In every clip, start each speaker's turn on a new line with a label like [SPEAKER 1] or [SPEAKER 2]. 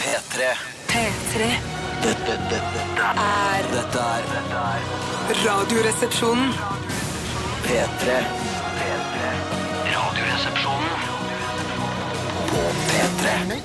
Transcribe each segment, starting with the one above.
[SPEAKER 1] P3.
[SPEAKER 2] P3
[SPEAKER 1] Dette, dette, dette,
[SPEAKER 2] er
[SPEAKER 1] dette er dette er
[SPEAKER 2] Radioresepsjonen.
[SPEAKER 1] P3. P3. Radioresepsjonen. På P3.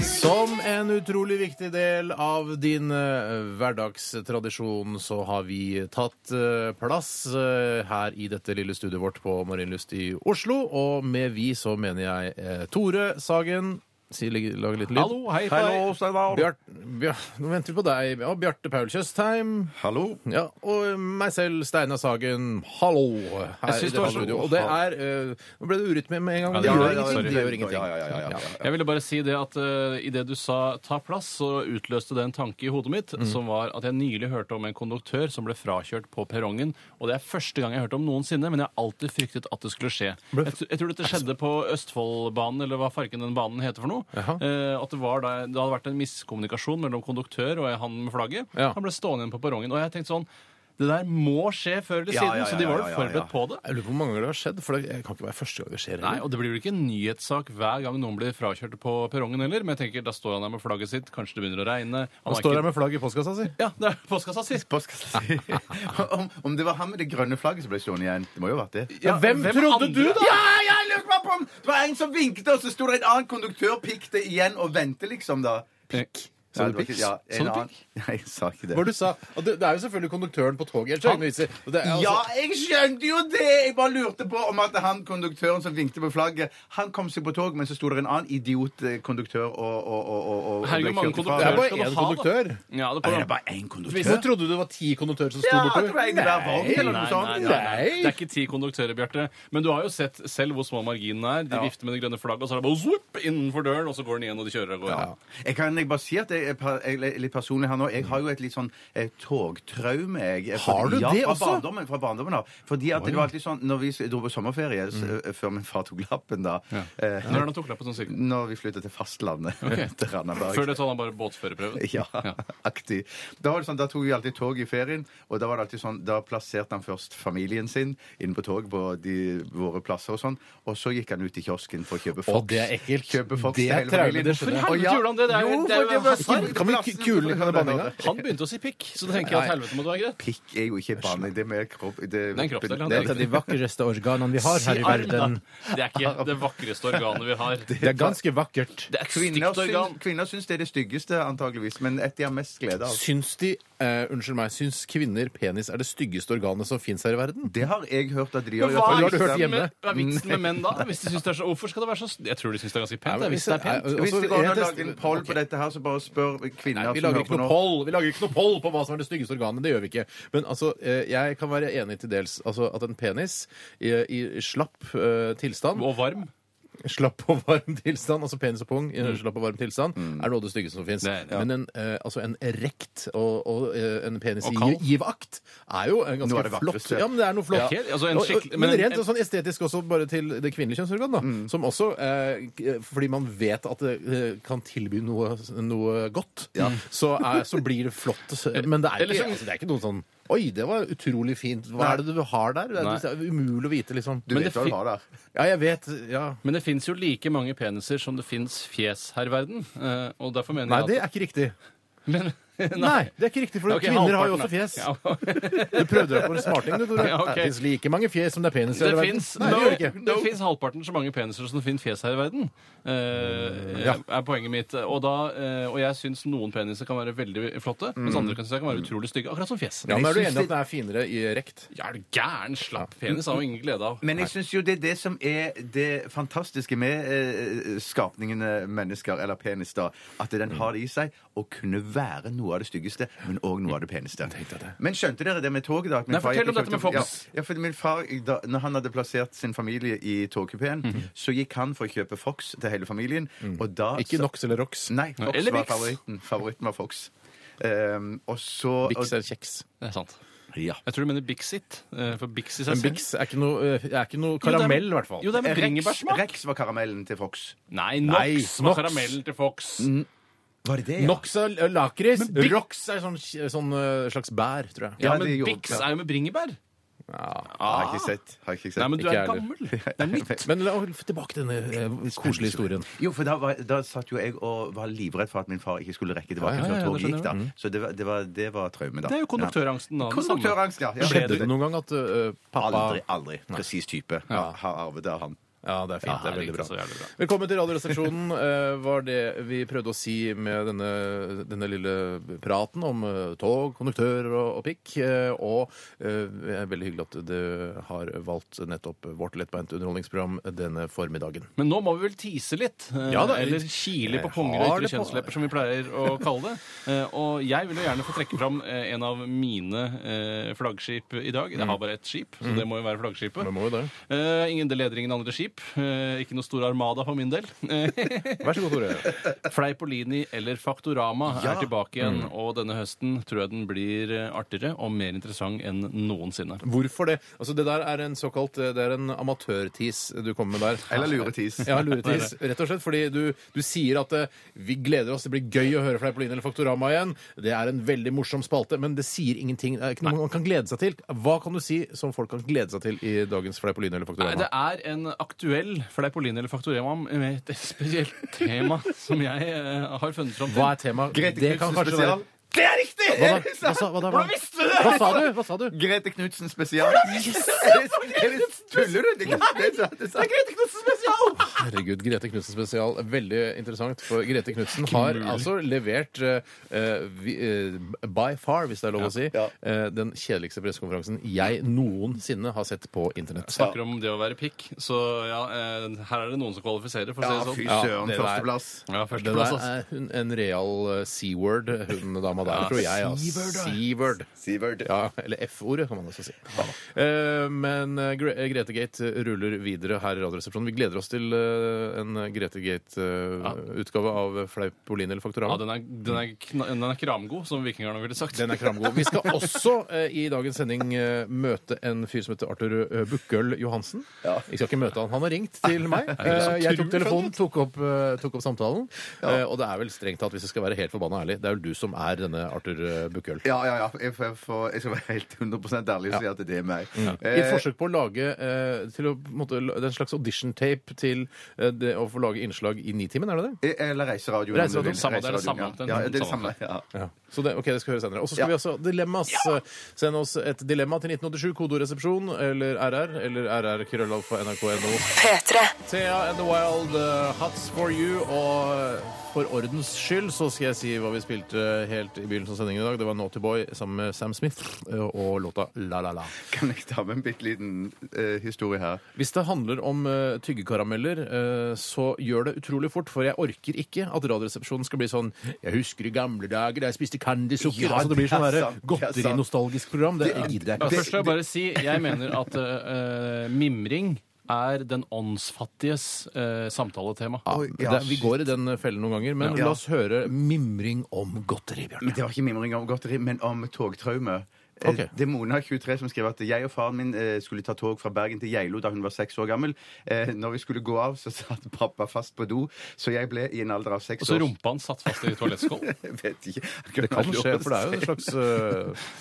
[SPEAKER 3] Som en utrolig viktig del av din eh, hverdagstradisjon så har vi tatt eh, plass eh, her i dette lille studioet vårt på Marienlyst i Oslo. Og med vi så mener jeg eh, Tore Sagen. Si, lig- lag litt lyd.
[SPEAKER 4] Hallo, hei på deg.
[SPEAKER 3] Steinar. Bjart, Bjar- nå venter vi på deg. Ja, Bjarte Paul Tjøstheim.
[SPEAKER 5] Hallo.
[SPEAKER 3] Ja, og meg selv, Steinar Sagen. Hallo! Her
[SPEAKER 4] Jeg
[SPEAKER 3] i
[SPEAKER 4] syns det
[SPEAKER 3] dette
[SPEAKER 4] var så-
[SPEAKER 3] studio. Og det er eh, Nå ble det urytme med en gang. men
[SPEAKER 4] Ja,
[SPEAKER 3] det
[SPEAKER 4] ja, ja,
[SPEAKER 3] gjør ingenting.
[SPEAKER 4] sorry.
[SPEAKER 3] Det gjør ingenting.
[SPEAKER 5] Ja, ja, ja, ja, ja.
[SPEAKER 4] Jeg ville bare si det at uh, idet du sa 'ta plass', så utløste det en tanke i hodet mitt, som var at jeg nylig hørte om en konduktør som ble frakjørt på perrongen. Og det er første gang jeg hørte om noensinne, men jeg har alltid fryktet at det skulle skje. Jeg, tr- jeg tror dette skjedde på Østfoldbanen, eller hva farken den banen heter for noe.
[SPEAKER 3] Jaha.
[SPEAKER 4] Eh, at det, var da, det hadde vært en miskommunikasjon mellom konduktør og han med flagget.
[SPEAKER 3] Ja.
[SPEAKER 4] Han ble stående igjen på perrongen. Og jeg tenkte sånn Det der må skje før eller
[SPEAKER 5] Ja,
[SPEAKER 4] siden,
[SPEAKER 5] ja,
[SPEAKER 4] så
[SPEAKER 5] ja,
[SPEAKER 4] de var
[SPEAKER 5] ja,
[SPEAKER 4] jo
[SPEAKER 5] ja,
[SPEAKER 4] forberedt
[SPEAKER 5] ja.
[SPEAKER 4] på det.
[SPEAKER 3] Jeg lurer på hvor mange ganger det har skjedd, for det kan ikke være første gang det skjer.
[SPEAKER 4] Nei,
[SPEAKER 3] heller.
[SPEAKER 4] og det blir vel ikke en nyhetssak hver gang noen blir frakjørt på perrongen heller. Men jeg tenker, da står han der med flagget sitt, kanskje det begynner å regne. Han
[SPEAKER 3] Han
[SPEAKER 4] er
[SPEAKER 3] står
[SPEAKER 4] ikke-
[SPEAKER 3] her med flagg i postkassa si.
[SPEAKER 4] Ja, det er postkassa si.
[SPEAKER 5] Hva skal jeg si? om, om det var han med det grønne flagget som ble stående igjen. Det må jo ha vært det.
[SPEAKER 4] Ja,
[SPEAKER 3] hvem trodde du da?
[SPEAKER 5] Ja, jeg lurte meg på om Det var en som vinket, og så sto det en annen konduktør pikte igjen og vente, liksom, da.
[SPEAKER 4] Pikk. Sånn
[SPEAKER 3] Sa du
[SPEAKER 5] Nei, det var
[SPEAKER 3] pikk?
[SPEAKER 5] ikke- Ja,
[SPEAKER 4] Sa
[SPEAKER 5] en
[SPEAKER 4] du
[SPEAKER 5] annen. Nei, jeg sa ikke det.
[SPEAKER 3] Hva du sa? Og det, det er jo selvfølgelig konduktøren på toget. ellers er det ingen vitser. Og det er altså-
[SPEAKER 5] Ja, jeg skjønte jo det! Jeg bare lurte på om at han konduktøren som vinkte på flagget, han kom seg på tog, men så sto det en annen idiot eh, konduktør og, og, og, og, og
[SPEAKER 4] Herregud,
[SPEAKER 5] ble
[SPEAKER 4] mange
[SPEAKER 5] kjørt ifra.
[SPEAKER 3] det er bare
[SPEAKER 4] konduktører. Skal du
[SPEAKER 3] én
[SPEAKER 4] ha, da?
[SPEAKER 3] konduktør.
[SPEAKER 4] Ja, det
[SPEAKER 5] Nei, det
[SPEAKER 4] er
[SPEAKER 5] er bare én konduktør.
[SPEAKER 3] Hvor trodde du det var ti konduktører som sto
[SPEAKER 5] Ja, det
[SPEAKER 3] bortover?
[SPEAKER 5] var en hver vogn eller noe
[SPEAKER 4] Nei,
[SPEAKER 5] sånt.
[SPEAKER 4] nei, nei, nei.
[SPEAKER 3] Nei.
[SPEAKER 4] Det er ikke ti konduktører, Bjarte. Men du har jo sett selv hvor små marginene er. De
[SPEAKER 5] Ja.
[SPEAKER 4] vifter med det grønne flagget, og så er det bare zoop innenfor døren, og så går den igjen, og de kjører av gårde.
[SPEAKER 5] Jeg kan jeg bare si at jeg, er per- jeg er litt personlig her nå. Jeg har jo et litt sånn eh, togtraume. Jeg,
[SPEAKER 3] Har du
[SPEAKER 5] ja,
[SPEAKER 3] det
[SPEAKER 5] fra
[SPEAKER 3] også?
[SPEAKER 5] Barndommen, fra barndommen av. Fordi at det var alltid sånn når vi s- dro på sommerferie s-
[SPEAKER 3] Mm.
[SPEAKER 5] eh, før min far tok lappen, da eh,
[SPEAKER 4] Når er det han tok lappen sånn cirka?
[SPEAKER 5] Når vi flyttet til fastlandet. til Randaberg.
[SPEAKER 4] Før det så hadde han bare båtførerprøven.
[SPEAKER 5] Ja, aktig. Da, var det sånn, da tok vi alltid tog i ferien, og da var det alltid sånn, da plasserte han først familien sin inn på tog på de, våre plasser og sånn, og så gikk han ut i kiosken for å kjøpe Fox.
[SPEAKER 3] det er ekkelt.
[SPEAKER 5] Kjøpe Fox
[SPEAKER 3] Det
[SPEAKER 5] til
[SPEAKER 3] er
[SPEAKER 5] hele
[SPEAKER 3] traume,
[SPEAKER 5] familien.
[SPEAKER 3] det skjønner jeg.
[SPEAKER 5] Og
[SPEAKER 4] Herregud, gjorde han det? Det er jo-
[SPEAKER 5] jo,
[SPEAKER 4] det er jo
[SPEAKER 5] for det var
[SPEAKER 4] hasard.
[SPEAKER 5] sånn-
[SPEAKER 3] Kan vi ikke kule ned den banninga?
[SPEAKER 4] Han begynte å si pikk, så da tenker jeg at helvete måtte være greit.
[SPEAKER 5] Pikk er jo ikke banning, det er mer kropp... Det
[SPEAKER 4] er en kroppsdel, han
[SPEAKER 5] det
[SPEAKER 4] tenker.
[SPEAKER 5] er-
[SPEAKER 3] de vakreste organene vi har
[SPEAKER 4] Si arm, da. Det er ikke det vakreste organet vi har. Det
[SPEAKER 3] er ganske vakkert.
[SPEAKER 4] er et
[SPEAKER 5] Kvinner
[SPEAKER 4] stygt organ.
[SPEAKER 5] syns, kvinner syns det er det styggeste, antageligvis, men et de har mest glede av.
[SPEAKER 3] Syns de eh, Unnskyld meg, syns kvinner penis er det styggeste organet som fins her i verden?
[SPEAKER 5] Det har jeg hørt at de
[SPEAKER 4] Men
[SPEAKER 5] gjør.
[SPEAKER 4] hva
[SPEAKER 3] har
[SPEAKER 4] er
[SPEAKER 3] du hørt
[SPEAKER 4] vitsen
[SPEAKER 3] hjemme?
[SPEAKER 4] med, hva er vitsen med menn da? Hvis de syns det er så, hvorfor skal det være så s- Jeg tror de syns det er ganske pent.
[SPEAKER 3] Nei,
[SPEAKER 4] jeg, hvis det er pent.
[SPEAKER 3] Nei,
[SPEAKER 5] Hvis
[SPEAKER 3] altså,
[SPEAKER 5] det går an å
[SPEAKER 3] jeg
[SPEAKER 5] lage en
[SPEAKER 3] tester-
[SPEAKER 5] poll
[SPEAKER 3] Ok.
[SPEAKER 5] på dette her, så bare spør kvinner
[SPEAKER 3] Nei, vi lager ikke noe poll Vi lager ikke noe poll på hva som er det styggeste organet. Det gjør vi ikke. Men altså, eh, jeg kan være enig til dels altså, at en penis i, i slapp eh, tilstand
[SPEAKER 4] Og varm.
[SPEAKER 3] Slapp og varm tilstand, altså penis og pung i en slapp og varm tilstand, er noe av det styggeste som fins.
[SPEAKER 4] Mm. Det er det, ja.
[SPEAKER 3] Men en, eh, altså en rekt og, og eh, en penis
[SPEAKER 4] Og
[SPEAKER 3] i
[SPEAKER 4] kald.
[SPEAKER 3] givakt er jo en
[SPEAKER 5] Noe av det
[SPEAKER 3] ganske flott.
[SPEAKER 5] vakreste.
[SPEAKER 3] Ja, men det er noe flott.
[SPEAKER 4] Ja, altså en
[SPEAKER 3] Og- og-
[SPEAKER 4] skikkelig-
[SPEAKER 3] men
[SPEAKER 4] men en- Mm.
[SPEAKER 3] rent og sånn estetisk også bare til det kvinnelige kjønnsorgan, da. Som også eh, k- Fordi man vet at det eh, kan tilby noe, noe godt, så, er, så blir det flott. Men det er,
[SPEAKER 4] Eller
[SPEAKER 3] ikke,
[SPEAKER 4] som-
[SPEAKER 3] altså, det er ikke noe sånn Oi, det var utrolig fint. Hva er det du har der? Det er, det er umulig å vite, liksom.
[SPEAKER 5] Du
[SPEAKER 4] Men
[SPEAKER 5] vet
[SPEAKER 4] det
[SPEAKER 5] hva du
[SPEAKER 4] fin-
[SPEAKER 5] har der.
[SPEAKER 3] Ja, jeg vet. Ja.
[SPEAKER 4] Men det fins jo like mange peniser som det fins fjes her i verden. eh, Og derfor mener
[SPEAKER 3] Nei, det
[SPEAKER 4] jeg at
[SPEAKER 3] er ikke riktig.
[SPEAKER 4] Men,
[SPEAKER 3] Nei, det er ikke riktig, for
[SPEAKER 4] Ok,
[SPEAKER 3] kvinner har jo
[SPEAKER 4] halvparten,
[SPEAKER 3] også fjes.
[SPEAKER 4] da.
[SPEAKER 3] Du prøvde deg på en smarting, du, Tore.
[SPEAKER 4] Ja, ok.
[SPEAKER 3] Det fins like mange fjes som det er penis i
[SPEAKER 4] Det
[SPEAKER 3] hele verden.
[SPEAKER 4] fins
[SPEAKER 3] Nei, det gjør det ikke.
[SPEAKER 4] det finnes halvparten så mange peniser som det finnes fjes her i verden. eh,
[SPEAKER 3] ja.
[SPEAKER 4] Er poenget mitt. Og, da, eh, og jeg syns noen peniser kan være veldig flotte, mens andre kan, synes jeg kan være utrolig stygge. Akkurat som fjes.
[SPEAKER 3] Mm. Ja, men er du
[SPEAKER 5] Jeg
[SPEAKER 3] enig
[SPEAKER 5] synes
[SPEAKER 3] i at den er finere i rekt?
[SPEAKER 4] Jeg er du gæren? Slapp penis har jo ingen glede av.
[SPEAKER 5] Men jeg syns jo det er det som er det fantastiske med eh, skapningene mennesker, eller penis, da. At den har det i seg å kunne være noe av det styggeste, men òg noe av det peneste. Men skjønte dere det med toget, da? At min
[SPEAKER 4] Nei,
[SPEAKER 5] far
[SPEAKER 4] fortell
[SPEAKER 5] gikk og
[SPEAKER 4] om dette med
[SPEAKER 5] kjøpte-
[SPEAKER 4] Fox.
[SPEAKER 5] Ja, ja, for min far, da når han hadde plassert sin familie i togkupeen, så gikk han for å kjøpe Fox til hele familien, og da
[SPEAKER 3] Ikke
[SPEAKER 5] så-
[SPEAKER 3] Nox eller Rox.
[SPEAKER 5] Mm. Nei, Fox
[SPEAKER 4] Eller
[SPEAKER 5] var
[SPEAKER 4] Bix.
[SPEAKER 5] favoritten. Favoritten var Fox. Ehm, og så
[SPEAKER 3] Bix er kjeks.
[SPEAKER 4] Det er sant.
[SPEAKER 5] Ja.
[SPEAKER 4] Jeg tror du mener Bixit. eh, For Bix i seg
[SPEAKER 3] Men
[SPEAKER 4] selv
[SPEAKER 3] Bix er ikke noe, eh, er ikke noe karamell, i hvert fall.
[SPEAKER 4] Jo, det er med
[SPEAKER 5] Rex,
[SPEAKER 4] bringebærsmak.
[SPEAKER 5] Rex var karamellen til Fox.
[SPEAKER 4] Nei,
[SPEAKER 3] Nei,
[SPEAKER 4] Nox var
[SPEAKER 3] Nox.
[SPEAKER 4] karamellen til Fox.
[SPEAKER 5] Var det det,
[SPEAKER 3] Nox er eh, lakris.
[SPEAKER 4] Bix-
[SPEAKER 3] Rox er sånn, sånn eh, slags bær, tror jeg.
[SPEAKER 4] Ja,
[SPEAKER 5] Ja,
[SPEAKER 4] men
[SPEAKER 5] det gjorde-
[SPEAKER 4] Bix er jo med bringebær.
[SPEAKER 3] Ja.
[SPEAKER 5] Har jeg ikke sett. Har jeg ikke sett.
[SPEAKER 4] Nei, men du
[SPEAKER 3] Ikke
[SPEAKER 4] er
[SPEAKER 3] jeg heller.
[SPEAKER 4] gammel. Det er nytt.
[SPEAKER 3] Men la, tilbake til denne eh, koselige historien.
[SPEAKER 5] Jo, for da, var, da satt jo jeg og var livredd for at min far ikke skulle rekke tilbake
[SPEAKER 3] Ja, ja, ja,
[SPEAKER 5] før
[SPEAKER 4] det
[SPEAKER 5] toget
[SPEAKER 4] skjønner
[SPEAKER 5] gikk. da. Så det var, det var, det var traume, da.
[SPEAKER 4] Det er jo konduktørangsten, da.
[SPEAKER 5] Ja.
[SPEAKER 4] det samme.
[SPEAKER 5] Konduktørangst, ja. ja.
[SPEAKER 3] Skjedde det noen gang at eh, pappa
[SPEAKER 5] Aldri, aldri. Presis type. Ja. Har arvet det av han.
[SPEAKER 3] Ja, det er fint.
[SPEAKER 4] Ja,
[SPEAKER 3] det er veldig
[SPEAKER 4] ikke
[SPEAKER 3] bra.
[SPEAKER 4] så jævlig bra.
[SPEAKER 3] Velkommen til Radioresepsjonen. eh, var det vi prøvde å si med denne, denne lille praten om eh, tog, konduktører og, og pikk. eh, og eh, det er veldig hyggelig at du har valgt nettopp vårt lettbeinte underholdningsprogram denne formiddagen.
[SPEAKER 4] Men nå må vi vel tease litt. eh,
[SPEAKER 3] Ja da.
[SPEAKER 4] eller kile på
[SPEAKER 3] Jeg
[SPEAKER 4] punger
[SPEAKER 3] har
[SPEAKER 4] og ytre
[SPEAKER 3] det på-
[SPEAKER 4] kjønnslepper, som vi pleier å kalle det. Eh, Og jeg vil jo gjerne få trekke fram eh, en av mine eh, flaggskip i dag. Jeg har
[SPEAKER 3] Mm.
[SPEAKER 4] bare ett skip, så det må jo være flaggskipet.
[SPEAKER 3] Det må jo det.
[SPEAKER 4] Eh, ingen, det leder ingen andre skip. Eh, ikke noe stor armada for min del.
[SPEAKER 3] Vær så god, Tore.
[SPEAKER 4] Fleipolini eller Faktorama
[SPEAKER 5] Ja.
[SPEAKER 4] er tilbake igjen,
[SPEAKER 3] Mm.
[SPEAKER 4] og denne høsten tror jeg den blir eh, artigere og mer interessant enn noensinne.
[SPEAKER 3] Hvorfor det? Altså, det der er en såkalt eh, Det er en amatørtis du kommer med der.
[SPEAKER 5] Eller luretis.
[SPEAKER 3] Ja, luretis. Rett og slett fordi du, du sier at eh, vi gleder oss, det blir gøy å høre Fleipolini eller Faktorama igjen. Det er en veldig morsom spalte, men det sier ingenting. Det er ikke noe man kan glede seg til. Hva kan du si som folk kan glede seg til i dagens Fleipolini eller
[SPEAKER 4] Nei, det
[SPEAKER 3] Faktorama?
[SPEAKER 4] er en aktuell Fleipolini eller Faktorama med et spesielt tema som jeg eh, har funnet fram til.
[SPEAKER 3] Hva er temaet?
[SPEAKER 5] Grete
[SPEAKER 3] Det kan
[SPEAKER 5] Knudsen
[SPEAKER 3] kanskje være
[SPEAKER 5] spesial. Det er riktig!
[SPEAKER 3] hva, da? hva, sa, hva, da? hva,
[SPEAKER 5] Hvordan visste du det?
[SPEAKER 3] hva sa du? Hva sa du?
[SPEAKER 5] Grete Knutsen spesial. Er det- er det- Tuller du? Det er ikke- det er- det er-
[SPEAKER 4] Grete Knudsen spesial!
[SPEAKER 3] Herregud, Grete Knutsen spesial. Veldig interessant. For Grete Knutsen har altså levert eh, eh, vi, eh, by far, hvis det er lov å si, eh, den kjedeligste pressekonferansen jeg noensinne har sett på internett.
[SPEAKER 4] Snakker om det å være pikk, så ja, eh, her er det noen som kvalifiserer, for å
[SPEAKER 5] Ja,
[SPEAKER 4] si det
[SPEAKER 5] fy
[SPEAKER 4] sånn.
[SPEAKER 5] søren.
[SPEAKER 3] det der-
[SPEAKER 5] Førsteplass.
[SPEAKER 4] Ja,
[SPEAKER 3] Det der
[SPEAKER 4] førsteplass, altså.
[SPEAKER 3] er hun, en real eh, C-word, hun dama der,
[SPEAKER 4] Ja,
[SPEAKER 3] tror jeg. ja.
[SPEAKER 4] C-word, ja.
[SPEAKER 3] C-word.
[SPEAKER 5] Sivert.
[SPEAKER 3] Ja, eller F-ordet, kan man også si. Eh, Men eh, Gre- eh, Grete Gate ruller videre her i Radioresepsjonen. Vi gleder oss til eh, en Grete Gate-utgave av Fleipolini eller
[SPEAKER 4] Ja,
[SPEAKER 3] Faktorama.
[SPEAKER 4] den er, den, er kna, den er kramgod, som vikingerne ville sagt.
[SPEAKER 3] Den er kramgod. Vi skal også eh, i dagens sending eh, møte en fyr som heter Arthur eh, Bukkøl Johansen. Jeg skal ikke møte han. Han har ringt til meg. Eh, jeg tok telefonen, tok opp, eh, tok opp samtalen. Eh, og det er vel strengt tatt, hvis jeg skal være helt forbanna ærlig, det er vel du som er denne Arthur eh, Bukkøl.
[SPEAKER 5] Ja, ja, ja. Jeg, får- jeg, får- jeg skal være helt 100 ærlig og si at det er meg.
[SPEAKER 3] I
[SPEAKER 5] Eh.
[SPEAKER 3] et forsøk på å lage eh, til å, på en måte, la- det er en slags audition-tape til eh, det, å få lage innslag i Nitimen, er det det?
[SPEAKER 5] Eh, Eller reiseradioen. om du
[SPEAKER 3] Reiseradioen.
[SPEAKER 5] vil.
[SPEAKER 4] Samme, det er det
[SPEAKER 5] Reiseradioen,
[SPEAKER 4] samme. Den-
[SPEAKER 5] Ja, Ja, det er det
[SPEAKER 4] samme.
[SPEAKER 5] samme. Ja.
[SPEAKER 3] Ja. Så det, ok, det skal vi høre senere. Og så skal
[SPEAKER 5] Ja.
[SPEAKER 3] vi også dilemmas. eh, Send oss et dilemma til 1987, kodoresepsjon eller RR, eller rr-krøllalfa.nrk.no.
[SPEAKER 2] P3.
[SPEAKER 3] Thea and the Wild uh, Hats for You. Og eh, for ordens skyld så skal jeg si hva vi spilte helt i begynnelsen av sendingen i dag. Det var Naughty Boy sammen med Sam Smith eh, og låta La La La.
[SPEAKER 5] Kan jeg ta med en bitte liten eh, historie her?
[SPEAKER 3] Hvis det handler om eh, tyggekarameller, eh, så gjør det utrolig fort, for jeg orker ikke at Radioresepsjonen skal bli sånn Jeg husker i gamle dager da jeg spiste candysukker.
[SPEAKER 5] Ja,
[SPEAKER 3] altså, det blir
[SPEAKER 5] det er
[SPEAKER 3] sånn derre
[SPEAKER 5] sant, det er
[SPEAKER 3] godterinostalgisk program. Det gidder jeg
[SPEAKER 4] Ja,
[SPEAKER 3] ikke.
[SPEAKER 4] først vil jeg bare si jeg mener at eh, eh, mimring er den åndsfattiges eh, samtaletema.
[SPEAKER 3] Ja,
[SPEAKER 5] Oi, ja,
[SPEAKER 3] Altså, det, vi går i den fellen noen ganger, men
[SPEAKER 5] Ja.
[SPEAKER 3] la oss høre mimring om godteri, Bjarte.
[SPEAKER 5] Men Det var ikke mimring om godteri, men om togtraume. Eh,
[SPEAKER 3] Ok.
[SPEAKER 5] Det er Mona23 som skriver at jeg og faren min eh, skulle ta tog fra Bergen til Geilo da hun var seks år gammel. Eh, Når vi skulle gå av, så satt pappa fast på do, så jeg ble i en alder av seks
[SPEAKER 4] Og så
[SPEAKER 5] år
[SPEAKER 4] rumpa hans satt fast i toalettskål.
[SPEAKER 5] Jeg vet ikke.
[SPEAKER 3] Det kan skje, for det er jo en slags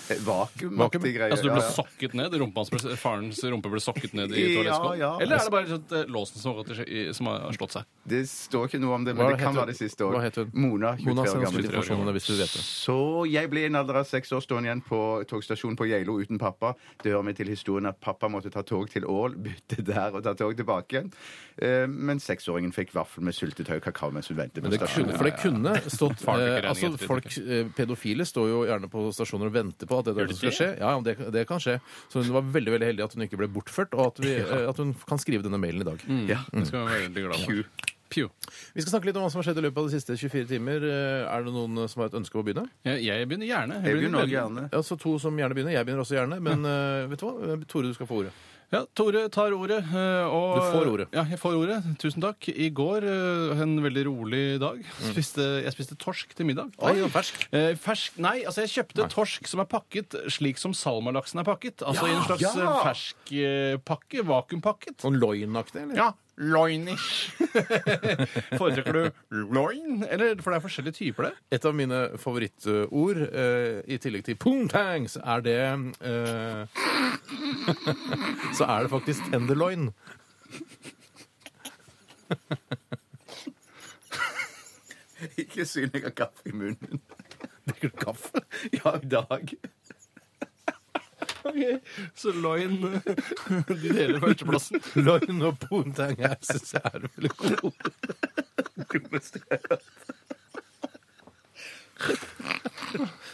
[SPEAKER 3] eh, Vakuum.
[SPEAKER 5] Vakuumaktig greie.
[SPEAKER 4] Altså du ble
[SPEAKER 5] Ja, ja.
[SPEAKER 4] sokket ned, rumpa hans ble, Farens rumpe ble sokket ned i
[SPEAKER 5] Ja,
[SPEAKER 4] toalettskålen?
[SPEAKER 5] ja.
[SPEAKER 4] Eller er det bare sånn at, eh, låsen som har, gått i, i- som har slått seg?
[SPEAKER 5] Det står ikke noe om det, men
[SPEAKER 3] Hva
[SPEAKER 5] det kan
[SPEAKER 3] heter hun?
[SPEAKER 5] være det siste
[SPEAKER 3] Hva
[SPEAKER 5] òg.
[SPEAKER 3] heter hun?
[SPEAKER 5] Mona, 23
[SPEAKER 3] Mona,
[SPEAKER 5] år
[SPEAKER 3] send oss
[SPEAKER 5] gammel.
[SPEAKER 3] litt informasjon om det hvis du vet det.
[SPEAKER 5] Så jeg ble i en alder av seks år stående igjen på togstasjonen på Geilo uten pappa. Det hører med til historien at pappa måtte ta tog til Ål, bytte der og ta tog tilbake igjen. Eh, Men seksåringen fikk vaffel med syltetøy og kakao mens hun ventet på
[SPEAKER 3] Men det kunne, for det kunne stått
[SPEAKER 4] Faren fikk
[SPEAKER 3] eh,
[SPEAKER 4] regning
[SPEAKER 3] altså
[SPEAKER 4] ettertid,
[SPEAKER 3] folk, eh, Pedofile står jo gjerne på stasjoner og venter på at det, der skal skje. Ja, ja, det, det kan skje. Så hun var veldig veldig heldig at hun ikke ble bortført, og at, vi, eh, at hun kan skrive denne mailen i dag.
[SPEAKER 5] Ja.
[SPEAKER 3] Mm.
[SPEAKER 4] Det skal vi være veldig glad for. Pew.
[SPEAKER 3] Vi skal snakke litt om hva som har skjedd i løpet av de siste 24 timer. Eh, Er det noen eh, som har et ønske om å begynne?
[SPEAKER 4] Jeg, jeg begynner gjerne.
[SPEAKER 5] Jeg begynner også
[SPEAKER 4] veldig-
[SPEAKER 5] gjerne.
[SPEAKER 3] Altså to som gjerne begynner. Jeg begynner også gjerne. Men eh, vet du hva? Tore, du skal få ordet.
[SPEAKER 4] Ja, Tore tar ordet. eh, Og,
[SPEAKER 3] Du får ordet.
[SPEAKER 4] Ja, jeg får ordet. Tusen takk. I går, eh, en veldig rolig dag, spiste, jeg spiste torsk til middag.
[SPEAKER 3] Mm. Oi, fersk.
[SPEAKER 4] Eh, fersk Nei, altså jeg kjøpte torsk som er pakket slik som salmalaksen er pakket. Altså i en slags
[SPEAKER 5] Ja!
[SPEAKER 4] eh, fersk eh, pakke, vakuumpakket.
[SPEAKER 3] Sånn loin-aktig, eller?
[SPEAKER 4] Ja, loinish. Foretrekker du loin, eller? For det er forskjellige typer, det.
[SPEAKER 3] Et av mine favorittord, eh, i tillegg til pung tangs, er det eh, så er det faktisk tenderloin.
[SPEAKER 5] Ikke syn jeg har kaffe i munnen.
[SPEAKER 3] Drikker du kaffe?
[SPEAKER 5] Ja, i dag.
[SPEAKER 4] Ok, Så Loin eh, De deler førsteplassen.
[SPEAKER 3] Loin og poontang her syns jeg er veldig gode.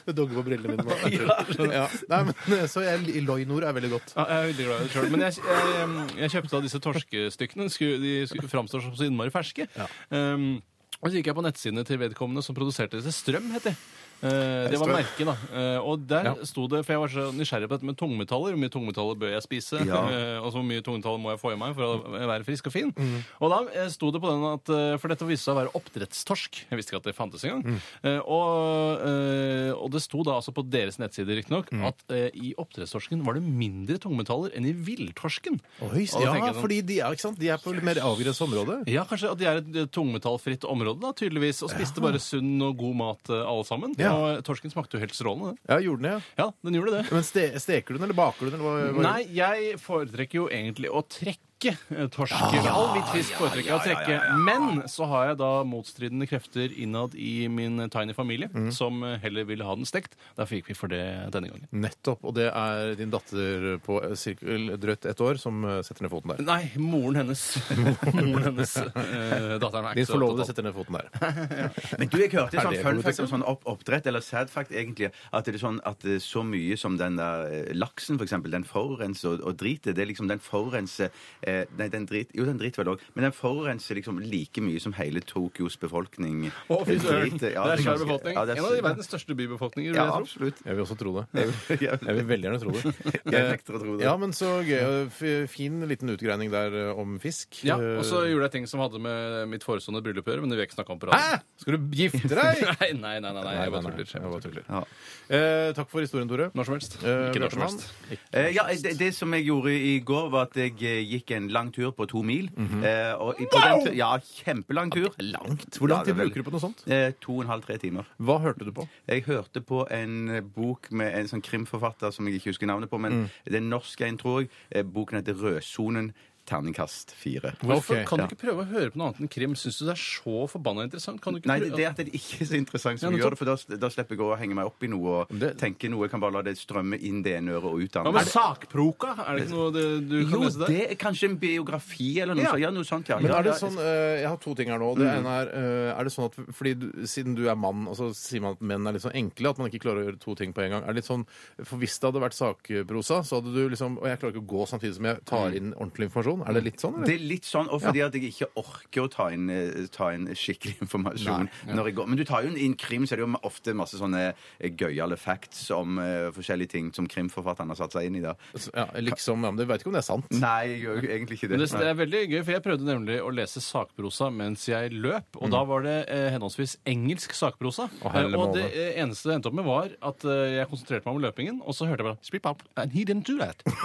[SPEAKER 3] Det dogger på brillene mine nå. Ja. Nei, men, eh, så jeg, loinord er veldig godt.
[SPEAKER 4] Ja, jeg er veldig glad i det sjøl. Men jeg, jeg, jeg kjøpte av disse torskestykkene. Skulle, de skulle framstår som så innmari ferske. Um, og så gikk jeg på nettsidene til vedkommende som produserte disse. Strøm, het det. Eh, det var
[SPEAKER 5] Strøm.
[SPEAKER 4] merket, da. Eh, og der
[SPEAKER 3] Ja.
[SPEAKER 4] sto det, for jeg var så nysgjerrig på dette med tungmetaller. Hvor mye tungmetaller bør jeg spise?
[SPEAKER 5] Ja.
[SPEAKER 4] Eh, og så mye tungmetaller må jeg få i meg for å
[SPEAKER 3] Mm.
[SPEAKER 4] være frisk og fin? Og da eh, sto det på den at eh, For dette viste seg å være oppdrettstorsk. Jeg visste ikke at det fantes engang.
[SPEAKER 3] Mm.
[SPEAKER 4] Eh, og, eh, og det sto da altså på deres nettsider riktignok
[SPEAKER 3] Mm.
[SPEAKER 4] at eh, i oppdrettstorsken var det mindre tungmetaller enn i villtorsken.
[SPEAKER 3] Oi,
[SPEAKER 4] Og da tenker
[SPEAKER 3] ja,
[SPEAKER 4] jeg sånn-
[SPEAKER 3] fordi de er, ikke sant? De er på litt mer avgrenset område.
[SPEAKER 4] ja, kanskje at de er et eh, tungmetallfritt område, da, tydeligvis. Og spiste bare sunn og god mat, eh, alle sammen.
[SPEAKER 3] Ja.
[SPEAKER 4] Og torsken smakte jo helt strålende. den.
[SPEAKER 3] Ja, gjorde den det?
[SPEAKER 4] Ja, den gjorde det.
[SPEAKER 3] Ja. Men ste steker du den, eller baker du den? Eller hva, hva
[SPEAKER 4] Nei, jeg foretrekker jo egentlig å trekke eh, torsk. All hvit fisk foretrekker jeg å trekke. Men så har jeg da motstridende krefter innad i min tiny familie, som eh, heller ville ha den stekt. Derfor gikk vi for det denne gangen.
[SPEAKER 3] Nettopp. Og det er din datter på eh, cirkel, drøyt ett år som eh, setter ned foten der.
[SPEAKER 4] Nei, moren hennes. moren hennes. Eh, datteren er
[SPEAKER 3] Din
[SPEAKER 4] ikke så
[SPEAKER 3] forlovede
[SPEAKER 4] opptatt.
[SPEAKER 3] setter ned foten der.
[SPEAKER 5] Men du, jeg hørte
[SPEAKER 3] Er
[SPEAKER 5] sånn
[SPEAKER 3] det
[SPEAKER 5] fun
[SPEAKER 3] politikk?
[SPEAKER 5] fact om sånn opp, oppdrett, eller sad fact egentlig, at det er sånn at eh, så mye som den der eh, laksen, for eksempel, den forurenser og, og driter, det er liksom den forurenser eh, Nei, den drit, jo, den driter vel òg, men den forurenser liksom like mye som hele Tokyos befolkning.
[SPEAKER 4] Å, fy søren!
[SPEAKER 5] Driter,
[SPEAKER 4] Det
[SPEAKER 5] ja,
[SPEAKER 4] er svær
[SPEAKER 5] ganske-
[SPEAKER 4] befolkning.
[SPEAKER 5] ja, det er-
[SPEAKER 4] En av de verdens største bybefolkninger, vil
[SPEAKER 5] Ja,
[SPEAKER 4] jeg tro.
[SPEAKER 5] absolutt.
[SPEAKER 3] Jeg vil også tro det.
[SPEAKER 5] Jeg
[SPEAKER 3] Jeg vil veldig gjerne tro det.
[SPEAKER 5] Jeg nekter å tro det.
[SPEAKER 3] Ja, men så gøy. F- Fin liten utgreining der eh, om fisk. Eh,
[SPEAKER 4] Ja, og så gjorde jeg ting som hadde med mitt forestående bryllup å gjøre, men det vil jeg ikke snakke om på
[SPEAKER 3] Hæ?
[SPEAKER 4] radioen.
[SPEAKER 3] Skal du gifte deg?
[SPEAKER 4] Nei, nei, nei, nei, nei, jeg bare
[SPEAKER 3] Nei, nei, nei,
[SPEAKER 4] tuller.
[SPEAKER 3] jeg
[SPEAKER 4] Jeg
[SPEAKER 3] bare
[SPEAKER 4] bare tuller.
[SPEAKER 5] Ja.
[SPEAKER 3] Eh, takk for historien, Tore.
[SPEAKER 4] Når som helst.
[SPEAKER 3] Eh,
[SPEAKER 4] Ikke når som
[SPEAKER 3] Bjørtemann?
[SPEAKER 4] helst.
[SPEAKER 5] Eh, ja, det, det som jeg gjorde i går, var at jeg eh, gikk en lang tur på to mil.
[SPEAKER 3] Mhm.
[SPEAKER 5] eh, og i- på den tur, ja, kjempelang tur. Langt.
[SPEAKER 3] Hvor lang tid bruker du på noe sånt?
[SPEAKER 5] Eh, to og en halv, tre timer.
[SPEAKER 3] Hva hørte du på?
[SPEAKER 5] Jeg hørte på en eh, bok med en sånn krimforfatter som jeg ikke husker navnet på, men
[SPEAKER 3] Mm.
[SPEAKER 5] det er en norsk en, tror jeg. Eh, Boken heter Rødsonen. Terningkast fire.
[SPEAKER 4] Hvorfor
[SPEAKER 3] Ok,
[SPEAKER 4] kan du
[SPEAKER 5] ja.
[SPEAKER 4] ikke prøve å høre på noe annet enn krim? Syns du det er så forbanna interessant? Kan du ikke
[SPEAKER 5] Nei, det,
[SPEAKER 4] prøve-
[SPEAKER 5] det at det ikke er så interessant som
[SPEAKER 4] Ja, men
[SPEAKER 5] gjør det, for da, da slipper jeg å henge meg opp i noe og
[SPEAKER 3] Det-
[SPEAKER 5] tenke noe. Jeg kan bare la det strømme inn det ene øret og ut det
[SPEAKER 4] Hva
[SPEAKER 5] andre.
[SPEAKER 4] med sakproka? Er det ikke noe det, du kan
[SPEAKER 5] Jo,
[SPEAKER 4] lese der?
[SPEAKER 5] det er kanskje en biografi eller noe
[SPEAKER 4] Ja.
[SPEAKER 5] sånt. Ja, noe sånt, ja. Mm.
[SPEAKER 3] Men
[SPEAKER 5] ja,
[SPEAKER 3] er det
[SPEAKER 5] ja.
[SPEAKER 3] sånn, eh, Jeg har to ting her nå. Det ene er, eh, er det sånn at, fordi du, Siden du er mann, og så sier man at menn er litt sånn enkle, at man ikke klarer å gjøre to ting på en gang. Er det litt sånn, for Hvis det hadde vært sakprosa, så hadde du liksom Og jeg klarer ikke å gå samtidig som jeg
[SPEAKER 5] Mm.
[SPEAKER 3] tar inn ordentlig informasjon. Er det litt sånn?
[SPEAKER 5] Det
[SPEAKER 3] Eller?
[SPEAKER 5] er litt sånn, og fordi at jeg ikke orker å ta inn, eh, ta inn skikkelig informasjon. når jeg går. Men du tar jo inn krim, så er det jo ofte masse sånne eh, gøyale facts om eh, forskjellige ting som krimforfatteren har satt seg inn i. da.
[SPEAKER 3] Ja, liksom, ja, men Du veit ikke om det er sant?
[SPEAKER 5] Nei, jeg gjør jo egentlig ikke det.
[SPEAKER 4] Men det, det
[SPEAKER 5] Nei.
[SPEAKER 4] er veldig gøy, for jeg prøvde nemlig å lese sakprosa mens jeg løp,
[SPEAKER 5] Mm.
[SPEAKER 4] og da var det eh, henholdsvis engelsk sakprosa.
[SPEAKER 3] Å, helle
[SPEAKER 4] Eh, og det
[SPEAKER 3] måne.
[SPEAKER 4] eh, eneste det endte opp med, var at eh, jeg konsentrerte meg om løpingen, og så hørte jeg bare Spip up, and he didn't do that.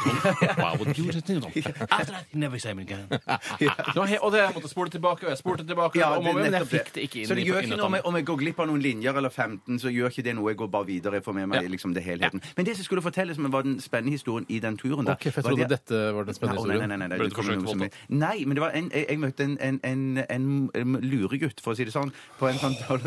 [SPEAKER 4] Wow, what you just did. After that, he never came again. Det var he og det, jeg måtte spole tilbake, og jeg spolte tilbake,
[SPEAKER 5] Ja,
[SPEAKER 4] og
[SPEAKER 5] det er
[SPEAKER 4] men jeg
[SPEAKER 5] nettopp
[SPEAKER 4] fikk det ikke inn
[SPEAKER 5] Så det
[SPEAKER 4] i-
[SPEAKER 5] gjør
[SPEAKER 4] inn
[SPEAKER 5] ikke
[SPEAKER 4] i
[SPEAKER 5] noe om jeg,
[SPEAKER 4] tannet.
[SPEAKER 5] om jeg går glipp av noen linjer eller 15, så gjør ikke det noe. Jeg går bare videre. Jeg får med meg
[SPEAKER 4] Ja.
[SPEAKER 5] liksom det helheten. Men det som skulle fortelles, men var den spennende historien i den turen der
[SPEAKER 3] Ok, for jeg
[SPEAKER 5] var
[SPEAKER 3] trodde
[SPEAKER 5] det-
[SPEAKER 3] dette var den spennende
[SPEAKER 5] Nei, å,
[SPEAKER 3] historien.
[SPEAKER 5] Nei, nei, nei, nei,
[SPEAKER 4] Ble
[SPEAKER 5] det
[SPEAKER 4] du
[SPEAKER 5] kommer
[SPEAKER 4] forsøkt
[SPEAKER 5] noe som-
[SPEAKER 4] voldtatt?
[SPEAKER 5] Nei, men det var en, jeg, jeg møtte en, en, en, en, en luregutt, for å si det sånn, på en sånn
[SPEAKER 3] Hello,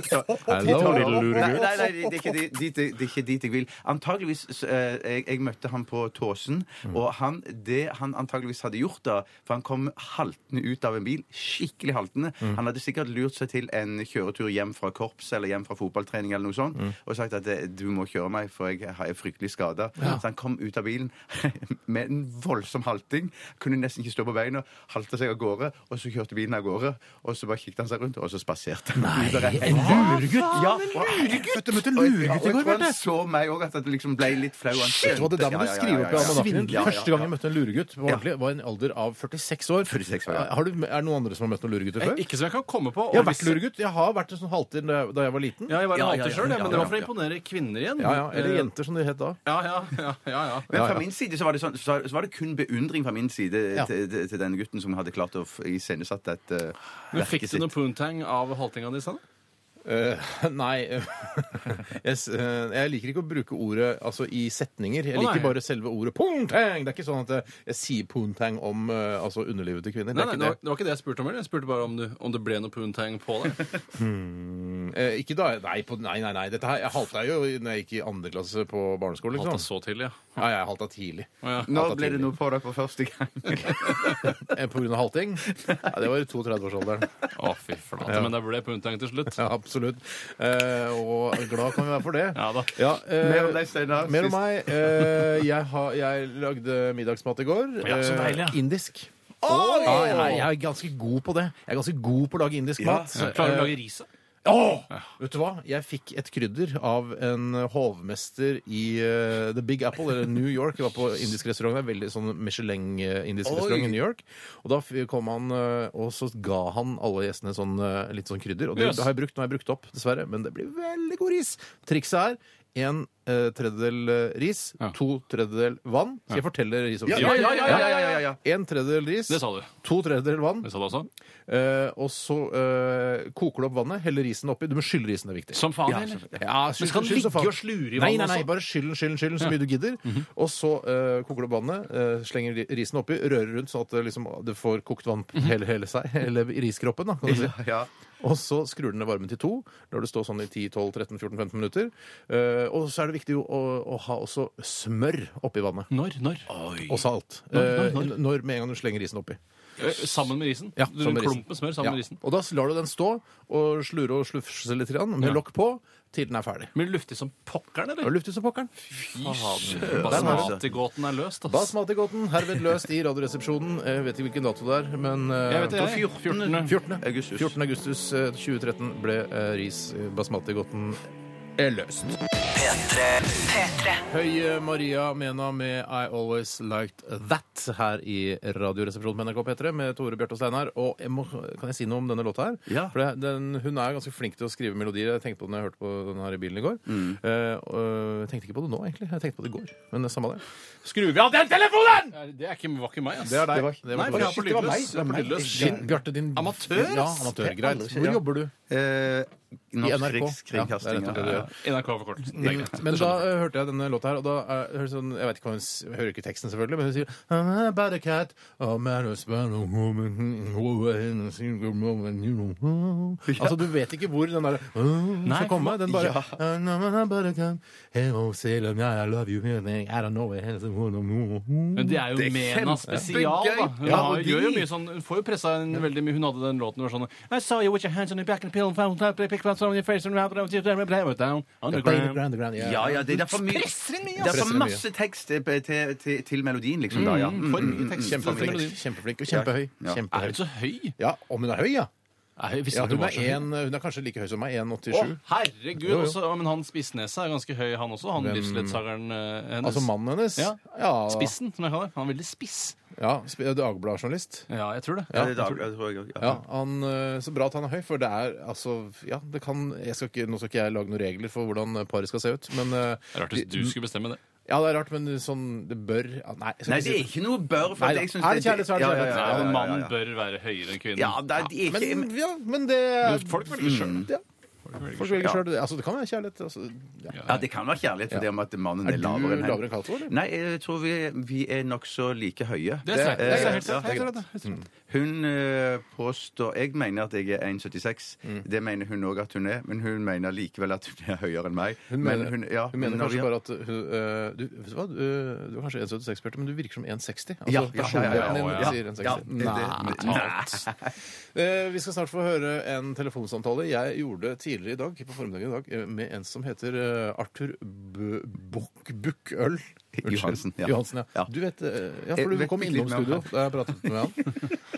[SPEAKER 3] little luregutt.
[SPEAKER 5] Nei, nei, nei det, er ikke dit, dit, det er ikke dit jeg vil. Antageligvis så, eh, jeg, jeg møtte han på Tåsen, og han, det han antageligvis hadde gjort da, for han kom haltende ut av en bil, skikkelig haltende, han hadde sikkert lurt seg til en kjøretur hjem fra korps eller hjem fra fotballtrening eller noe sånt, og sagt at eh, du må kjøre meg, for jeg har- jeg er fryktelig skadet. Så han kom ut av bilen med en voldsom halting, kunne nesten ikke stå på beina, halte seg av gårde, og så kjørte bilen av gårde, og så bare kikket han seg rundt, og så spaserte han videre. Hva?
[SPEAKER 3] Luregutt!
[SPEAKER 5] Ja, og-
[SPEAKER 3] Vet du, møtte en
[SPEAKER 5] og jeg-
[SPEAKER 3] luregutt
[SPEAKER 5] og
[SPEAKER 3] i
[SPEAKER 5] jeg
[SPEAKER 3] går,
[SPEAKER 5] tror han
[SPEAKER 3] Bjarte!
[SPEAKER 5] så meg òg, at det liksom ble litt flau. Han
[SPEAKER 3] Shit, hva det der må du skrive opp i almanakken. Første gang jeg møtte en luregutt, var, ordentlig, var i en alder av 46 år. Eh,
[SPEAKER 5] 46 år, ja.
[SPEAKER 3] Har du, er det noen andre som har møtt noen luregutter før?
[SPEAKER 4] Ikke som jeg kan komme på. og
[SPEAKER 3] Jeg har vært
[SPEAKER 4] hvis-
[SPEAKER 3] luregutt. Jeg har vært en sånn halvtid da jeg- da jeg var liten.
[SPEAKER 4] Ja, jeg var en
[SPEAKER 5] Ja, ja,
[SPEAKER 4] halter
[SPEAKER 5] ja,
[SPEAKER 4] selv, jeg,
[SPEAKER 5] ja,
[SPEAKER 4] men det var
[SPEAKER 5] ja,
[SPEAKER 4] for å
[SPEAKER 5] ja.
[SPEAKER 4] imponere kvinner igjen.
[SPEAKER 3] Ja, ja, Eller
[SPEAKER 4] Eh,
[SPEAKER 3] jenter, som de het da.
[SPEAKER 4] Ja, ja, ja, ja, ja.
[SPEAKER 5] Men
[SPEAKER 3] Ja,
[SPEAKER 5] fra
[SPEAKER 3] ja.
[SPEAKER 5] min side så var det, sånn, så, så var det kun beundring fra min side
[SPEAKER 3] Ja.
[SPEAKER 5] til, til, til denne gutten som hadde klart å f- iscenesatt et uh,
[SPEAKER 4] Men fikk du noe poontang av haltinga di, Sanne?
[SPEAKER 3] Eh, nei jeg, s- eh, jeg liker ikke å bruke ordet altså, i setninger. Jeg
[SPEAKER 4] Å, nei.
[SPEAKER 3] liker bare selve ordet poontang! Det er ikke sånn at jeg, jeg sier poontang om eh, altså underlivet til kvinner.
[SPEAKER 4] Nei,
[SPEAKER 3] det
[SPEAKER 4] nei,
[SPEAKER 3] er ikke
[SPEAKER 4] det var,
[SPEAKER 3] det.
[SPEAKER 4] det var ikke det jeg spurte om. eller? Jeg spurte bare om, du, om det ble noe poontang på deg.
[SPEAKER 3] Eh, ikke da, nei, på, nei, nei, nei. Dette her, jeg halta jo når jeg gikk i andre klasse på barneskolen.
[SPEAKER 4] Alt
[SPEAKER 3] Liksom.
[SPEAKER 4] er så tidlig, ja.
[SPEAKER 3] Ja, jeg halta tidlig.
[SPEAKER 4] Å, ja.
[SPEAKER 5] Nå ble det noe på deg for første gang.
[SPEAKER 3] Eh, På grunn av halting? Ja, det var i 32-årsalderen.
[SPEAKER 4] Å, fy flate. Men det ble poontang til slutt.
[SPEAKER 3] Ja, absolutt. Eh, og glad kan vi være for det.
[SPEAKER 4] Ja da.
[SPEAKER 3] Ja, eh,
[SPEAKER 5] Mer om deg, Steinar.
[SPEAKER 3] Mer om
[SPEAKER 5] Sist-
[SPEAKER 3] meg. Eh, jeg, har, jeg lagde middagsmat i går.
[SPEAKER 4] Ja, så deilig, ja.
[SPEAKER 3] Eh, indisk. Ja, jeg, jeg er ganske god på det. Jeg er ganske god på å lage indisk mat.
[SPEAKER 4] Så klarer du å lage ris? da?
[SPEAKER 3] Åh! Vet du hva? Jeg fikk et krydder av en hovmester i eh, The Big Apple, eller New York. Jeg var på indisk restaurant der, veldig sånn Michelin-indisk
[SPEAKER 5] Oi.
[SPEAKER 3] restaurant i New York. Og da f- kom han, eh, og så ga han alle gjestene sånn, eh, litt sånn krydder. Og det
[SPEAKER 4] Yes.
[SPEAKER 3] har jeg brukt, nå har jeg brukt opp, dessverre, men det blir veldig god ris. Trikset er en eh, tredjedel eh, ris,
[SPEAKER 4] Ja.
[SPEAKER 3] to tredjedel vann. Skal jeg fortelle risoppskriften?
[SPEAKER 5] Ja, ja, ja, ja, ja, ja, ja.
[SPEAKER 3] En tredjedel ris,
[SPEAKER 4] Det sa du.
[SPEAKER 3] to tredjedel vann,
[SPEAKER 4] Det sa du også.
[SPEAKER 3] Eh, og så eh, koker du opp vannet, heller risen oppi. Du må skylle risen, det er viktig.
[SPEAKER 4] Som faen,
[SPEAKER 3] ja,
[SPEAKER 4] eller?
[SPEAKER 3] Ja, skyll,
[SPEAKER 4] Men skal den
[SPEAKER 3] skyll som
[SPEAKER 4] ligge
[SPEAKER 3] faen.
[SPEAKER 4] og slure i
[SPEAKER 3] Nei,
[SPEAKER 4] vannet
[SPEAKER 3] nei, nei,
[SPEAKER 4] også?
[SPEAKER 3] bare skyll den, skyll den, skyll den så mye du gidder. Og så eh, koker du opp vannet, eh, slenger ri- risen oppi, rører rundt sånn at det, liksom, det får kokt vann på hele, hele seg, hele riskroppen, da, kan du si.
[SPEAKER 5] Ja.
[SPEAKER 3] Og så skrur den ned varmen til to, lar det stå sånn i 10-12-13-14-15 minutter. Eh, og så er det viktig å, å ha også smør oppi vannet.
[SPEAKER 4] Når? Når?
[SPEAKER 3] Og salt.
[SPEAKER 4] Når- når-
[SPEAKER 3] Eh,
[SPEAKER 4] når?
[SPEAKER 3] når med en gang du slenger risen oppi.
[SPEAKER 4] Eh, Sammen med risen?
[SPEAKER 3] Ja,
[SPEAKER 4] du,
[SPEAKER 3] sammen
[SPEAKER 4] en
[SPEAKER 3] med risen.
[SPEAKER 4] klump med smør sammen
[SPEAKER 3] Ja.
[SPEAKER 4] med risen?
[SPEAKER 3] Og da lar du den stå og slure og slufse litt grann, med
[SPEAKER 4] Ja.
[SPEAKER 3] lokk på til den er ferdig.
[SPEAKER 4] Blir det luftig som pokkeren,
[SPEAKER 3] Og
[SPEAKER 4] eller?
[SPEAKER 3] luft ut som pokkeren.
[SPEAKER 4] Fy
[SPEAKER 3] altså.
[SPEAKER 4] søren. Basmatigåten er løst, ass.
[SPEAKER 3] Basmatigodten herved løst i Radioresepsjonen. Jeg vet ikke hvilken dato det er, men eh,
[SPEAKER 4] Jeg vet det, jeg. 14.
[SPEAKER 3] 14.
[SPEAKER 5] Augustus.
[SPEAKER 3] 14. augustus eh, 2013 ble eh, ris basmatigodten løst.
[SPEAKER 2] P3.
[SPEAKER 3] Høye Maria Mena med I Always Liked That her i Radioresepsjonen på NRK P3 med Tore Bjarte og Steinar. Og jeg må, kan jeg si noe om denne låta her?
[SPEAKER 5] Ja.
[SPEAKER 3] For det- den, hun er ganske flink til å skrive melodier. Jeg tenkte på det når jeg hørte på den her i bilen i går.
[SPEAKER 4] Mm.
[SPEAKER 3] Eh, og jeg tenkte ikke på det nå, egentlig. Jeg tenkte på det i går. Men det er samme det.
[SPEAKER 4] Skrur vi av den telefonen?! Det er ikke, var ikke meg, ass.
[SPEAKER 3] Det er deg.
[SPEAKER 4] Det var, Nei, for jeg er på
[SPEAKER 5] det var meg.
[SPEAKER 4] lydløs. Jeg er på
[SPEAKER 5] Det var meg.
[SPEAKER 4] lydløs.
[SPEAKER 3] Din, Bjarte, din
[SPEAKER 4] Amatør, ass.
[SPEAKER 3] Ja, amatør, greit.
[SPEAKER 5] Det er aldri-
[SPEAKER 3] Hvor
[SPEAKER 5] ja.
[SPEAKER 3] jobber du?
[SPEAKER 5] Eh,
[SPEAKER 3] I
[SPEAKER 5] Norsk
[SPEAKER 3] NRK.
[SPEAKER 5] Rikskringkasting.
[SPEAKER 3] Ja, det er rett og slett det du
[SPEAKER 5] ja.
[SPEAKER 3] gjør.
[SPEAKER 4] NRK-forkortelsen. Det er greit.
[SPEAKER 3] Men da eh, hørte jeg denne låta her, og da eh, høres sånn, Jeg vet ikke hva hun s- jeg hører ikke teksten, selvfølgelig, men hun sier I'm about a cat, a man a sparrow, woman, woman, a single woman, you know. Altså, du vet ikke hvor den der uh,
[SPEAKER 4] Nei,
[SPEAKER 3] skal komme. Den bare
[SPEAKER 5] ja.
[SPEAKER 3] I'm about a cat, hello, sailor, yeah, I love you, honey, I don't know where else I wanna move.
[SPEAKER 4] Men det er jo
[SPEAKER 5] Det er
[SPEAKER 4] Mena spesial, da.
[SPEAKER 5] kjempegøy
[SPEAKER 4] Hun har,
[SPEAKER 5] parodi.
[SPEAKER 4] gjør jo mye sånn, hun får jo pressa en veldig mye. Hun hadde den låten hvor sånn I saw you with your hands on your back and pillow and found that they picked up some of your face and wrapped it up down on the ground.
[SPEAKER 3] Underground, underground, yeah.
[SPEAKER 5] Ja, ja, det er derfor mye
[SPEAKER 4] presser inn mye,
[SPEAKER 5] Det er
[SPEAKER 3] Presser
[SPEAKER 5] for
[SPEAKER 3] inn mye. Mm.
[SPEAKER 5] masse tekst til, til, til, til melodien, liksom, da, ja.
[SPEAKER 4] For mye tekst.
[SPEAKER 3] Kjempeflink,
[SPEAKER 4] Melodien.
[SPEAKER 3] kjempeflink og kjempehøy.
[SPEAKER 5] Ja.
[SPEAKER 4] Er
[SPEAKER 3] kjempehøy.
[SPEAKER 4] hun så høy?
[SPEAKER 3] Ja, om hun er høy, ja.
[SPEAKER 4] Er hun- visste
[SPEAKER 3] ja
[SPEAKER 4] ikke at
[SPEAKER 3] hun,
[SPEAKER 4] hun var
[SPEAKER 3] er
[SPEAKER 4] så høy.
[SPEAKER 3] en, hun er kanskje like høy som meg.
[SPEAKER 4] Å,
[SPEAKER 3] 1,87.
[SPEAKER 4] herregud!
[SPEAKER 3] Jo, jo.
[SPEAKER 4] Også, men han Spissneset er ganske høy, han også. Han livsledsageren eh, hennes.
[SPEAKER 3] Altså mannen hennes?
[SPEAKER 4] Ja.
[SPEAKER 3] ja
[SPEAKER 4] Spissen, som jeg kaller det. Han er veldig spiss.
[SPEAKER 3] Ja, sp- Dagbladet-journalist.
[SPEAKER 4] Ja, jeg tror det.
[SPEAKER 5] Ja, det er dag- jeg tror jeg også,
[SPEAKER 3] Ja, han, eh, Så bra at han er høy, for det er altså Ja, det kan jeg skal ikke, Nå skal ikke jeg lage noen regler for hvordan paret skal se ut, men eh,
[SPEAKER 4] Det er Rart hvis du skulle bestemme det.
[SPEAKER 3] Ja, det er rart, men sånn Det bør ja, Nei, jeg skal
[SPEAKER 5] Nei,
[SPEAKER 3] ikke
[SPEAKER 5] det
[SPEAKER 3] si
[SPEAKER 5] er ikke noe bør. For
[SPEAKER 3] Nei,
[SPEAKER 5] at jeg
[SPEAKER 3] da.
[SPEAKER 5] synes
[SPEAKER 3] Er det kjærlighet, så er det
[SPEAKER 5] Ja, ja,
[SPEAKER 3] kjærlighet.
[SPEAKER 5] ja,
[SPEAKER 4] Ja,
[SPEAKER 5] ja, ja, ja, ja.
[SPEAKER 4] Mannen bør være høyere enn kvinnen.
[SPEAKER 5] Ja, det er de ikke
[SPEAKER 3] Men, ja, men det er Mm.
[SPEAKER 4] Men folk velger sjøl.
[SPEAKER 3] Ja. Folk velger selv. Altså, det kan være kjærlighet. Altså, ja.
[SPEAKER 5] Ja, det kan være kjærlighet for det om at mannen er,
[SPEAKER 3] Er du
[SPEAKER 5] lavere enn
[SPEAKER 3] lavere enn Cato, eller?
[SPEAKER 5] Nei, jeg tror vi, vi er nokså like høye.
[SPEAKER 4] Det er streit. Det er
[SPEAKER 5] eh,
[SPEAKER 4] helt
[SPEAKER 5] ja,
[SPEAKER 4] streit. Helt streit, ja.
[SPEAKER 5] Hun eh, påstår Jeg mener at jeg er 1,76.
[SPEAKER 3] Mm.
[SPEAKER 5] Det mener hun òg at hun er, men hun mener likevel at hun er høyere enn meg.
[SPEAKER 3] Hun
[SPEAKER 5] Men
[SPEAKER 3] mener, hun,
[SPEAKER 5] ja,
[SPEAKER 3] mener
[SPEAKER 5] når vi-
[SPEAKER 3] kanskje bare at hun, eh, du, vet du, hva? Du, du er kanskje 1,76, Bjarte, men du virker som 1,60. Altså,
[SPEAKER 5] Ja, ja, ja, ja,
[SPEAKER 3] personligheten din
[SPEAKER 4] ja, ja.
[SPEAKER 3] sier
[SPEAKER 5] Ja,
[SPEAKER 3] 1,60.
[SPEAKER 5] det- det- det-
[SPEAKER 3] Eh, Vi skal snart få høre en telefonsamtale jeg gjorde tidligere i dag på formiddagen i dag, eh, med en som heter eh, Arthur B- Bukk Bukkøl. Unnskyld.
[SPEAKER 5] Johansen, ja.
[SPEAKER 3] Johansen, ja.
[SPEAKER 5] Ja.
[SPEAKER 3] Du vet, eh, ja,
[SPEAKER 5] Jeg
[SPEAKER 3] for du
[SPEAKER 5] vet
[SPEAKER 3] kom
[SPEAKER 5] litt
[SPEAKER 3] innom
[SPEAKER 5] mer om
[SPEAKER 3] studio da jeg pratet med han,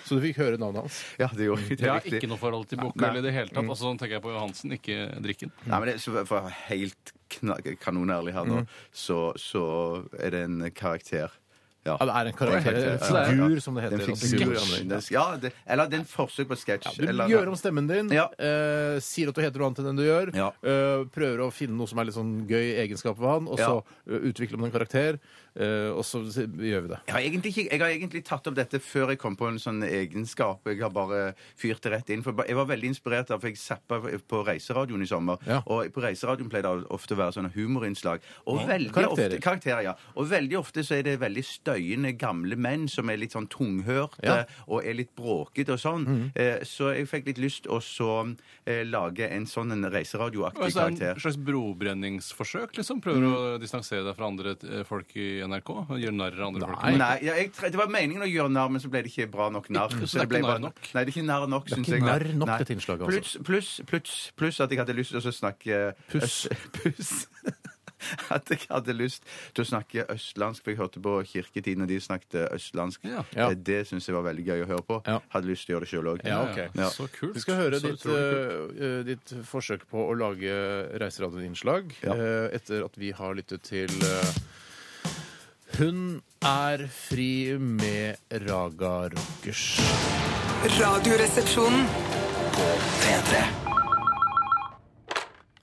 [SPEAKER 3] så du fikk høre navnet hans.
[SPEAKER 5] Ja, det gjorde jeg. Det
[SPEAKER 4] Jeg
[SPEAKER 5] er
[SPEAKER 4] har
[SPEAKER 5] riktig. Mm.
[SPEAKER 4] ikke noe forhold til bukkøl i det hele tatt. Altså, nå tenker jeg på Johansen, ikke drikken.
[SPEAKER 5] Nei, men det, så for å være helt kna kanonærlig her
[SPEAKER 3] Mm.
[SPEAKER 5] nå, så, så er det en karakter. Ja.
[SPEAKER 3] Ja, det er en karakter, en
[SPEAKER 5] Ja, ja, ja.
[SPEAKER 3] figur, som det heter.
[SPEAKER 5] Det er en
[SPEAKER 3] altså, figur,
[SPEAKER 5] figur,
[SPEAKER 3] ja, men-
[SPEAKER 5] det er- Ja, det, eller det er en forsøk på sketsj.
[SPEAKER 3] Du
[SPEAKER 5] eller-
[SPEAKER 3] gjør om stemmen din,
[SPEAKER 5] Ja.
[SPEAKER 3] eh, sier at du heter noe annet enn den du gjør,
[SPEAKER 5] Ja.
[SPEAKER 3] eh, prøver å finne noe som er litt sånn gøy egenskap ved han, og så
[SPEAKER 5] Ja.
[SPEAKER 3] eh, utvikler man en karakter. eh, og så gjør vi det.
[SPEAKER 5] Jeg har, egentlig ikke, jeg har egentlig tatt opp dette før jeg kom på en sånn egenskap. Jeg har bare fyrt det rett inn. For jeg var veldig inspirert av, for jeg zappa på reiseradioen i sommer.
[SPEAKER 3] Ja.
[SPEAKER 5] Og på reiseradioen pleier det ofte å være sånne humorinnslag. Og veldig
[SPEAKER 3] Karakterer.
[SPEAKER 5] ofte Karakterer, ja. Og veldig ofte så er det veldig støyende gamle menn som er litt sånn tunghørte
[SPEAKER 3] Ja. Mhm.
[SPEAKER 5] og er litt bråkete og sånn. Eh, Så jeg fikk litt lyst å så eh, lage en sånn en reiseradioaktig
[SPEAKER 4] Altså, det er
[SPEAKER 5] karakter. Mm.
[SPEAKER 4] en slags brobrenningsforsøk, liksom? Prøver du å distansere deg fra andre eh, folk i NRK? og Gjøre narr av andre folk? i
[SPEAKER 5] Nei,
[SPEAKER 4] NRK?
[SPEAKER 5] ja, jeg, tre- Det var meningen å gjøre narr, men så ble det ikke bra nok narr.
[SPEAKER 4] Ikke- så det er
[SPEAKER 5] ble
[SPEAKER 4] ikke narr
[SPEAKER 5] bare-
[SPEAKER 4] nok?
[SPEAKER 5] Nei, det er ikke narr nok,
[SPEAKER 3] er
[SPEAKER 5] synes
[SPEAKER 3] ikke
[SPEAKER 5] jeg.
[SPEAKER 3] narr nok,
[SPEAKER 5] Nei.
[SPEAKER 3] dette innslaget,
[SPEAKER 5] Pluss,
[SPEAKER 3] altså.
[SPEAKER 5] pluss, pluss, pluss at jeg hadde lyst til å snakke eh,
[SPEAKER 3] Puss.
[SPEAKER 5] øst- Puss. At jeg hadde lyst til å snakke østlandsk, for jeg hørte på Kirketiden, og de snakket østlandsk.
[SPEAKER 4] Ja.
[SPEAKER 3] Ja.
[SPEAKER 5] Eh, Det syns jeg var veldig gøy å høre på.
[SPEAKER 3] Ja.
[SPEAKER 5] Hadde lyst til å gjøre det sjøl òg.
[SPEAKER 3] Ja, ok.
[SPEAKER 5] Ja.
[SPEAKER 4] Så kult.
[SPEAKER 3] Vi skal høre
[SPEAKER 4] Så
[SPEAKER 3] ditt,
[SPEAKER 4] utrolig kult.
[SPEAKER 3] eh, ditt forsøk på å lage reiseradioinnslag
[SPEAKER 5] Ja.
[SPEAKER 3] eh, etter at vi har lyttet til eh, Hun er fri med Raga Rockers.
[SPEAKER 2] Radioresepsjonen.
[SPEAKER 1] P3.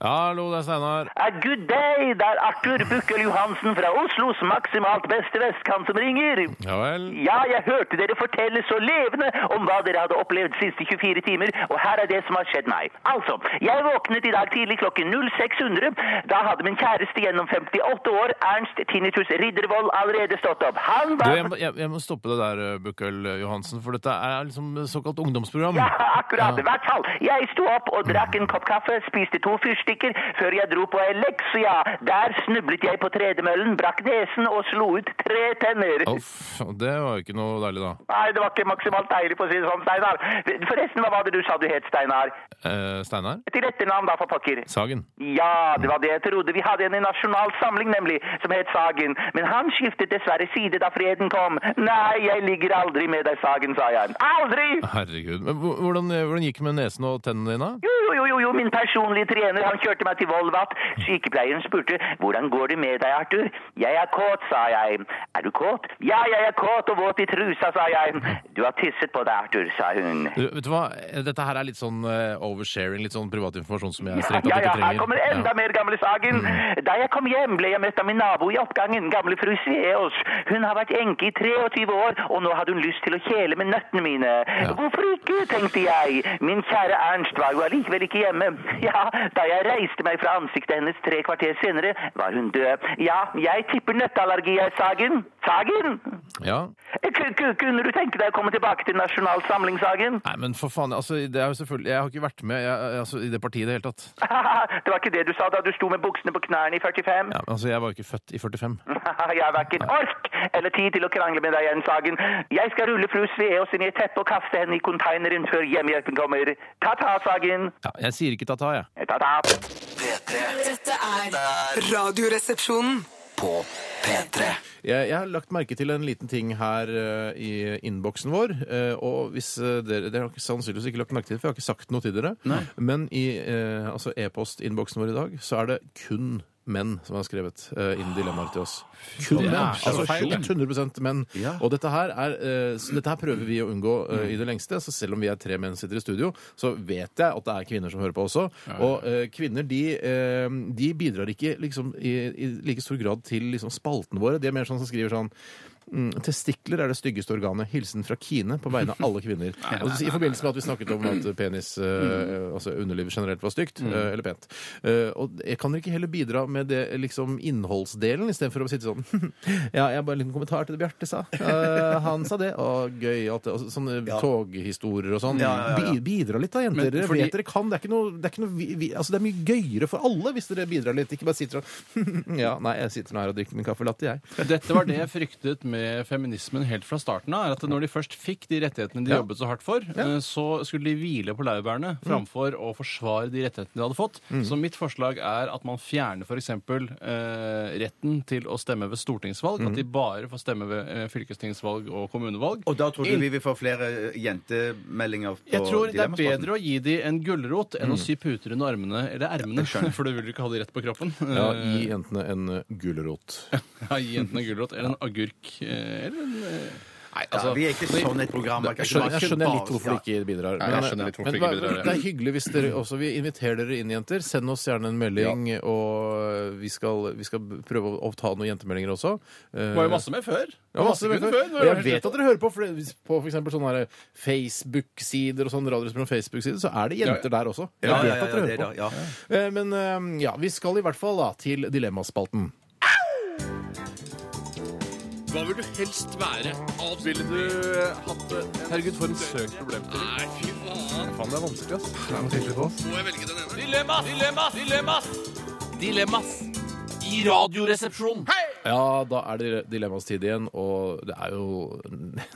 [SPEAKER 3] Hallo, det er Steinar.
[SPEAKER 6] Ja, Good day, det er Arthur Bukkel Johansen fra Oslos maksimalt beste vestkant som ringer.
[SPEAKER 3] Ja vel.
[SPEAKER 6] Ja, jeg hørte dere fortelle så levende om hva dere hadde opplevd siste 24 timer, og her er det som har skjedd meg. Altså, jeg våknet i dag tidlig klokken 0600. Da hadde min kjæreste gjennom 58 år, Ernst Tinnitus Riddervold, allerede stått opp. Han
[SPEAKER 3] Du,
[SPEAKER 6] var...
[SPEAKER 3] jeg, må- jeg, jeg må stoppe det der, eh, Bukkel Johansen, for dette er liksom såkalt ungdomsprogram.
[SPEAKER 6] Ja, akkurat. I hvert fall. Jeg sto opp og drakk en kopp kaffe, spiste to fyrstikker, før jeg dro på ei leksia. Der snublet jeg på tredemøllen, brakk nesen og slo ut tre tenner.
[SPEAKER 3] Uff, det var jo ikke noe deilig, da.
[SPEAKER 6] Nei, det var ikke maksimalt deilig, for å si det sånn, Steinar. Forresten, hva var det du sa du het, Steinar?
[SPEAKER 3] Eh, Steinar
[SPEAKER 6] Til etternavn, da, for pokker.
[SPEAKER 3] Sagen.
[SPEAKER 6] Ja, det var det jeg trodde. Vi hadde en i Nasjonal Samling, nemlig, som het Sagen. Men han skiftet dessverre side da freden kom. Nei, jeg ligger aldri med deg, Sagen, sa jeg. Aldri!
[SPEAKER 3] Herregud. Men hvor- hvordan, eh, hvordan gikk det med nesen og tennene dine?
[SPEAKER 6] Jo, jo, jo, jo, jo, min personlige trener, han kjørte meg til Volvat. Sykepleieren spurte, hvordan går det med deg, Arthur? Jeg er kåt, sa jeg. Er du kåt? Ja, jeg er kåt og våt i trusa, sa jeg. Du har tisset på deg, Arthur, sa hun.
[SPEAKER 3] Du, vet du hva? Dette her er litt sånn eh, oversharing, litt sånn privat informasjon som jeg strengt
[SPEAKER 6] Ja,
[SPEAKER 3] tatt
[SPEAKER 6] ja,
[SPEAKER 3] ikke trenger. Mm.
[SPEAKER 6] her kommer enda mer gamle Sagen. Da jeg kom hjem, ble jeg møtt av min nabo i oppgangen, gamle fru Sveås. Hun har vært enke i 23 år, og nå hadde hun lyst til å kjele med nøttene mine. Hvorfor ikke, tenkte jeg. Min kjære Ernst var jo allikevel ikke hjemme. Ja, da jeg reiste meg fra ansiktet hennes tre kvarter senere, var hun død. Ja, jeg tipper nøtteallergi, jeg, Sagen. Sagen!
[SPEAKER 3] Ja. ja.
[SPEAKER 6] Ku- ku- Kunne du tenke deg å komme tilbake til Nasjonal Samling, Sagen?
[SPEAKER 3] Nei, men for faen, altså, det er jo selvfølgelig Jeg har ikke vært med jeg, altså, i det partiet i det hele tatt.
[SPEAKER 6] Det var ikke det du sa da du sto med buksene på knærne i 45?
[SPEAKER 3] Ja, men altså, Jeg var jo ikke født i 45.
[SPEAKER 6] Jeg har hverken ork eller tid til å krangle med deg igjen, Sagen. Jeg skal rulle fru Sveås inn i et teppe og kaste henne i konteineren før hjemmehjelpen kommer. Ta-ta, Sagen.
[SPEAKER 3] Ja, jeg sier ikke ta-ta, jeg.
[SPEAKER 6] Ta-ta.
[SPEAKER 1] P3
[SPEAKER 2] Dette er Radioresepsjonen.
[SPEAKER 1] på P3.
[SPEAKER 3] jeg. Jeg har lagt merke til en liten ting her eh, i innboksen vår. eh, og hvis eh, dere Dere har ikke- sannsynligvis ikke lagt merke til det, for jeg har ikke sagt noe til dere. Men i eh, altså e-postinnboksen vår i dag så er det kun menn som har skrevet eh, inn dilemmaer til oss. Kun
[SPEAKER 4] Det er
[SPEAKER 3] menn!
[SPEAKER 4] så
[SPEAKER 3] Altså
[SPEAKER 4] feil.
[SPEAKER 3] 100 menn.
[SPEAKER 5] Ja.
[SPEAKER 3] Og dette her, er, eh, så dette her prøver vi å unngå eh, i det lengste. Så selv om vi er tre menn som sitter i studio, så vet jeg at det er kvinner som hører på også. Og eh, kvinner de, eh, de bidrar ikke liksom, i, i like stor grad til liksom, spaltene våre. De er mer sånn som skriver sånn mm, Testikler er det styggeste organet. Hilsen fra Kine på vegne av alle kvinner. Og I forbindelse med at vi snakket om at penis, eh,
[SPEAKER 5] Mm.
[SPEAKER 3] altså underlivet generelt, var stygt. eh, Eller pent. Eh, Og jeg kan dere ikke heller bidra med det, liksom, innholdsdelen, istedenfor å sitte sånn Ja, jeg har bare en liten kommentar til det Bjarte sa. Eh, han sa det. Og gøy at det, og Sånne toghistorier og sånn.
[SPEAKER 5] Ja, ja, ja, ja.
[SPEAKER 3] Bi- Bidra litt, da, jenter.
[SPEAKER 4] Men
[SPEAKER 3] Dere
[SPEAKER 4] fordi-
[SPEAKER 3] vet dere kan. Det er ikke noe, det er ikke noe vi, vi, altså, det er mye gøyere for alle hvis dere bidrar litt. Ikke bare sitter og Ja, nei, jeg sitter nå her og drikker min kaffe latte, jeg.
[SPEAKER 4] Dette var det jeg fryktet med feminismen helt fra starten av. er at Når de først fikk de rettighetene de
[SPEAKER 3] Ja.
[SPEAKER 4] jobbet så hardt for, eh, så skulle de hvile på
[SPEAKER 5] Mm.
[SPEAKER 4] laurbærene framfor å forsvare de rettighetene de hadde fått. Så mitt forslag er at man fjerner f.eks. Eh, retten til å stemme ved stortingsvalg. At de bare får stemme ved eh, fylkestingsvalg og kommunevalg.
[SPEAKER 5] Mm. Og da tror du vi vil få flere eh, jentemeldinger på
[SPEAKER 4] jeg tror det er
[SPEAKER 5] Dilemmaspalten? Mm.
[SPEAKER 4] bedre å gi de en gulrot enn å sy puter under armene eller ermene. for du vil jo ikke ha de rett på kroppen.
[SPEAKER 3] Ja,
[SPEAKER 4] Eh,
[SPEAKER 3] gi jentene en gulrot.
[SPEAKER 4] Ja, gi jentene gulrot eller en agurk. eh, Eller en, eh, Nei,
[SPEAKER 5] Ja,
[SPEAKER 4] altså,
[SPEAKER 5] vi er ikke sånn et program.
[SPEAKER 3] Jeg skjønner, jeg skjønner litt hvorfor de
[SPEAKER 5] Ja.
[SPEAKER 3] ikke bidrar.
[SPEAKER 4] Nei, jeg skjønner litt hvorfor
[SPEAKER 3] men
[SPEAKER 4] de ikke
[SPEAKER 3] hva-
[SPEAKER 4] bidrar, ja.
[SPEAKER 3] det er hyggelig hvis dere også Vi inviterer dere inn, jenter. Send oss gjerne en melding, og eh, vi skal, vi skal prøve å ta noen jentemeldinger også.
[SPEAKER 4] det var jo masse med før.
[SPEAKER 3] Ja, masse med
[SPEAKER 4] kunne
[SPEAKER 3] før.
[SPEAKER 4] Det var
[SPEAKER 3] Og jeg
[SPEAKER 4] helt-
[SPEAKER 3] vet at dere hører på, for det- hvis- på for eksempel sånne her Facebook-sider og sånn Radiospilleren Facebook-sider, så er det jenter der også. Jeg
[SPEAKER 5] Ja, ja,
[SPEAKER 3] vet at
[SPEAKER 5] ja,
[SPEAKER 3] dere
[SPEAKER 5] ja,
[SPEAKER 3] hører
[SPEAKER 5] det er
[SPEAKER 3] på.
[SPEAKER 5] da, ja.
[SPEAKER 3] Eh, Men eh, ja, vi skal i hvert fall da til Dilemmaspalten.
[SPEAKER 4] Hva vil du helst være? Ville du hatt det? Herregud, for en søk problem til. Nei, fy faen. det er vanskelig, ass. Må jeg velge den ene? Dilemmas! Dilemmas! Dilemmas! Dilemmas! I radioresepsjonen!
[SPEAKER 3] Ja, da er det dilemmas tid igjen, og det er jo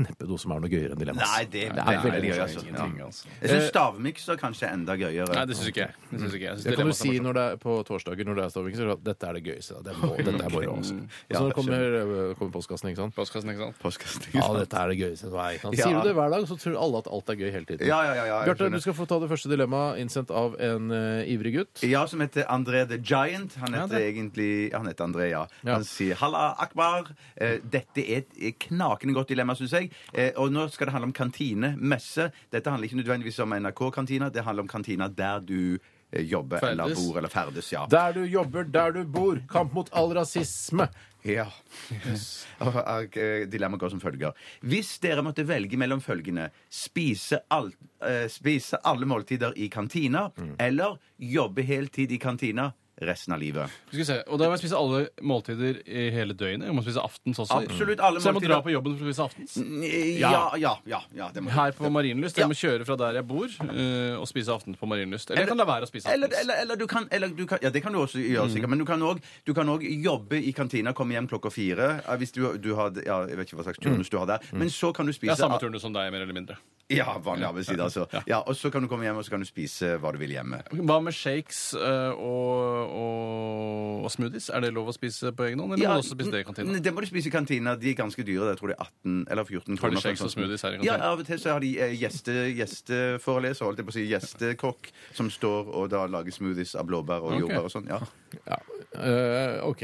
[SPEAKER 3] neppe noe som er noe gøyere enn dilemmas.
[SPEAKER 5] Nei, det,
[SPEAKER 3] er
[SPEAKER 5] det er
[SPEAKER 3] veldig
[SPEAKER 5] veldig gøy,
[SPEAKER 3] gøy, Eh,
[SPEAKER 5] altså. Ja. Jeg syns stavmikser kanskje er enda gøyere.
[SPEAKER 4] Nei, det syns ikke jeg. Det synes ikke jeg.
[SPEAKER 3] Det kan du si når det er på torsdager når det er stavmikser. at Dette er det gøyeste. da. Det må, dette er bare oss. Og så
[SPEAKER 5] Mm. Ja,
[SPEAKER 3] når det kommer, eh, kommer postkassen, ikke sant?
[SPEAKER 4] Postkassen, ikke sant?
[SPEAKER 5] Postkasting.
[SPEAKER 3] Ja, dette er det gøyeste som er. Ikke sant?
[SPEAKER 5] Ja.
[SPEAKER 3] Sier du det hver dag, så tror alle at alt er gøy hele tiden.
[SPEAKER 5] Ja, ja, ja, ja, jeg
[SPEAKER 3] Bjarte,
[SPEAKER 5] skjønner.
[SPEAKER 3] du skal få ta det første dilemmaet, innsendt av en eh, ivrig gutt.
[SPEAKER 5] Ja, som heter André the Giant. Han
[SPEAKER 3] Ja,
[SPEAKER 5] heter
[SPEAKER 3] det.
[SPEAKER 5] egentlig Han heter André, ja.
[SPEAKER 3] Ja.
[SPEAKER 5] Han sier 'Halla, Akbar'. Eh, dette er et knakende godt dilemma, syns jeg. Eh, og nå skal det handle om kantine, messe. Dette handler ikke nødvendigvis om NRK-kantina, det handler om kantina der du eh, jobber
[SPEAKER 4] Ferdes.
[SPEAKER 5] eller bor eller ferdes, ja.
[SPEAKER 3] Der du jobber, der du bor. Kamp mot all rasisme.
[SPEAKER 5] Ja. Og, og, eh, Dilemmaet går som følger. Hvis dere måtte velge mellom følgende spise, all, eh, spise alle måltider i kantina
[SPEAKER 4] Mm.
[SPEAKER 5] eller jobbe heltid i kantina resten av livet.
[SPEAKER 4] Skal vi se. Og da må jeg spise alle måltider i hele døgnet. Jeg må spise aftens også.
[SPEAKER 5] Absolutt alle
[SPEAKER 4] Så jeg må
[SPEAKER 5] måltider.
[SPEAKER 4] dra på jobben for å spise aftens?
[SPEAKER 5] Ja, ja, ja. ja det må
[SPEAKER 4] Mm, Her på Marienlyst.
[SPEAKER 5] Ja.
[SPEAKER 4] Jeg må kjøre fra der jeg bor, eh, og spise aftens på Marienlyst. Eller jeg kan la være å spise Mm.
[SPEAKER 5] Eller,
[SPEAKER 4] aftens.
[SPEAKER 5] eller, eller, du kan, eller du kan Ja, det kan du også gjøre, sikkert. Men du kan også- du kan òg jobbe i kantina, komme hjem klokka fire eh, hvis du, du har ja, Jeg vet ikke hva slags turnus du har der. Men så kan du
[SPEAKER 4] Det
[SPEAKER 5] spise
[SPEAKER 4] er Mm. samme turnus som deg, mer eller mindre.
[SPEAKER 5] Ja, vanlig arbeidstid, altså. Ja, og så kan du komme hjem, og så kan du spise hva du vil hjemme.
[SPEAKER 4] Hva med shakes eh, og, og, og smoothies? Er det lov å spise på egen hånd, eller
[SPEAKER 5] Ja,
[SPEAKER 4] må du også spise det i kantina?
[SPEAKER 5] n- Det må du spise i kantina. De er ganske dyre. Jeg tror det er 18 eller 14 kroner.
[SPEAKER 4] Har de
[SPEAKER 5] for en
[SPEAKER 4] kjeks og
[SPEAKER 5] sånn-
[SPEAKER 4] smoothies her i
[SPEAKER 5] Ja,
[SPEAKER 4] kantina?
[SPEAKER 5] av og til så har de eh, gjeste, gjesteforeleser, holdt jeg på å si, gjestekokk, som står og da lager smoothies av blåbær og
[SPEAKER 4] Ok.
[SPEAKER 5] jordbær og sånn. Ja.
[SPEAKER 3] Ja, eh, OK.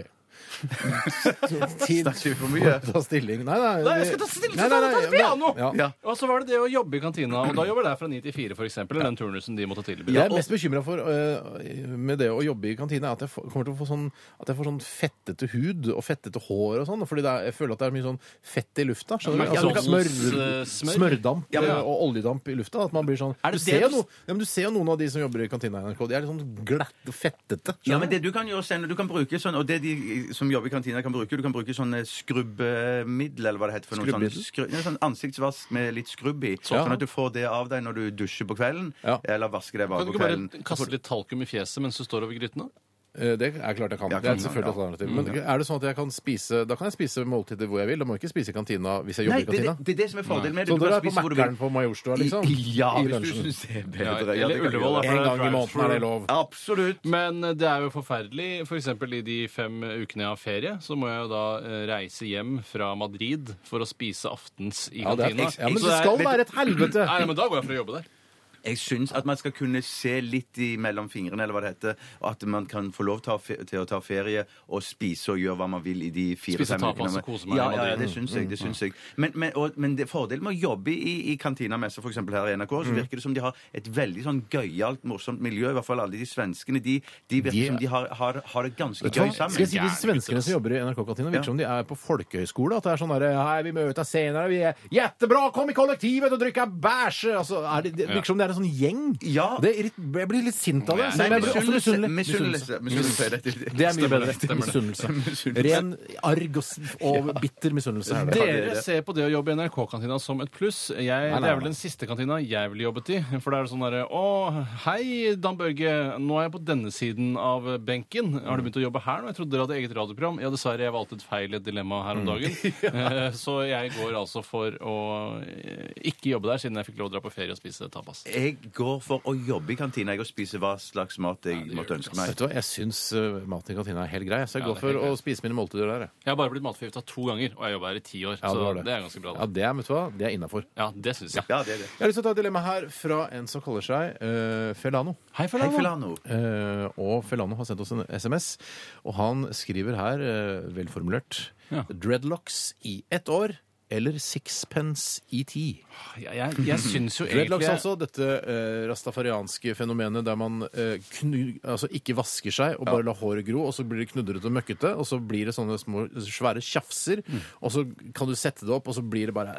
[SPEAKER 3] Tid
[SPEAKER 5] Snakker vi for
[SPEAKER 3] for
[SPEAKER 5] mye?
[SPEAKER 3] å ta stilling. Nei, nei.
[SPEAKER 4] Nei, jeg skal ta stilling,
[SPEAKER 3] Nei,
[SPEAKER 4] så da
[SPEAKER 3] nei,
[SPEAKER 4] må jeg ta
[SPEAKER 3] nei,
[SPEAKER 4] piano!
[SPEAKER 3] ja.
[SPEAKER 5] Ja.
[SPEAKER 4] Og så var det det å jobbe i kantina, og da jobber der fra 9 til 4, for eksempel, eller den turnusen de måtte tilby.
[SPEAKER 3] Jeg er mest bekymra for eh, med det å jobbe i kantina, er at jeg får, kommer til å få sånn At jeg får sånn fettete hud og fettete hår og sånn. Fordi det er, jeg føler at det er mye sånn fett i lufta. Skjønner du?
[SPEAKER 4] Ja,
[SPEAKER 3] Altså,
[SPEAKER 4] men-
[SPEAKER 3] smør,
[SPEAKER 4] smør.
[SPEAKER 3] smørdamp
[SPEAKER 4] Ja, men-
[SPEAKER 3] eh, og oljedamp i lufta. At man blir sånn
[SPEAKER 4] Er
[SPEAKER 3] du
[SPEAKER 4] det
[SPEAKER 3] ser,
[SPEAKER 4] det
[SPEAKER 3] jo
[SPEAKER 4] du-
[SPEAKER 3] no, ja, men du ser jo noen av de som jobber i kantina i NRK. De er litt sånn glatte og fettete.
[SPEAKER 5] Ja, men det du kan gjøre, Steinar, du kan bruke sånn Og det de som jobber i kantina, kan bruke, du kan bruke sånn eh, skrubbemiddel, eller hva det heter. for noe sånn,
[SPEAKER 3] Skrubbmiddel?
[SPEAKER 5] skru, ja, sånn ansiktsvask med litt skrubb i.
[SPEAKER 3] Ja.
[SPEAKER 5] Sånn at du får det av deg når du dusjer på kvelden,
[SPEAKER 3] Ja.
[SPEAKER 5] eller vasker deg
[SPEAKER 4] Kan
[SPEAKER 5] bare
[SPEAKER 4] du
[SPEAKER 5] på
[SPEAKER 4] ikke
[SPEAKER 5] kvelden.
[SPEAKER 4] bare kaste litt talkum i fjeset mens du står over grytene?
[SPEAKER 3] Eh, Det er klart jeg kan.
[SPEAKER 5] Ja,
[SPEAKER 3] det er
[SPEAKER 5] kan-
[SPEAKER 3] selvfølgelig et
[SPEAKER 5] ja.
[SPEAKER 3] alternativ. Men er det sånn at jeg kan spise Da kan jeg spise måltider hvor jeg vil. Da må jeg ikke spise i kantina hvis jeg
[SPEAKER 5] Nei,
[SPEAKER 3] jobber i
[SPEAKER 5] det, det,
[SPEAKER 3] kantina.
[SPEAKER 5] det er det som er fordelen med det.
[SPEAKER 3] Så
[SPEAKER 5] Du
[SPEAKER 3] dere
[SPEAKER 5] kan
[SPEAKER 3] er på
[SPEAKER 5] spise hvor du vil.
[SPEAKER 3] Mækkern på Majorstua, liksom?
[SPEAKER 5] I- Ja,
[SPEAKER 3] I
[SPEAKER 5] hvis du
[SPEAKER 3] lunsjen.
[SPEAKER 5] syns det er bedre.
[SPEAKER 4] Ja,
[SPEAKER 5] Ja, det
[SPEAKER 4] eller
[SPEAKER 5] kan du gjøre.
[SPEAKER 4] Ullevål, da.
[SPEAKER 3] En gang i måneden er det lov.
[SPEAKER 5] Absolutt.
[SPEAKER 4] Men eh, det er jo forferdelig. For eksempel i de fem ukene jeg har ferie, så må jeg jo da eh, reise hjem fra Madrid for å spise aftens i
[SPEAKER 3] Ja, det er,
[SPEAKER 4] kantina.
[SPEAKER 3] ja, men
[SPEAKER 4] Så
[SPEAKER 3] det
[SPEAKER 4] er-
[SPEAKER 3] skal
[SPEAKER 4] vet-
[SPEAKER 3] være et helvete!
[SPEAKER 4] Nei, nei, men da går jeg for å jobbe der.
[SPEAKER 5] Jeg syns at man skal kunne se litt i mellom fingrene, eller hva det heter. Og at man kan få lov til å, ta fe- til å ta ferie og spise og gjøre hva man vil i de
[SPEAKER 4] Spise
[SPEAKER 5] fire-fem
[SPEAKER 4] tapas
[SPEAKER 5] ukene.
[SPEAKER 4] og kose meg i
[SPEAKER 5] Ja, ja, ja,
[SPEAKER 4] Madrid.
[SPEAKER 5] det syns jeg. det syns jeg. Men, men, og, men det fordelen med å jobbe i, i kantinamesser, f.eks. her i NRK, så virker det som de har et veldig sånn gøyalt, morsomt miljø. I hvert fall alle de svenskene. De, de virker
[SPEAKER 3] De-
[SPEAKER 5] som de har, har, har det ganske
[SPEAKER 3] Vet du hva?
[SPEAKER 5] gøy sammen.
[SPEAKER 3] Skal jeg si De svenskene som jobber i NRK-kantina, virker
[SPEAKER 5] Ja.
[SPEAKER 3] som de er på folkehøyskole. At det er sånn derre Hei, vi møtes senere, vi er Jettebra, kom i kollektivet og drikke bæsj! Altså, er det, det virker som det er en sånn gjeng.
[SPEAKER 5] Ja.
[SPEAKER 3] Det irrit- jeg blir litt sint av det.
[SPEAKER 5] Nei,
[SPEAKER 3] selv om jeg blir også
[SPEAKER 5] misunnelse.
[SPEAKER 3] misunnelig.
[SPEAKER 5] Misunnelse. misunnelse er dette.
[SPEAKER 3] Det er mye bedre.
[SPEAKER 4] stemmer det.
[SPEAKER 3] Misunnelse. Ren arg og, s- og bitter misunnelse. er det.
[SPEAKER 4] Dere ser på det å jobbe i NRK-kantina som et pluss. Jeg, Det er vel den siste kantina jeg ville jobbet i. For da er det sånn derre Å, hei, Dan Børge. Nå er jeg på denne siden av benken. Har
[SPEAKER 3] Mm.
[SPEAKER 4] du begynt å jobbe her nå? Jeg trodde dere hadde eget radioprogram. Ja, dessverre. Jeg valgte et feil i et dilemma her
[SPEAKER 3] Mm.
[SPEAKER 4] om dagen. Eh, Så jeg går altså for å eh, ikke jobbe der, siden jeg fikk lov å dra på ferie og spise tapas.
[SPEAKER 5] Jeg går for å jobbe i kantina jeg, og spise hva slags mat jeg måtte ønske meg.
[SPEAKER 3] Vet du hva, Jeg syns uh, maten i kantina er helt grei, så jeg
[SPEAKER 4] Ja,
[SPEAKER 3] går
[SPEAKER 4] det er helt
[SPEAKER 3] for å
[SPEAKER 4] greit.
[SPEAKER 3] spise mine måltider der. jeg.
[SPEAKER 4] Jeg har bare blitt matforgifta to ganger, og jeg jobber her i ti år.
[SPEAKER 3] Ja,
[SPEAKER 4] så
[SPEAKER 3] var
[SPEAKER 4] det. er ganske bra.
[SPEAKER 3] Ja,
[SPEAKER 4] da.
[SPEAKER 3] det er, vet du hva, det er innafor.
[SPEAKER 4] Ja, det syns jeg.
[SPEAKER 5] Ja, det er det.
[SPEAKER 3] Jeg har lyst til å ta et dilemma her fra en som kaller seg eh, Felano.
[SPEAKER 4] Hei,
[SPEAKER 5] Hei,
[SPEAKER 4] Felano.
[SPEAKER 5] Felano.
[SPEAKER 3] Eh, og Felano har sendt oss en SMS, og han skriver her, eh, velformulert
[SPEAKER 4] Ja.
[SPEAKER 3] Dreadlocks i ett år eller sixpence i ti?
[SPEAKER 4] Jeg, jeg, jeg syns jo
[SPEAKER 3] Dreadlocks
[SPEAKER 4] egentlig
[SPEAKER 3] altså, dette eh, rastafarianske fenomenet der man eh, knu, altså ikke vasker seg og bare lar håret gro, og så blir det knudrete og møkkete, og så blir det sånne små svære tjafser,
[SPEAKER 4] Mm.
[SPEAKER 3] og så kan du sette det opp, og så blir det bare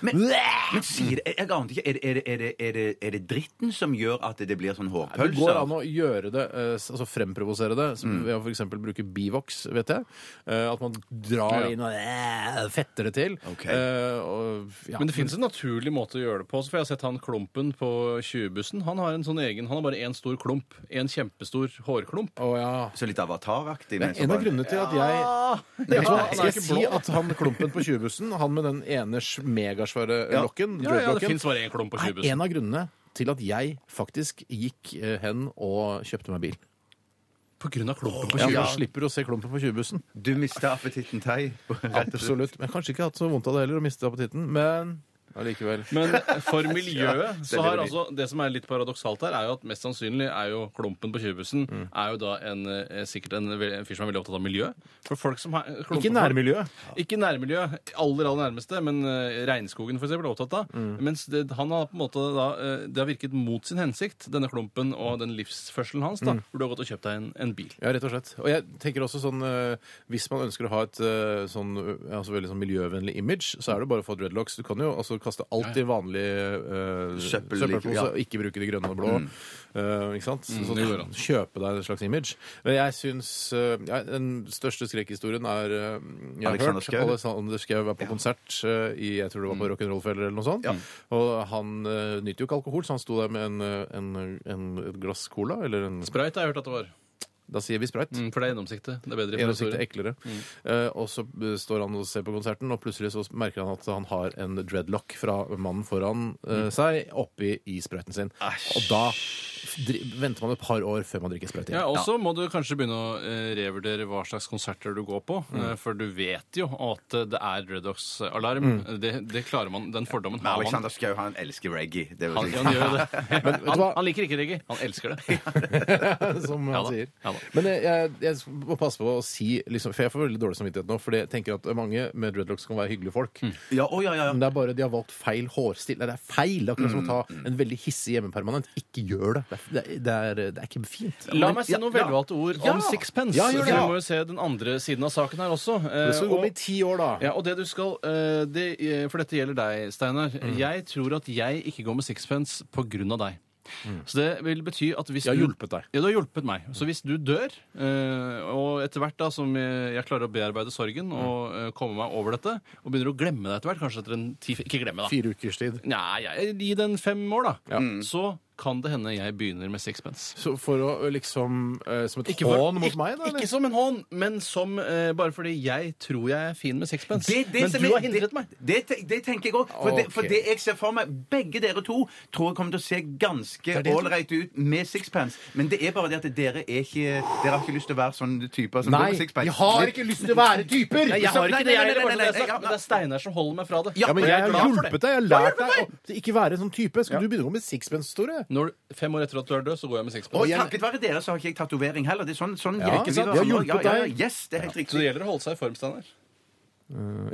[SPEAKER 5] Men, men sier det, jeg ante ikke, er det, er, det, er, det, er, det, er det dritten som gjør at det blir sånn
[SPEAKER 3] Det går an
[SPEAKER 5] hårpølser?
[SPEAKER 3] å gjøre det, eh, s- altså fremprovosere det,
[SPEAKER 4] Mm.
[SPEAKER 3] som ved å f.eks. bruke bivoks, vet jeg. Eh, At man drar
[SPEAKER 4] Ja.
[SPEAKER 3] inn og eh, fetter det til.
[SPEAKER 5] Ok.
[SPEAKER 3] Eh, og, ja.
[SPEAKER 4] Men det fins en naturlig måte å gjøre det på. også, For jeg har sett han Klumpen på 20-bussen. Han har en sånn egen, han har bare én stor klump. En kjempestor hårklump.
[SPEAKER 3] Å, ja.
[SPEAKER 5] Så litt avataraktig? men så
[SPEAKER 3] En av
[SPEAKER 5] bare-
[SPEAKER 3] grunnene til at jeg
[SPEAKER 4] Ja,
[SPEAKER 3] Vet du hva?
[SPEAKER 4] han er
[SPEAKER 3] Skal jeg
[SPEAKER 4] ikke
[SPEAKER 3] si
[SPEAKER 4] blå.
[SPEAKER 3] at han klumpen på 20-bussen, han med den ene sj- megasvære
[SPEAKER 5] Ja.
[SPEAKER 3] lokken,
[SPEAKER 4] Ja, ja, det
[SPEAKER 3] dreadlocken,
[SPEAKER 4] fins bare én klump på
[SPEAKER 3] er
[SPEAKER 4] 20-bussen.
[SPEAKER 3] en av grunnene til at jeg faktisk gikk eh, hen og kjøpte meg bil.
[SPEAKER 4] På grunn av klumpen på
[SPEAKER 3] Ja,
[SPEAKER 4] 20
[SPEAKER 3] for da slipper du å se klumpen på 20-bussen.
[SPEAKER 5] Du mista appetitten tei. rett og slett.
[SPEAKER 3] Absolutt. Men jeg har kanskje ikke hatt så vondt av det heller, å miste appetitten, men allikevel.
[SPEAKER 4] Men for miljøet så
[SPEAKER 5] det
[SPEAKER 4] har
[SPEAKER 5] blir-
[SPEAKER 4] altså Det som er litt paradoksalt her, er jo at mest sannsynlig er jo klumpen på 20-bussen
[SPEAKER 3] Mm.
[SPEAKER 4] er jo da en, eh, sikkert en, ve- en fyr som er veldig opptatt av miljø. For folk som har klumpen
[SPEAKER 3] Ikke
[SPEAKER 4] på-
[SPEAKER 3] nærmiljø.
[SPEAKER 4] Ikke nærmiljø, aller aller nærmeste, men eh, regnskogen for eksempel, er opptatt av.
[SPEAKER 3] Mm.
[SPEAKER 4] Mens det, han har på en måte da, eh, det har virket mot sin hensikt, denne klumpen og den livsførselen hans.
[SPEAKER 3] Mm.
[SPEAKER 4] da, hvor du har gått og kjøpt deg en, en bil.
[SPEAKER 3] Ja, rett og slett. Og jeg tenker også sånn eh, Hvis man ønsker å ha et eh, sånn, eh, altså veldig sånn miljøvennlig image, så er det bare å få dreadlocks. Du kan jo altså kaste alt i vanlig eh,
[SPEAKER 5] Søppel- Mm.
[SPEAKER 3] søppelpose,
[SPEAKER 5] ja.
[SPEAKER 3] ikke bruke de grønne og blå. eh, ikke sant? Så,
[SPEAKER 4] Mm, det går an.
[SPEAKER 3] kjøpe deg et slags image. Men jeg syns eh, ja, Den største skrekkhistorien er eh, Jeg har
[SPEAKER 5] Alexander
[SPEAKER 3] hørt
[SPEAKER 5] Schou. Mm.
[SPEAKER 3] Alexander Schou var på konsert eh, i jeg tror det var på Rock'n'Roll-feller eller noe sånt. Og han eh, nyter jo ikke alkohol, så han sto der med en, eh, en, en, et glass cola eller en
[SPEAKER 4] Sprayt har jeg hørt at det var.
[SPEAKER 3] Da sier vi sprite.
[SPEAKER 4] Mm, for det er gjennomsiktig. Det er bedre for
[SPEAKER 3] Gjennomsiktig,
[SPEAKER 4] historien.
[SPEAKER 3] eklere. Eh, og så eh, står han og ser på konserten, og plutselig så merker han at han har en dreadlock fra mannen foran
[SPEAKER 4] Mm.
[SPEAKER 3] eh, seg oppi i sprøyten sin. Og da dri venter man et par år før man drikker sprøyte.
[SPEAKER 4] Ja,
[SPEAKER 3] igjen.
[SPEAKER 4] og så må du kanskje begynne å eh, revurdere hva slags konserter du går på. eh,
[SPEAKER 3] Mm.
[SPEAKER 4] For du vet jo at eh, det er Dreaddox-alarm.
[SPEAKER 3] Mm.
[SPEAKER 4] Det, det klarer man, Den fordommen
[SPEAKER 5] Men
[SPEAKER 4] har man.
[SPEAKER 5] Alexander Schou, han elsker reggae. Det er jo
[SPEAKER 4] Han,
[SPEAKER 5] det.
[SPEAKER 4] han gjør jo det.
[SPEAKER 3] vet du
[SPEAKER 4] Han,
[SPEAKER 3] hva?
[SPEAKER 4] han liker ikke reggae. Han elsker det.
[SPEAKER 3] Som han
[SPEAKER 4] Ja da,
[SPEAKER 3] sier.
[SPEAKER 4] ja da.
[SPEAKER 3] Men jeg, jeg, jeg må passe på å si liksom, For jeg får veldig dårlig samvittighet nå, for jeg tenker at mange med dreadlocks kan være hyggelige folk.
[SPEAKER 4] Mm.
[SPEAKER 5] Ja, å, ja, ja.
[SPEAKER 3] Men det er bare de har valgt feil hårstil. Nei, det er feil. Det er akkurat som å
[SPEAKER 4] Mm.
[SPEAKER 3] ta en veldig hissig hjemmepermanent. Ikke gjør det. Det er, det er, det er ikke fint.
[SPEAKER 4] La meg si
[SPEAKER 5] Ja,
[SPEAKER 4] noen
[SPEAKER 5] ja.
[SPEAKER 4] velvalgte ord om sixpence.
[SPEAKER 3] Ja, gjør det.
[SPEAKER 4] For vi må jo se den andre siden av saken her også. Eh,
[SPEAKER 3] Det skal gå
[SPEAKER 4] og-
[SPEAKER 3] med i ti år, da.
[SPEAKER 4] Ja, og det du skal, eh, det, eh, For dette gjelder deg, Steinar.
[SPEAKER 3] Mm.
[SPEAKER 4] Jeg tror at jeg ikke går med sixpence på grunn av deg. Så det vil bety at hvis
[SPEAKER 3] Jeg Mm. har
[SPEAKER 4] du-
[SPEAKER 3] hjulpet deg.
[SPEAKER 4] Ja, du har hjulpet meg. Så hvis du dør, eh, og etter hvert da som jeg, jeg klarer å bearbeide
[SPEAKER 3] Mm.
[SPEAKER 4] sorgen og eh, komme meg over dette, og begynner å glemme deg etter hvert, kanskje etter en ti Ikke glemme, da.
[SPEAKER 3] Fire ukers tid.
[SPEAKER 4] Nei, jeg, gi den fem år, da. Så kan det hende jeg begynner med sixpence.
[SPEAKER 3] Så for å liksom eh, Som et
[SPEAKER 4] Ikke for-
[SPEAKER 3] hån mot
[SPEAKER 4] ikke,
[SPEAKER 3] meg, da? eller?
[SPEAKER 4] Ikke som en hån, men som eh, bare fordi jeg tror jeg er fin med sixpence.
[SPEAKER 5] Det- det
[SPEAKER 4] Men
[SPEAKER 5] som
[SPEAKER 4] du
[SPEAKER 5] jeg-
[SPEAKER 4] har hindret
[SPEAKER 5] det-
[SPEAKER 4] meg.
[SPEAKER 5] Det, te- det tenker jeg òg. For, det- for
[SPEAKER 3] Ok.
[SPEAKER 5] det jeg ser for meg, begge dere to tror jeg kommer til å se ganske
[SPEAKER 3] det.
[SPEAKER 5] ålreite ut med sixpence. Men det er bare det at dere er ikke Dere har ikke lyst til å være sånne typer som går
[SPEAKER 3] Nei,
[SPEAKER 5] med sixpence.
[SPEAKER 3] vi har ikke lyst til å være typer!
[SPEAKER 4] Nei, jeg har ikke
[SPEAKER 5] Nei,
[SPEAKER 4] det.
[SPEAKER 5] nei,
[SPEAKER 4] Jeg,
[SPEAKER 5] nei, nei,
[SPEAKER 4] det, er bare det, jeg
[SPEAKER 5] nei,
[SPEAKER 4] har sagt,
[SPEAKER 5] nei,
[SPEAKER 4] men det er Steinar som holder meg fra det.
[SPEAKER 3] Ja, men
[SPEAKER 4] Og
[SPEAKER 3] jeg
[SPEAKER 4] er
[SPEAKER 3] har
[SPEAKER 4] glad for det.
[SPEAKER 3] hjulpet deg. Jeg har lært deg å ikke være sånn type. Skal du begynne å gå med sixpence, Tore?
[SPEAKER 4] Når, du- fem år etter at du er død, så går jeg med sixpence.
[SPEAKER 5] Og takket være dere så har ikke jeg tatovering heller. Det er sånn, sånn
[SPEAKER 3] Ja,
[SPEAKER 5] ikke
[SPEAKER 3] ikke sant? Vi
[SPEAKER 5] sant?
[SPEAKER 3] har hjulpet
[SPEAKER 5] ja, ja,
[SPEAKER 3] deg.
[SPEAKER 5] ja, Yes, det er helt
[SPEAKER 4] Så
[SPEAKER 5] riktig.
[SPEAKER 4] det gjelder å holde seg i form, Steinar.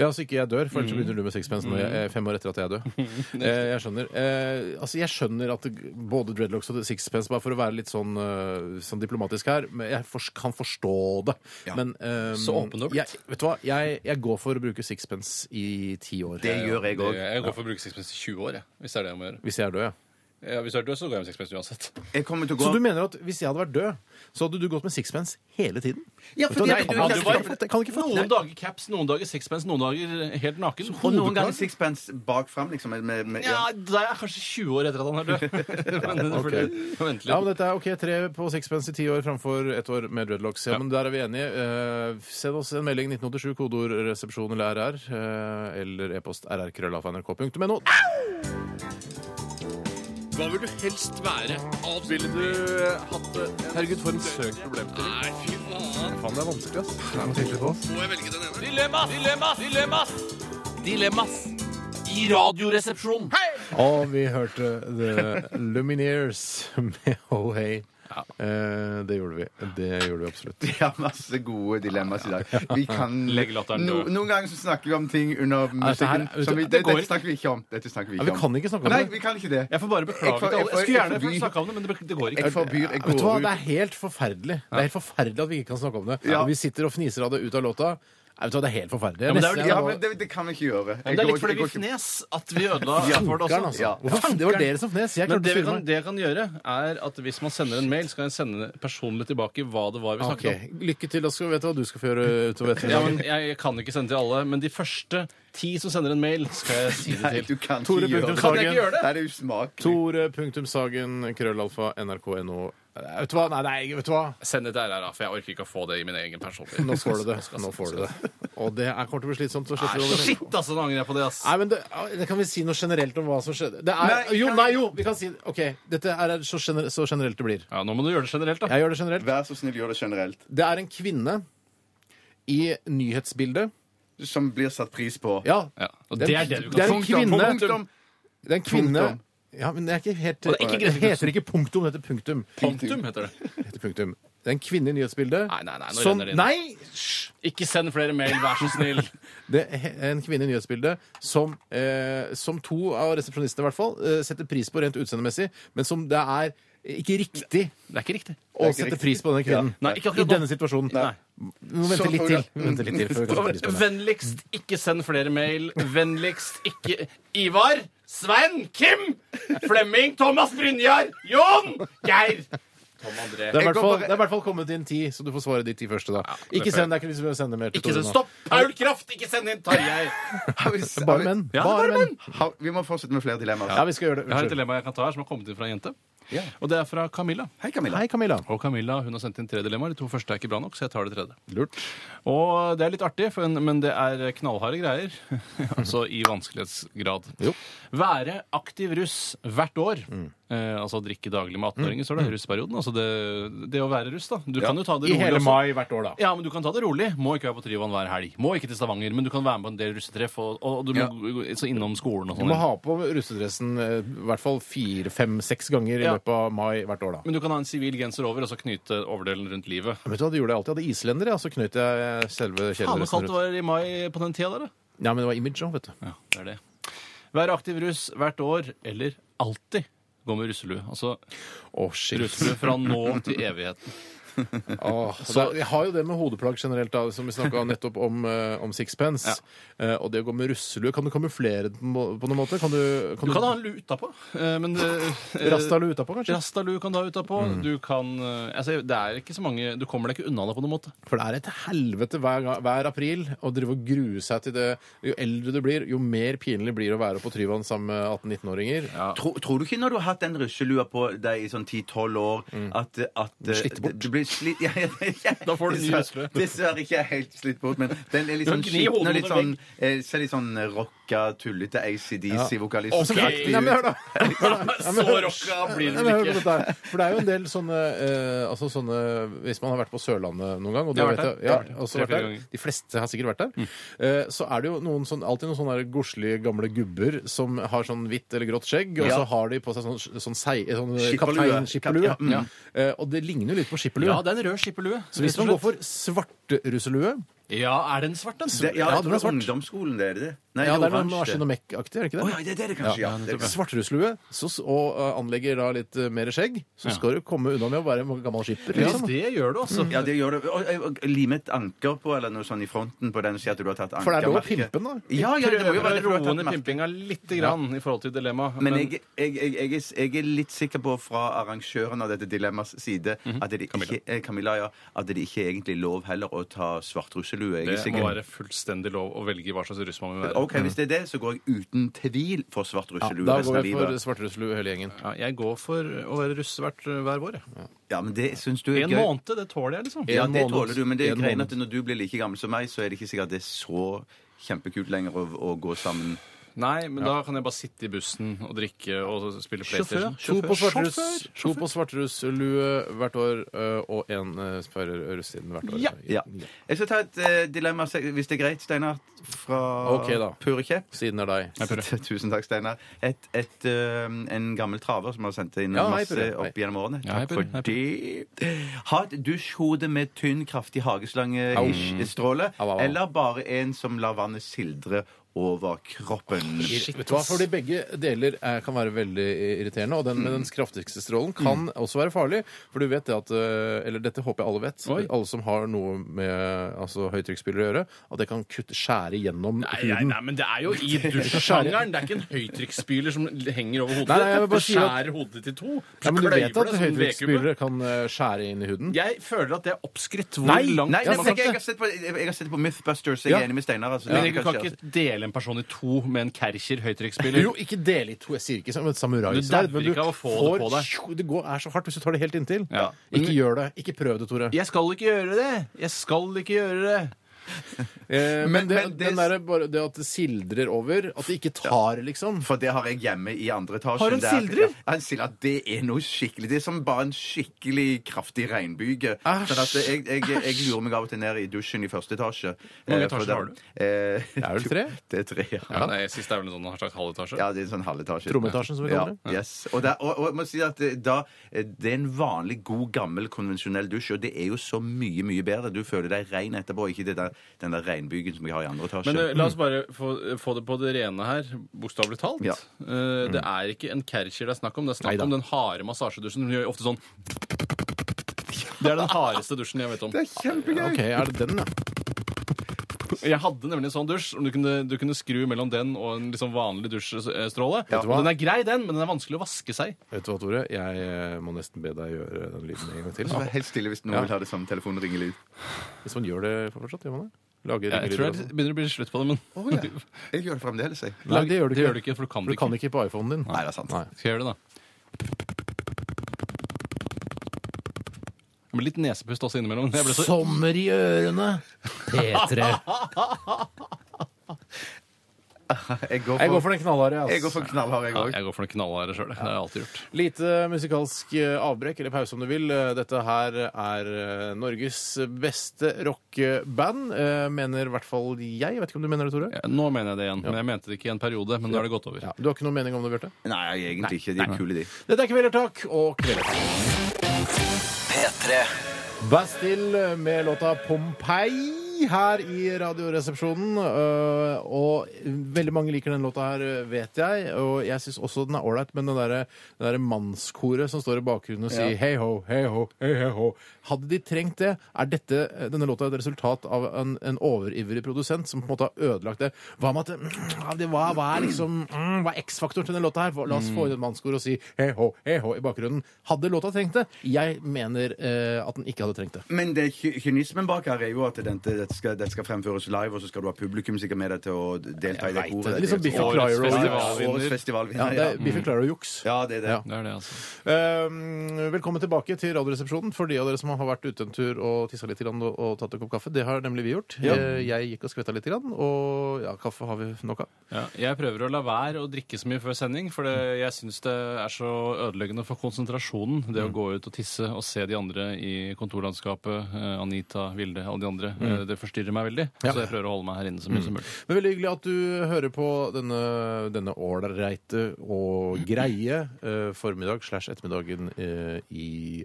[SPEAKER 3] Ja, så ikke jeg dør, for ellers så begynner du med sixpence når jeg, eh, fem år etter at jeg er død. Eh, jeg skjønner. Eh, altså, jeg skjønner at det, både dreadlocks og sixpence, bare for å være litt sånn, eh, sånn diplomatisk her, men jeg fors- kan forstå det. Men eh,
[SPEAKER 4] Så åpen du har blitt.
[SPEAKER 3] jeg- Vet du hva? Jeg, jeg går for å bruke sixpence i ti år.
[SPEAKER 5] Det gjør jeg òg.
[SPEAKER 4] Jeg går for å bruke sixpence i 20 år, jeg, hvis det er det jeg må gjøre.
[SPEAKER 3] Hvis jeg er død, ja.
[SPEAKER 4] Ja, hvis du er død, så går jeg med sixpence uansett.
[SPEAKER 5] Jeg kommer til å
[SPEAKER 3] Så du
[SPEAKER 5] gå
[SPEAKER 3] mener at hvis jeg hadde vært død, så hadde du gått med sixpence hele tiden?
[SPEAKER 5] Ja,
[SPEAKER 3] Vet
[SPEAKER 5] fordi
[SPEAKER 3] hva,
[SPEAKER 5] at
[SPEAKER 3] det kan,
[SPEAKER 5] du- Ja,
[SPEAKER 3] jeg
[SPEAKER 5] du
[SPEAKER 3] ikke-
[SPEAKER 4] var-
[SPEAKER 3] det kan jeg ikke fatte.
[SPEAKER 4] Noen dager caps, noen dager sixpence, noen dager eh, helt naken.
[SPEAKER 5] Og noen ganger sixpence bak fram, liksom. Med, med, med,
[SPEAKER 4] Ja,
[SPEAKER 5] ja.
[SPEAKER 4] da er jeg kanskje 20 år etter at han er død. Men det får du vente
[SPEAKER 3] Ja, men
[SPEAKER 4] litt.
[SPEAKER 3] dette er ok, Tre på sixpence i ti år framfor ett år med dreadlocks. Ja, men Der er vi enige. Eh, send oss en melding 1987, kodeord 'resepsjon' eller RR, eh, eller e-post rrkrøllalfa.nrk.no.
[SPEAKER 7] Hva vil du helst være? Ville du eh, hatt det? Herregud, for en søk problemstilling. Nei, fy faen. Faen, det er vanskelig, ass. Det er noe sikkert på oss. Må jeg velge den ene? Dilemmas! Dilemmas! Dilemmas! Dilemmas! I radioresepsjonen. Hei!
[SPEAKER 3] Og vi hørte The Lumineers med Oh Hey. Eh, det gjorde vi. Det gjorde vi absolutt.
[SPEAKER 5] Vi har masse gode dilemmaer i dag. Vi kan,
[SPEAKER 4] Legg latteren
[SPEAKER 5] no,
[SPEAKER 4] død. Altså,
[SPEAKER 5] noen ganger så snakker vi om ting under
[SPEAKER 3] dette her-
[SPEAKER 5] musikken som vi,
[SPEAKER 3] det
[SPEAKER 5] det,
[SPEAKER 3] går-
[SPEAKER 5] Dette snakker vi ikke om. Dette snakker vi
[SPEAKER 3] Ja,
[SPEAKER 5] ikke
[SPEAKER 3] vi
[SPEAKER 5] om.
[SPEAKER 3] kan ikke snakke om
[SPEAKER 5] Nei,
[SPEAKER 3] det.
[SPEAKER 5] vi kan ikke det.
[SPEAKER 4] Jeg får bare beklage
[SPEAKER 5] Jeg får-
[SPEAKER 4] til alle.
[SPEAKER 5] jeg får-
[SPEAKER 4] Jeg skulle gjerne
[SPEAKER 5] jeg forbyr-
[SPEAKER 4] få snakke om det, men det, det går ikke.
[SPEAKER 5] Jeg forbyr Jeg
[SPEAKER 3] Vet du hva,
[SPEAKER 5] går
[SPEAKER 3] Det
[SPEAKER 5] ut.
[SPEAKER 3] er helt forferdelig. Det er helt forferdelig at vi ikke kan snakke om det.
[SPEAKER 5] Ja.
[SPEAKER 3] Og vi sitter og fniser av det ut av låta. Nei, Vet du hva, Det er helt forferdelig.
[SPEAKER 4] men det er vel-
[SPEAKER 5] Ja, men det, det kan vi ikke gjøre.
[SPEAKER 4] Men
[SPEAKER 5] Jeg
[SPEAKER 4] det er
[SPEAKER 5] går
[SPEAKER 4] litt fordi
[SPEAKER 5] ikke- jeg
[SPEAKER 4] vi
[SPEAKER 5] går ikke-
[SPEAKER 4] fnes at vi ødela for det
[SPEAKER 3] Fankeren,
[SPEAKER 4] også.
[SPEAKER 3] altså. Hvorfor f- det var dere som fnes? Jeg
[SPEAKER 4] Men
[SPEAKER 3] klarte
[SPEAKER 4] det
[SPEAKER 3] å
[SPEAKER 4] vi
[SPEAKER 3] styre
[SPEAKER 4] kan,
[SPEAKER 3] meg.
[SPEAKER 4] det jeg kan gjøre, er at hvis man sender en mail, så kan jeg sende personlig tilbake hva det var vi snakket om.
[SPEAKER 3] Ok, Lykke til. Da skal vi vite hva du skal få gjøre utover
[SPEAKER 4] Ja,
[SPEAKER 3] ettermiddagen.
[SPEAKER 4] men jeg, jeg kan ikke sende til alle, men de første ti som sender en mail, skal jeg si
[SPEAKER 5] Nei,
[SPEAKER 4] det
[SPEAKER 5] du
[SPEAKER 4] til.
[SPEAKER 5] kan ikke
[SPEAKER 3] Tore
[SPEAKER 5] gjøre
[SPEAKER 3] Bjørnum Sagen.
[SPEAKER 5] det.
[SPEAKER 4] Kan jeg ikke gjøre det?
[SPEAKER 5] Nei, det er usmakelig.
[SPEAKER 3] Tore.sagen, krøllalfa, nrk.no. Nei, Vet du hva? Nei, nei, vet du hva?
[SPEAKER 4] Send det til RRA, for jeg orker ikke å få det i min egen personlige.
[SPEAKER 3] Nå får du det. Nå får du det. Og det er kommer til å bli slitsomt. å slette
[SPEAKER 4] Nei,
[SPEAKER 3] det over.
[SPEAKER 4] shit, altså! Nå angrer jeg på det, ass.
[SPEAKER 3] Nei, men det, ah, det Kan vi si noe generelt om hva som skjedde? Det er,
[SPEAKER 5] Nei,
[SPEAKER 3] jo,
[SPEAKER 5] kan-
[SPEAKER 3] nei, jo! Vi kan si OK, dette er så, gener, så generelt det blir.
[SPEAKER 4] Ja, nå må du gjøre det generelt, da.
[SPEAKER 3] Jeg gjør det generelt.
[SPEAKER 5] Vær så snill, gjør det generelt.
[SPEAKER 3] Det er en kvinne i nyhetsbildet.
[SPEAKER 5] Som blir satt pris på.
[SPEAKER 3] Ja,
[SPEAKER 4] Ja, og det er det du
[SPEAKER 3] det er
[SPEAKER 4] kan si.
[SPEAKER 3] en kvinne.
[SPEAKER 5] Punktum.
[SPEAKER 3] det er en kvinne
[SPEAKER 5] Punktum.
[SPEAKER 3] Ja, men det er ikke helt
[SPEAKER 4] Og det er ikke
[SPEAKER 3] Det heter ikke punktum, det heter punktum.
[SPEAKER 4] Punktum heter det.
[SPEAKER 3] Det heter punktum. Det er en kvinne i nyhetsbildet
[SPEAKER 4] Nei, nei, nei, nå
[SPEAKER 3] som
[SPEAKER 4] renner det inn.
[SPEAKER 3] Nei! hysj!
[SPEAKER 4] Ikke send flere mail, vær så snill.
[SPEAKER 3] Det er en kvinne i nyhetsbildet som, eh, som to av resepsjonistene i hvert fall eh, setter pris på rent utseendemessig, men som det er ikke riktig
[SPEAKER 4] Det er ikke riktig.
[SPEAKER 3] å
[SPEAKER 5] ikke
[SPEAKER 3] sette
[SPEAKER 5] riktig.
[SPEAKER 3] pris på denne kvinnen.
[SPEAKER 4] Nei,
[SPEAKER 3] I
[SPEAKER 4] ikke akkurat nå.
[SPEAKER 3] denne situasjonen.
[SPEAKER 4] Nei.
[SPEAKER 3] Vi må vente
[SPEAKER 5] Så- Mm.
[SPEAKER 3] litt til. Vi må vente litt til før vi kan sette pris på henne.
[SPEAKER 4] Vennligst ikke send flere mail. Vennligst ikke Ivar, Svein, Kim, Flemming, Thomas Brynjar, Jon, Geir. Tom André.
[SPEAKER 3] Det er, i hvert
[SPEAKER 5] går
[SPEAKER 3] fall,
[SPEAKER 5] bare-
[SPEAKER 3] det er i hvert fall kommet inn ti, så du får svare de ti første. da Ikke send, det er ikke vi som sender mer til
[SPEAKER 4] Ikke
[SPEAKER 3] Tore
[SPEAKER 4] send
[SPEAKER 3] nå.
[SPEAKER 4] Stopp! Paul Kraft, ikke send inn Tarjei.
[SPEAKER 5] Har vi- har
[SPEAKER 3] Bare
[SPEAKER 5] vi-
[SPEAKER 3] menn.
[SPEAKER 4] Ja,
[SPEAKER 3] bare
[SPEAKER 4] bare
[SPEAKER 3] menn.
[SPEAKER 5] Har, vi må fortsette med flere dilemmaer.
[SPEAKER 3] Ja, vi skal gjøre det.
[SPEAKER 4] Jeg har et
[SPEAKER 3] Unnskyld.
[SPEAKER 4] dilemma jeg kan ta her, som har kommet inn fra en jente.
[SPEAKER 5] Ja.
[SPEAKER 4] Og det er fra Camilla.
[SPEAKER 5] Hei, Camilla.
[SPEAKER 3] Hei, Camilla.
[SPEAKER 4] Og Camilla hun har sendt inn tre dilemmaer. De to første er ikke bra nok, så jeg tar det tredje.
[SPEAKER 3] Lurt.
[SPEAKER 4] Og det er litt artig, for, men det er knallharde greier. altså i vanskelighetsgrad.
[SPEAKER 3] Jo.
[SPEAKER 4] Være aktiv russ hvert år. Eh, altså drikke daglig med 18-åringer, står det. Russperioden. Altså det, det å være russ, da. Du kan jo ta det
[SPEAKER 3] I
[SPEAKER 4] rolig.
[SPEAKER 3] hele
[SPEAKER 4] også.
[SPEAKER 3] mai hvert år, da.
[SPEAKER 4] Ja, men du kan ta det rolig. Må ikke være på Tryvann hver helg. Må ikke til Stavanger, men du kan være med på en del russetreff, og, og du må
[SPEAKER 5] Ja.
[SPEAKER 4] gå- gå- så innom skolen og
[SPEAKER 3] Du må
[SPEAKER 4] sånn.
[SPEAKER 3] ha på russedressen eh, i hvert fall fire, fem, seks ganger i
[SPEAKER 4] Ja.
[SPEAKER 3] løpet av mai hvert år, da.
[SPEAKER 4] Men du kan ha en sivil genser over, og så knyte overdelen rundt livet.
[SPEAKER 3] Vet du hva, det gjorde jeg alltid. Jeg hadde islender, ja, så knøt jeg selve
[SPEAKER 4] Faen så
[SPEAKER 3] kjeledressen
[SPEAKER 4] kaldt
[SPEAKER 3] rundt.
[SPEAKER 4] det var i mai på den tida der, da.
[SPEAKER 3] Ja, men det var image òg, vet du.
[SPEAKER 4] Ja, det er det. Være aktiv russ hvert år, eller alltid gå med russelue. Altså
[SPEAKER 3] Å, shit.
[SPEAKER 4] russelue fra nå til evigheten.
[SPEAKER 3] Åh, så vi har jo det med hodeplagg generelt, da, som vi snakka nettopp om, eh, om sixpence. Eh, og det å gå med russelue, kan du kamuflere den på, på noen måte? Kan du,
[SPEAKER 4] Du kan ha en lue utapå, eh, men eh,
[SPEAKER 3] Rastalue utapå, kanskje? Mm.
[SPEAKER 4] Rastalue kan du ha utapå. Du kan eh, altså, Det er ikke så mange Du kommer deg ikke unna det på noen måte.
[SPEAKER 3] For det er et helvete hver, ga- hver april å drive og grue seg til det. Jo eldre du blir, jo mer pinlig blir det å være på Tryvann sammen med 18-19-åringer.
[SPEAKER 5] Tror, tror du ikke når du har hatt den russelua på deg i sånn 10-12 år, at, at eh,
[SPEAKER 3] Slitt Mm. bort.
[SPEAKER 5] Du blir slitt, ja, ja, ja,
[SPEAKER 4] Da får du ny russelue.
[SPEAKER 5] Dessverre ikke helt slitt bort, men den er litt
[SPEAKER 4] Du
[SPEAKER 5] sånn
[SPEAKER 4] gnir hodet
[SPEAKER 5] skitten og
[SPEAKER 4] mot
[SPEAKER 5] litt
[SPEAKER 4] en
[SPEAKER 5] sånn, eh, ser litt sånn rocka, tullete ACDC-vokalist.
[SPEAKER 4] Ok.
[SPEAKER 3] Nei, men hør da!
[SPEAKER 4] Så rocka blir
[SPEAKER 3] Nei,
[SPEAKER 4] det
[SPEAKER 3] men hør
[SPEAKER 4] vel
[SPEAKER 3] på
[SPEAKER 4] ikke.
[SPEAKER 3] dette her. For det er jo en del sånne, eh, altså sånne Hvis man har vært på Sørlandet noen gang og det
[SPEAKER 4] Jeg har
[SPEAKER 3] vet
[SPEAKER 4] vært
[SPEAKER 3] jeg, ja,
[SPEAKER 4] der.
[SPEAKER 3] også
[SPEAKER 4] Tre,
[SPEAKER 3] vært
[SPEAKER 4] fire
[SPEAKER 3] der,
[SPEAKER 4] ganger.
[SPEAKER 3] De fleste har sikkert vært der. Eh, så er det jo noen sånn, alltid noen sånne der godslige gamle gubber som har sånn hvitt eller grått skjegg, og
[SPEAKER 5] Ja.
[SPEAKER 3] så har de på seg sånn, sånn, sei- sånn
[SPEAKER 5] Skipperlue.
[SPEAKER 3] kapteinskipperlue.
[SPEAKER 5] Kap- ja.
[SPEAKER 3] Eh, og det ligner jo litt på skipperlue.
[SPEAKER 4] Ja, det er en rød skipperlue.
[SPEAKER 3] så hvis man går for svartrusselue
[SPEAKER 4] Ja, er den svart, den?
[SPEAKER 5] Det, ja,
[SPEAKER 3] Ja, den er
[SPEAKER 5] jeg tror det er
[SPEAKER 3] svart.
[SPEAKER 5] ungdomsskolen, det er det. Nei,
[SPEAKER 3] Ja, det er noe
[SPEAKER 5] oransje.
[SPEAKER 3] Maskin og Mek-aktig, er det ikke
[SPEAKER 5] Å
[SPEAKER 3] det?
[SPEAKER 5] ja, det er det kanskje, ja. Det er kanskje-
[SPEAKER 3] Svartrusselue så, og eh, anlegger da litt eh, mer skjegg, så skal du komme unna med å være en gammel skipper.
[SPEAKER 4] Ja,
[SPEAKER 3] Liksom.
[SPEAKER 4] det gjør du, altså.
[SPEAKER 5] Ja, det gjør det. Og, og, og lime et anker på, eller noe sånn i fronten på den, si at du har tatt ankermerket.
[SPEAKER 3] For det er lov å pimpe den, da.
[SPEAKER 5] Ja, ja, det må jo være
[SPEAKER 4] Prøver
[SPEAKER 5] derfor du
[SPEAKER 4] å
[SPEAKER 5] har
[SPEAKER 4] roe
[SPEAKER 5] tatt
[SPEAKER 4] ned
[SPEAKER 5] merket.
[SPEAKER 4] pimpinga lite grann i forhold til dilemmaet.
[SPEAKER 5] Men jeg, jeg, jeg, jeg, er- jeg er litt sikker på fra arrangøren av dette dilemmas side
[SPEAKER 3] Mhm.
[SPEAKER 5] at det ikke, eh, Camilla, ja, at det ikke er egentlig lov heller å ta svart russelue. Jeg er
[SPEAKER 4] det må
[SPEAKER 5] sikker.
[SPEAKER 4] være fullstendig lov å velge hva slags russ man vil være.
[SPEAKER 5] OK, hvis det er det, så går jeg uten tvil for svart russelue
[SPEAKER 3] Da
[SPEAKER 5] resten
[SPEAKER 3] går
[SPEAKER 5] av
[SPEAKER 3] vi for
[SPEAKER 5] livet.
[SPEAKER 3] svartrusselue hele gjengen.
[SPEAKER 4] Ja, jeg går for å være russevert hver vår. jeg.
[SPEAKER 5] Ja, men det syns du er
[SPEAKER 4] En måned, det tåler jeg, liksom.
[SPEAKER 5] Ja,
[SPEAKER 3] En
[SPEAKER 5] det
[SPEAKER 3] måned.
[SPEAKER 5] tåler du, men det er
[SPEAKER 3] En
[SPEAKER 5] greien
[SPEAKER 3] måned.
[SPEAKER 5] at når du blir like gammel som meg, så er det ikke sikkert at det er så kjempekult lenger å, å gå sammen
[SPEAKER 4] Nei, men da kan jeg bare sitte i bussen og drikke og spille PlayStation.
[SPEAKER 3] To på svartrus, to på svartruslue hvert år eh, og én sperrer ørestiden hvert år.
[SPEAKER 4] Ja.
[SPEAKER 5] Ja. Jeg skal ta et eh, dilemma, se- hvis det er greit, Steinar, fra
[SPEAKER 3] Ok, da.
[SPEAKER 5] Purekjepp.
[SPEAKER 3] Siden er deg.
[SPEAKER 4] Jeg prøver.
[SPEAKER 5] Tusen takk, Steinar. Et, et, eh, en gammel traver som har sendt inn
[SPEAKER 3] Ja, hei,
[SPEAKER 5] masse
[SPEAKER 3] Purre. Hei.
[SPEAKER 5] opp gjennom årene.
[SPEAKER 4] Ja, hei,
[SPEAKER 5] Takk for
[SPEAKER 4] Purre. Hei,
[SPEAKER 5] det. Ha et dusjhode med tynn, kraftig hageslange-stråle,
[SPEAKER 3] Au, au, au.
[SPEAKER 5] eller bare en som lar vannet sildre over kroppen.
[SPEAKER 3] Vet du hva? Fordi Begge deler er, kan være veldig irriterende. Og den med den kraftigste strålen kan også være farlig. For du vet det at eh, Eller dette håper jeg alle vet.
[SPEAKER 4] Oi.
[SPEAKER 3] Alle som har noe med altså, høytrykksspillere å gjøre. At det kan kutte, skjære gjennom
[SPEAKER 4] Nei, nei,
[SPEAKER 3] huden.
[SPEAKER 4] nei, men det er jo i dusjsjangeren. Det er ikke en høytrykksspyler som henger over hodet.
[SPEAKER 3] Nei, nei, jeg vil bare
[SPEAKER 4] ditt. det
[SPEAKER 3] si at-
[SPEAKER 4] skjærer hodet ditt i to.
[SPEAKER 3] Nei, men du
[SPEAKER 4] kløyver
[SPEAKER 3] vet at
[SPEAKER 4] deg som en vedkubbe.
[SPEAKER 3] høytrykksspillere kan eh, skjære inn i huden?
[SPEAKER 4] Jeg føler at det er oppskritt. Hvor
[SPEAKER 3] Nei,
[SPEAKER 4] langt
[SPEAKER 5] Nei,
[SPEAKER 3] Ja,
[SPEAKER 5] jeg,
[SPEAKER 4] man
[SPEAKER 3] sant
[SPEAKER 5] jeg,
[SPEAKER 3] det.
[SPEAKER 5] jeg, har sett på, jeg, jeg har sett på Mythbusters. Jeg er
[SPEAKER 3] Ja.
[SPEAKER 5] enig med Steinar. Altså, Det
[SPEAKER 4] Men du
[SPEAKER 5] kan
[SPEAKER 4] kan
[SPEAKER 5] skje.
[SPEAKER 4] ikke dele en person i to med en Kercher høytrykksspiller.
[SPEAKER 3] Jo, ikke del i to. Jeg sier ikke som et samurai.
[SPEAKER 4] Du
[SPEAKER 3] sverd,
[SPEAKER 4] dauer ikke av å få det på deg.
[SPEAKER 3] Tjo, det går, er så hardt hvis du tar det helt inntil.
[SPEAKER 4] Ja.
[SPEAKER 3] Ikke gjør det. Ikke prøv det, Tore.
[SPEAKER 4] Jeg skal ikke gjøre det! Jeg skal ikke gjøre det!
[SPEAKER 3] Eh, men
[SPEAKER 5] Men-
[SPEAKER 3] det,
[SPEAKER 5] men det-
[SPEAKER 3] den der, bare det at det sildrer over, at det ikke tar, liksom
[SPEAKER 5] For det har jeg hjemme i andre etasje.
[SPEAKER 4] Har du en
[SPEAKER 5] Der-
[SPEAKER 4] sildrer?
[SPEAKER 5] Ja, en sildrer, det er noe skikkelig. Det er som bare en skikkelig kraftig regnbyge.
[SPEAKER 3] Æsj.
[SPEAKER 5] Sånn at jeg, jeg, jeg lurer meg av og til ned i dusjen i første etasje.
[SPEAKER 4] mange
[SPEAKER 5] Eh, for
[SPEAKER 4] etasjer
[SPEAKER 5] da-
[SPEAKER 4] har du?
[SPEAKER 5] Eh,
[SPEAKER 3] Det er vel tre?
[SPEAKER 5] Det er tre, ja.
[SPEAKER 4] Ja, nei, Sist er vel en sånn en slags halvetasje.
[SPEAKER 5] Ja, det er en sånn halvetasje.
[SPEAKER 3] Trommeetasjen, som vi kaller det.
[SPEAKER 5] Ja, yes. og, der, og, og jeg må si at eh, da, eh, det er en vanlig god, gammel, konvensjonell dusj, og det er jo så mye, mye bedre. Du føler deg rein etterpå, ikke det der, den der regnbygen som jeg har i andre etasje.
[SPEAKER 4] Men eh, la oss bare få, få det på det rene her, bokstavelig talt.
[SPEAKER 5] Ja.
[SPEAKER 4] Eh, det er ikke en Kercher det er snakk om. Det er snakk
[SPEAKER 3] Mm. Neida.
[SPEAKER 4] om den harde massasjedusjen. Hun gjør ofte sånn Det er den hardeste dusjen jeg vet om.
[SPEAKER 5] det er kjempegøy!
[SPEAKER 3] OK, er det den, ja?
[SPEAKER 4] Jeg hadde nemlig en sånn dusj. som Du kunne, du kunne skru mellom den og en liksom vanlig dusjstråle.
[SPEAKER 3] Vet du hva?
[SPEAKER 4] Og den er grei, den, men den er vanskelig å vaske seg.
[SPEAKER 3] Vet du hva, Tore? Jeg eh, må nesten be deg gjøre den lyden en gang til.
[SPEAKER 5] Så vær helt stille hvis noen
[SPEAKER 3] Ja.
[SPEAKER 5] vil ha det som telefonringelyd.
[SPEAKER 3] Hvis man gjør det fortsatt, gjør man det? Lager sånn.
[SPEAKER 4] Jeg tror det sånn
[SPEAKER 3] ringelyder?
[SPEAKER 4] begynner å bli slutt på det, men
[SPEAKER 5] Å ja. Jeg gjør det fremdeles, jeg.
[SPEAKER 3] Nei, det gjør du
[SPEAKER 4] det gjør du
[SPEAKER 3] ikke.
[SPEAKER 4] ikke, for du kan
[SPEAKER 3] For du
[SPEAKER 4] det
[SPEAKER 3] kan
[SPEAKER 4] ikke.
[SPEAKER 3] ikke på iPhonen din.
[SPEAKER 5] Nei, det er sant.
[SPEAKER 3] Nei.
[SPEAKER 4] Skal jeg gjøre det, da? Det blir litt nesepust også innimellom. Jeg ble så
[SPEAKER 3] Sommer i ørene! P3.
[SPEAKER 5] Jeg går
[SPEAKER 3] Jeg går for den knallharde.
[SPEAKER 5] Jeg går
[SPEAKER 3] ass.
[SPEAKER 5] for knallhard, jeg
[SPEAKER 4] Ja,
[SPEAKER 5] òg.
[SPEAKER 4] jeg går for den knallharde sjøl. Det har jeg alltid gjort.
[SPEAKER 3] Lite musikalsk eh, avbrekk, eller pause om du vil. Eh, Dette her er eh, Norges beste rockeband, eh, mener i hvert fall jeg. Vet ikke om du mener det, Tore?
[SPEAKER 4] Ja, nå mener jeg det igjen. Men jeg mente det ikke i en periode, men nå er det gått over.
[SPEAKER 3] Ja. Du har ikke noen mening om det, Bjarte?
[SPEAKER 5] Nei, egentlig ikke. De er kule, de.
[SPEAKER 3] Dette er Kvelertak og Kvelertak.
[SPEAKER 1] P3
[SPEAKER 3] Bastille med låta Pompeii her i Radioresepsjonen. øh, Og veldig mange liker den låta her, øh, vet jeg. Og jeg syns også den er ålreit, men det derre der mannskoret som står i bakgrunnen og sier hei ho, hei ho, hei hei ho Hadde de trengt det, er dette, eh, denne låta et resultat av en, en overivrig produsent som på en måte har ødelagt det. Hva med at mm, ja, det var, Hva er liksom mm, Hva er X-faktoren til denne låta her? La oss
[SPEAKER 5] Mm.
[SPEAKER 3] få inn et mannskor og si hei ho, hei ho i bakgrunnen. Hadde låta trengt det? Jeg mener eh, at den ikke hadde trengt det.
[SPEAKER 5] Men det ky- kynismen bak her er jo at den- dette skal, dette skal fremføres live, og så skal du ha publikum sikkert med deg til å delta i det
[SPEAKER 3] vet
[SPEAKER 5] koret.
[SPEAKER 3] det.
[SPEAKER 5] Det er
[SPEAKER 3] Liksom Biffy
[SPEAKER 5] jo-
[SPEAKER 4] Årets
[SPEAKER 3] Clyro.
[SPEAKER 4] festivalvinner.
[SPEAKER 5] Årets
[SPEAKER 3] Ja,
[SPEAKER 5] festivalvinner.
[SPEAKER 3] det
[SPEAKER 5] Ja,
[SPEAKER 3] er Biffi Clara og juks.
[SPEAKER 5] ja, det er det.
[SPEAKER 3] Ja.
[SPEAKER 4] Det er det, altså.
[SPEAKER 3] Ehm, velkommen tilbake til Radioresepsjonen for de av dere som har vært ute en tur og tissa litt grann og, og tatt en kopp kaffe. Det har nemlig vi gjort. Eh, Jeg gikk og skvetta litt, grann, og ja, kaffe har vi nok av.
[SPEAKER 4] Ja, jeg prøver å la være å drikke så mye før sending, for det, jeg syns det er så ødeleggende for konsentrasjonen, det å gå ut og tisse og se de andre i kontorlandskapet, eh, Anita, Vilde, alle de andre. Eh, Det forstyrrer meg veldig, så jeg prøver å holde meg her inne så mye som mulig.
[SPEAKER 3] Men Veldig hyggelig at du hører på denne denne ålreite og greie eh, formiddag slash ettermiddagen eh, i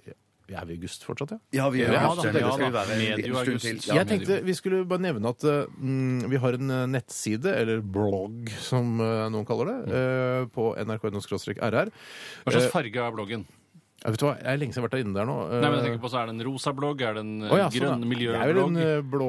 [SPEAKER 3] Er vi i august fortsatt, ja?
[SPEAKER 5] Ja, vi er jo
[SPEAKER 3] Ja,
[SPEAKER 5] ja,
[SPEAKER 3] da,
[SPEAKER 5] det
[SPEAKER 3] ja,
[SPEAKER 5] skal vi
[SPEAKER 4] da.
[SPEAKER 5] være en
[SPEAKER 4] Medio
[SPEAKER 5] liten stund
[SPEAKER 4] august.
[SPEAKER 5] til.
[SPEAKER 4] Ja,
[SPEAKER 3] jeg tenkte Vi skulle bare nevne at eh, mm, vi har en eh, nettside, eller blogg som eh, noen kaller det,
[SPEAKER 4] Mm.
[SPEAKER 3] eh, på nrk.no-rr.
[SPEAKER 4] Hva slags farge er bloggen?
[SPEAKER 3] Jeg vet du hva, jeg er lenge siden jeg har vært der inne der nå. eh.
[SPEAKER 4] Nei, men jeg tenker på, så Er det en rosa blogg? Er det en eh, grønn
[SPEAKER 3] Det sånn, er vel
[SPEAKER 4] miljøblogg?
[SPEAKER 3] en eh, blå,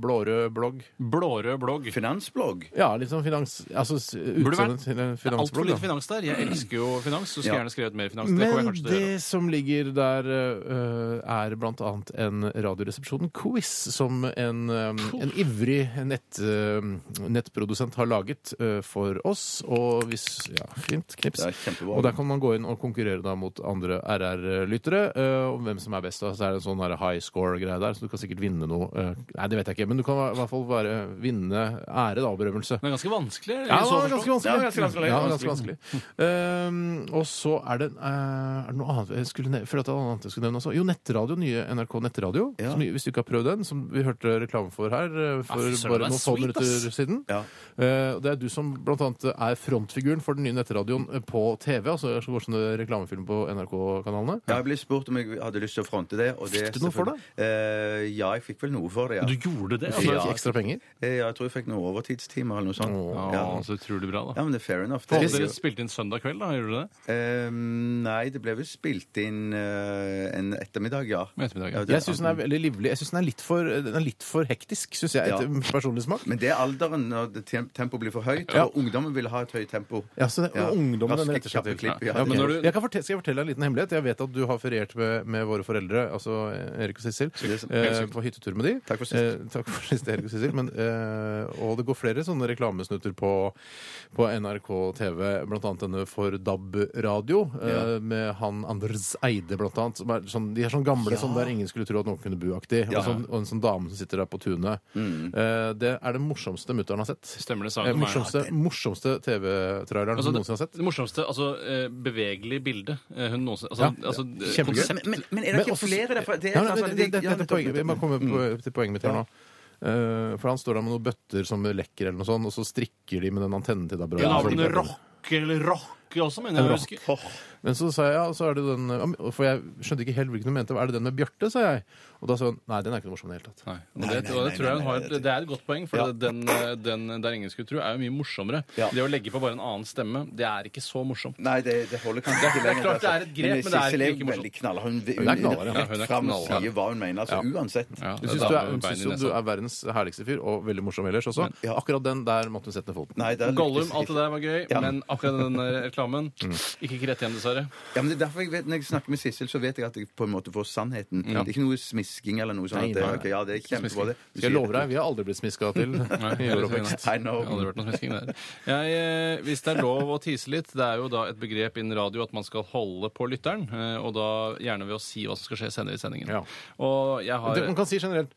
[SPEAKER 3] blårød blogg.
[SPEAKER 4] Blårød blogg?
[SPEAKER 5] Finansblogg.
[SPEAKER 3] Ja, litt sånn finans... Altså s- utseendet
[SPEAKER 4] vært-
[SPEAKER 3] til en
[SPEAKER 4] Det er Altfor
[SPEAKER 3] finansblogg.
[SPEAKER 4] lite
[SPEAKER 3] da.
[SPEAKER 4] finans der. Jeg elsker jo finans. Så skulle jeg gjerne skrevet mer finans. Det
[SPEAKER 3] Men
[SPEAKER 4] kommer jeg kanskje til å gjøre.
[SPEAKER 3] det som ligger der, eh, er blant annet en Radioresepsjonen-quiz som en, eh, en ivrig nett, eh, nettprodusent har laget eh, for oss. Og hvis Ja, fint. Knips.
[SPEAKER 5] Det er kjempebra.
[SPEAKER 3] Og der kan man gå inn og konkurrere da mot andre RR-lyttere. eh, Om hvem som er best, da, så er det en sånn her high score-greie der, så du kan sikkert vinne noe eh, Nei, det vet jeg ikke, men du kan i hvert fall være, vinne ære, da, og berømmelse.
[SPEAKER 4] Det er ganske vanskelig.
[SPEAKER 3] Ja, det
[SPEAKER 4] så
[SPEAKER 3] var
[SPEAKER 4] forstått.
[SPEAKER 3] ganske vanskelig.
[SPEAKER 7] Ja, ganske vanskelig.
[SPEAKER 3] Ja, ganske vanskelig. Ehm, og så er det, eh, er det noe annet jeg skulle nevne, for at det er noe annet jeg skulle nevne også. Jo, nettradio. Nye NRK Nettradio.
[SPEAKER 5] Ja.
[SPEAKER 3] Som, hvis du ikke har prøvd den, som vi hørte reklame for her eh, for
[SPEAKER 4] fy søren,
[SPEAKER 3] bare
[SPEAKER 4] det er
[SPEAKER 3] noen få
[SPEAKER 4] sweet,
[SPEAKER 3] minutter siden.
[SPEAKER 5] Ja.
[SPEAKER 3] Eh, og det er du som blant annet er frontfiguren for den nye nettradioen eh, på TV. altså det går sånne reklamefilm på NRK-kanalene.
[SPEAKER 5] Ja, jeg ble spurt om jeg hadde lyst til å fronte det. Og det
[SPEAKER 3] Fikk du noe for det?
[SPEAKER 5] Eh, ja, jeg fikk vel noe for det, ja.
[SPEAKER 4] Du gjorde det?
[SPEAKER 3] Fikk
[SPEAKER 4] Altså,
[SPEAKER 5] Ja.
[SPEAKER 3] ekstra penger.
[SPEAKER 5] Eh, ja jeg tror jeg fikk noen overtidstimer eller noe sånt.
[SPEAKER 3] Åh.
[SPEAKER 5] Ja.
[SPEAKER 4] Å, så utrolig bra,
[SPEAKER 5] ja,
[SPEAKER 4] da.
[SPEAKER 5] men det er fair enough.
[SPEAKER 4] Hadde
[SPEAKER 5] Det,
[SPEAKER 4] dere spilt inn søndag kveld, da? Gjorde dere det?
[SPEAKER 5] Eh, nei, det ble vel spilt inn eh, en ettermiddag, ja.
[SPEAKER 4] En ettermiddag, ja.
[SPEAKER 5] ja det-
[SPEAKER 3] Jeg syns den er veldig livlig. Jeg synes den er litt for, den er litt for hektisk, syns jeg, etter
[SPEAKER 5] Ja.
[SPEAKER 3] personlig smak.
[SPEAKER 5] Men det er alderen når det tem- tempoet blir for høyt,
[SPEAKER 3] Ja.
[SPEAKER 5] og ungdommen vil ha et høyt tempo.
[SPEAKER 3] Ja, så det,
[SPEAKER 5] Ja.
[SPEAKER 3] ungdommen den
[SPEAKER 5] Raske,
[SPEAKER 3] retter seg til.
[SPEAKER 5] kjappe klipp, ja.
[SPEAKER 3] Ja, men
[SPEAKER 5] Ja.
[SPEAKER 3] når du- Jeg kan fortelle, skal jeg fortelle deg en liten hemmelighet? Jeg vet at du har feriert med, med våre foreldre, altså eh, Erik og Sissel,
[SPEAKER 5] Sykt.
[SPEAKER 3] eh, på hyttetur med de.
[SPEAKER 5] sånn. Takk for sist.
[SPEAKER 3] Eh, takk for sist, Erik og Sissel. Men, eh, og det går flere sånne reklamesnutter på, på NRK TV, blant annet denne for DAB-radio, eh, med han Anders Eide, blant annet. Som er sånn, de er sånn gamle sånn der ingen skulle tro at noen kunne bo-aktig. Og, sånn, og en sånn dame som sitter der på tunet.
[SPEAKER 5] Mm.
[SPEAKER 3] Eh, det er det morsomste mutter'n har sett.
[SPEAKER 4] Stemmer det, sa
[SPEAKER 3] Eh,
[SPEAKER 4] hun til meg.
[SPEAKER 3] morsomste morsomste TV-traileren
[SPEAKER 4] Altså,
[SPEAKER 3] hun
[SPEAKER 4] det,
[SPEAKER 3] noensinne har sett.
[SPEAKER 4] det morsomste altså, eh, bevegelig bilde eh, hun noensinne altså,
[SPEAKER 3] Ja,
[SPEAKER 4] altså,
[SPEAKER 3] kjempegøy.
[SPEAKER 4] konsept-
[SPEAKER 5] Men, men er det ikke
[SPEAKER 3] også-
[SPEAKER 5] flere derfor?
[SPEAKER 3] Nei,
[SPEAKER 5] Det er
[SPEAKER 3] nei,
[SPEAKER 5] altså-
[SPEAKER 3] det- det- det-
[SPEAKER 5] ja,
[SPEAKER 3] dette er poenget. Jeg må
[SPEAKER 5] nettopp. Mm.
[SPEAKER 3] komme på- til poenget mitt her nå. Eh, for han står der med noen bøtter som lekker, eller noe sånt, og så strikker de med den antennen til dabra.
[SPEAKER 4] Hun har vel en rocke eller rocke også, mener jeg. å huske.
[SPEAKER 3] Men så sa jeg, ja, så er det den ja, men- For jeg skjønte ikke helt hvilken du mente. Er det den med Bjarte, sa jeg. Og da sa hun nei, den er ikke noe morsom i det hele tatt.
[SPEAKER 4] Nei, og det, og det, tror jeg hun har, et- det er et godt poeng, for det- den, eh, den der ingen skulle tro, er jo mye morsommere.
[SPEAKER 5] Ja.
[SPEAKER 4] Det å legge på bare en annen stemme, det er ikke så morsomt.
[SPEAKER 5] Nei, det, det holder kanskje ikke lenger. altså.
[SPEAKER 4] klart det er et grep, men det er
[SPEAKER 5] Sissel
[SPEAKER 4] ikke like
[SPEAKER 5] jo
[SPEAKER 4] morsomt.
[SPEAKER 5] veldig knall. Hun, hun,
[SPEAKER 3] Hun er knaller, ja.
[SPEAKER 5] rett
[SPEAKER 4] Ja, hun er
[SPEAKER 5] frem og
[SPEAKER 4] knaller.
[SPEAKER 5] sier hva hun mener, altså uansett.
[SPEAKER 4] Ja,
[SPEAKER 3] Hun
[SPEAKER 4] det
[SPEAKER 3] syns
[SPEAKER 4] da
[SPEAKER 3] du,
[SPEAKER 4] har
[SPEAKER 3] er,
[SPEAKER 4] vi
[SPEAKER 3] hun
[SPEAKER 4] bein i
[SPEAKER 3] syns jo
[SPEAKER 4] nesa.
[SPEAKER 3] du er verdens herligste fyr, og veldig morsom ellers også.
[SPEAKER 5] Ja.
[SPEAKER 3] Akkurat den der måtte hun sette ned foten.
[SPEAKER 5] Nei, det er
[SPEAKER 4] Gollum, alt det der var gøy,
[SPEAKER 5] Ja.
[SPEAKER 4] men akkurat den der reklamen Gikk ikke rett hjem, dessverre.
[SPEAKER 5] Ja, men det er derfor jeg vet, Når jeg snakker med Sissel, så vet jeg at jeg på en måte får sannheten. Det er ikke noe smisking eller noe sånt.
[SPEAKER 3] Nei,
[SPEAKER 5] at det,
[SPEAKER 3] nei.
[SPEAKER 5] ok, ja, det er kjempebra, det.
[SPEAKER 3] Skal jeg love deg, vi har aldri blitt smiska til i vår oppvekst.
[SPEAKER 5] I know.
[SPEAKER 4] Det hadde vært noe smisking der. Jeg, eh, hvis det er lov å tise litt, det er jo da et begrep innen radio at man skal holde på lytteren, eh, og da gjerne ved å si hva som skal skje senere i sendingen.
[SPEAKER 3] Ja.
[SPEAKER 4] Og jeg har...
[SPEAKER 3] Det, man kan si generelt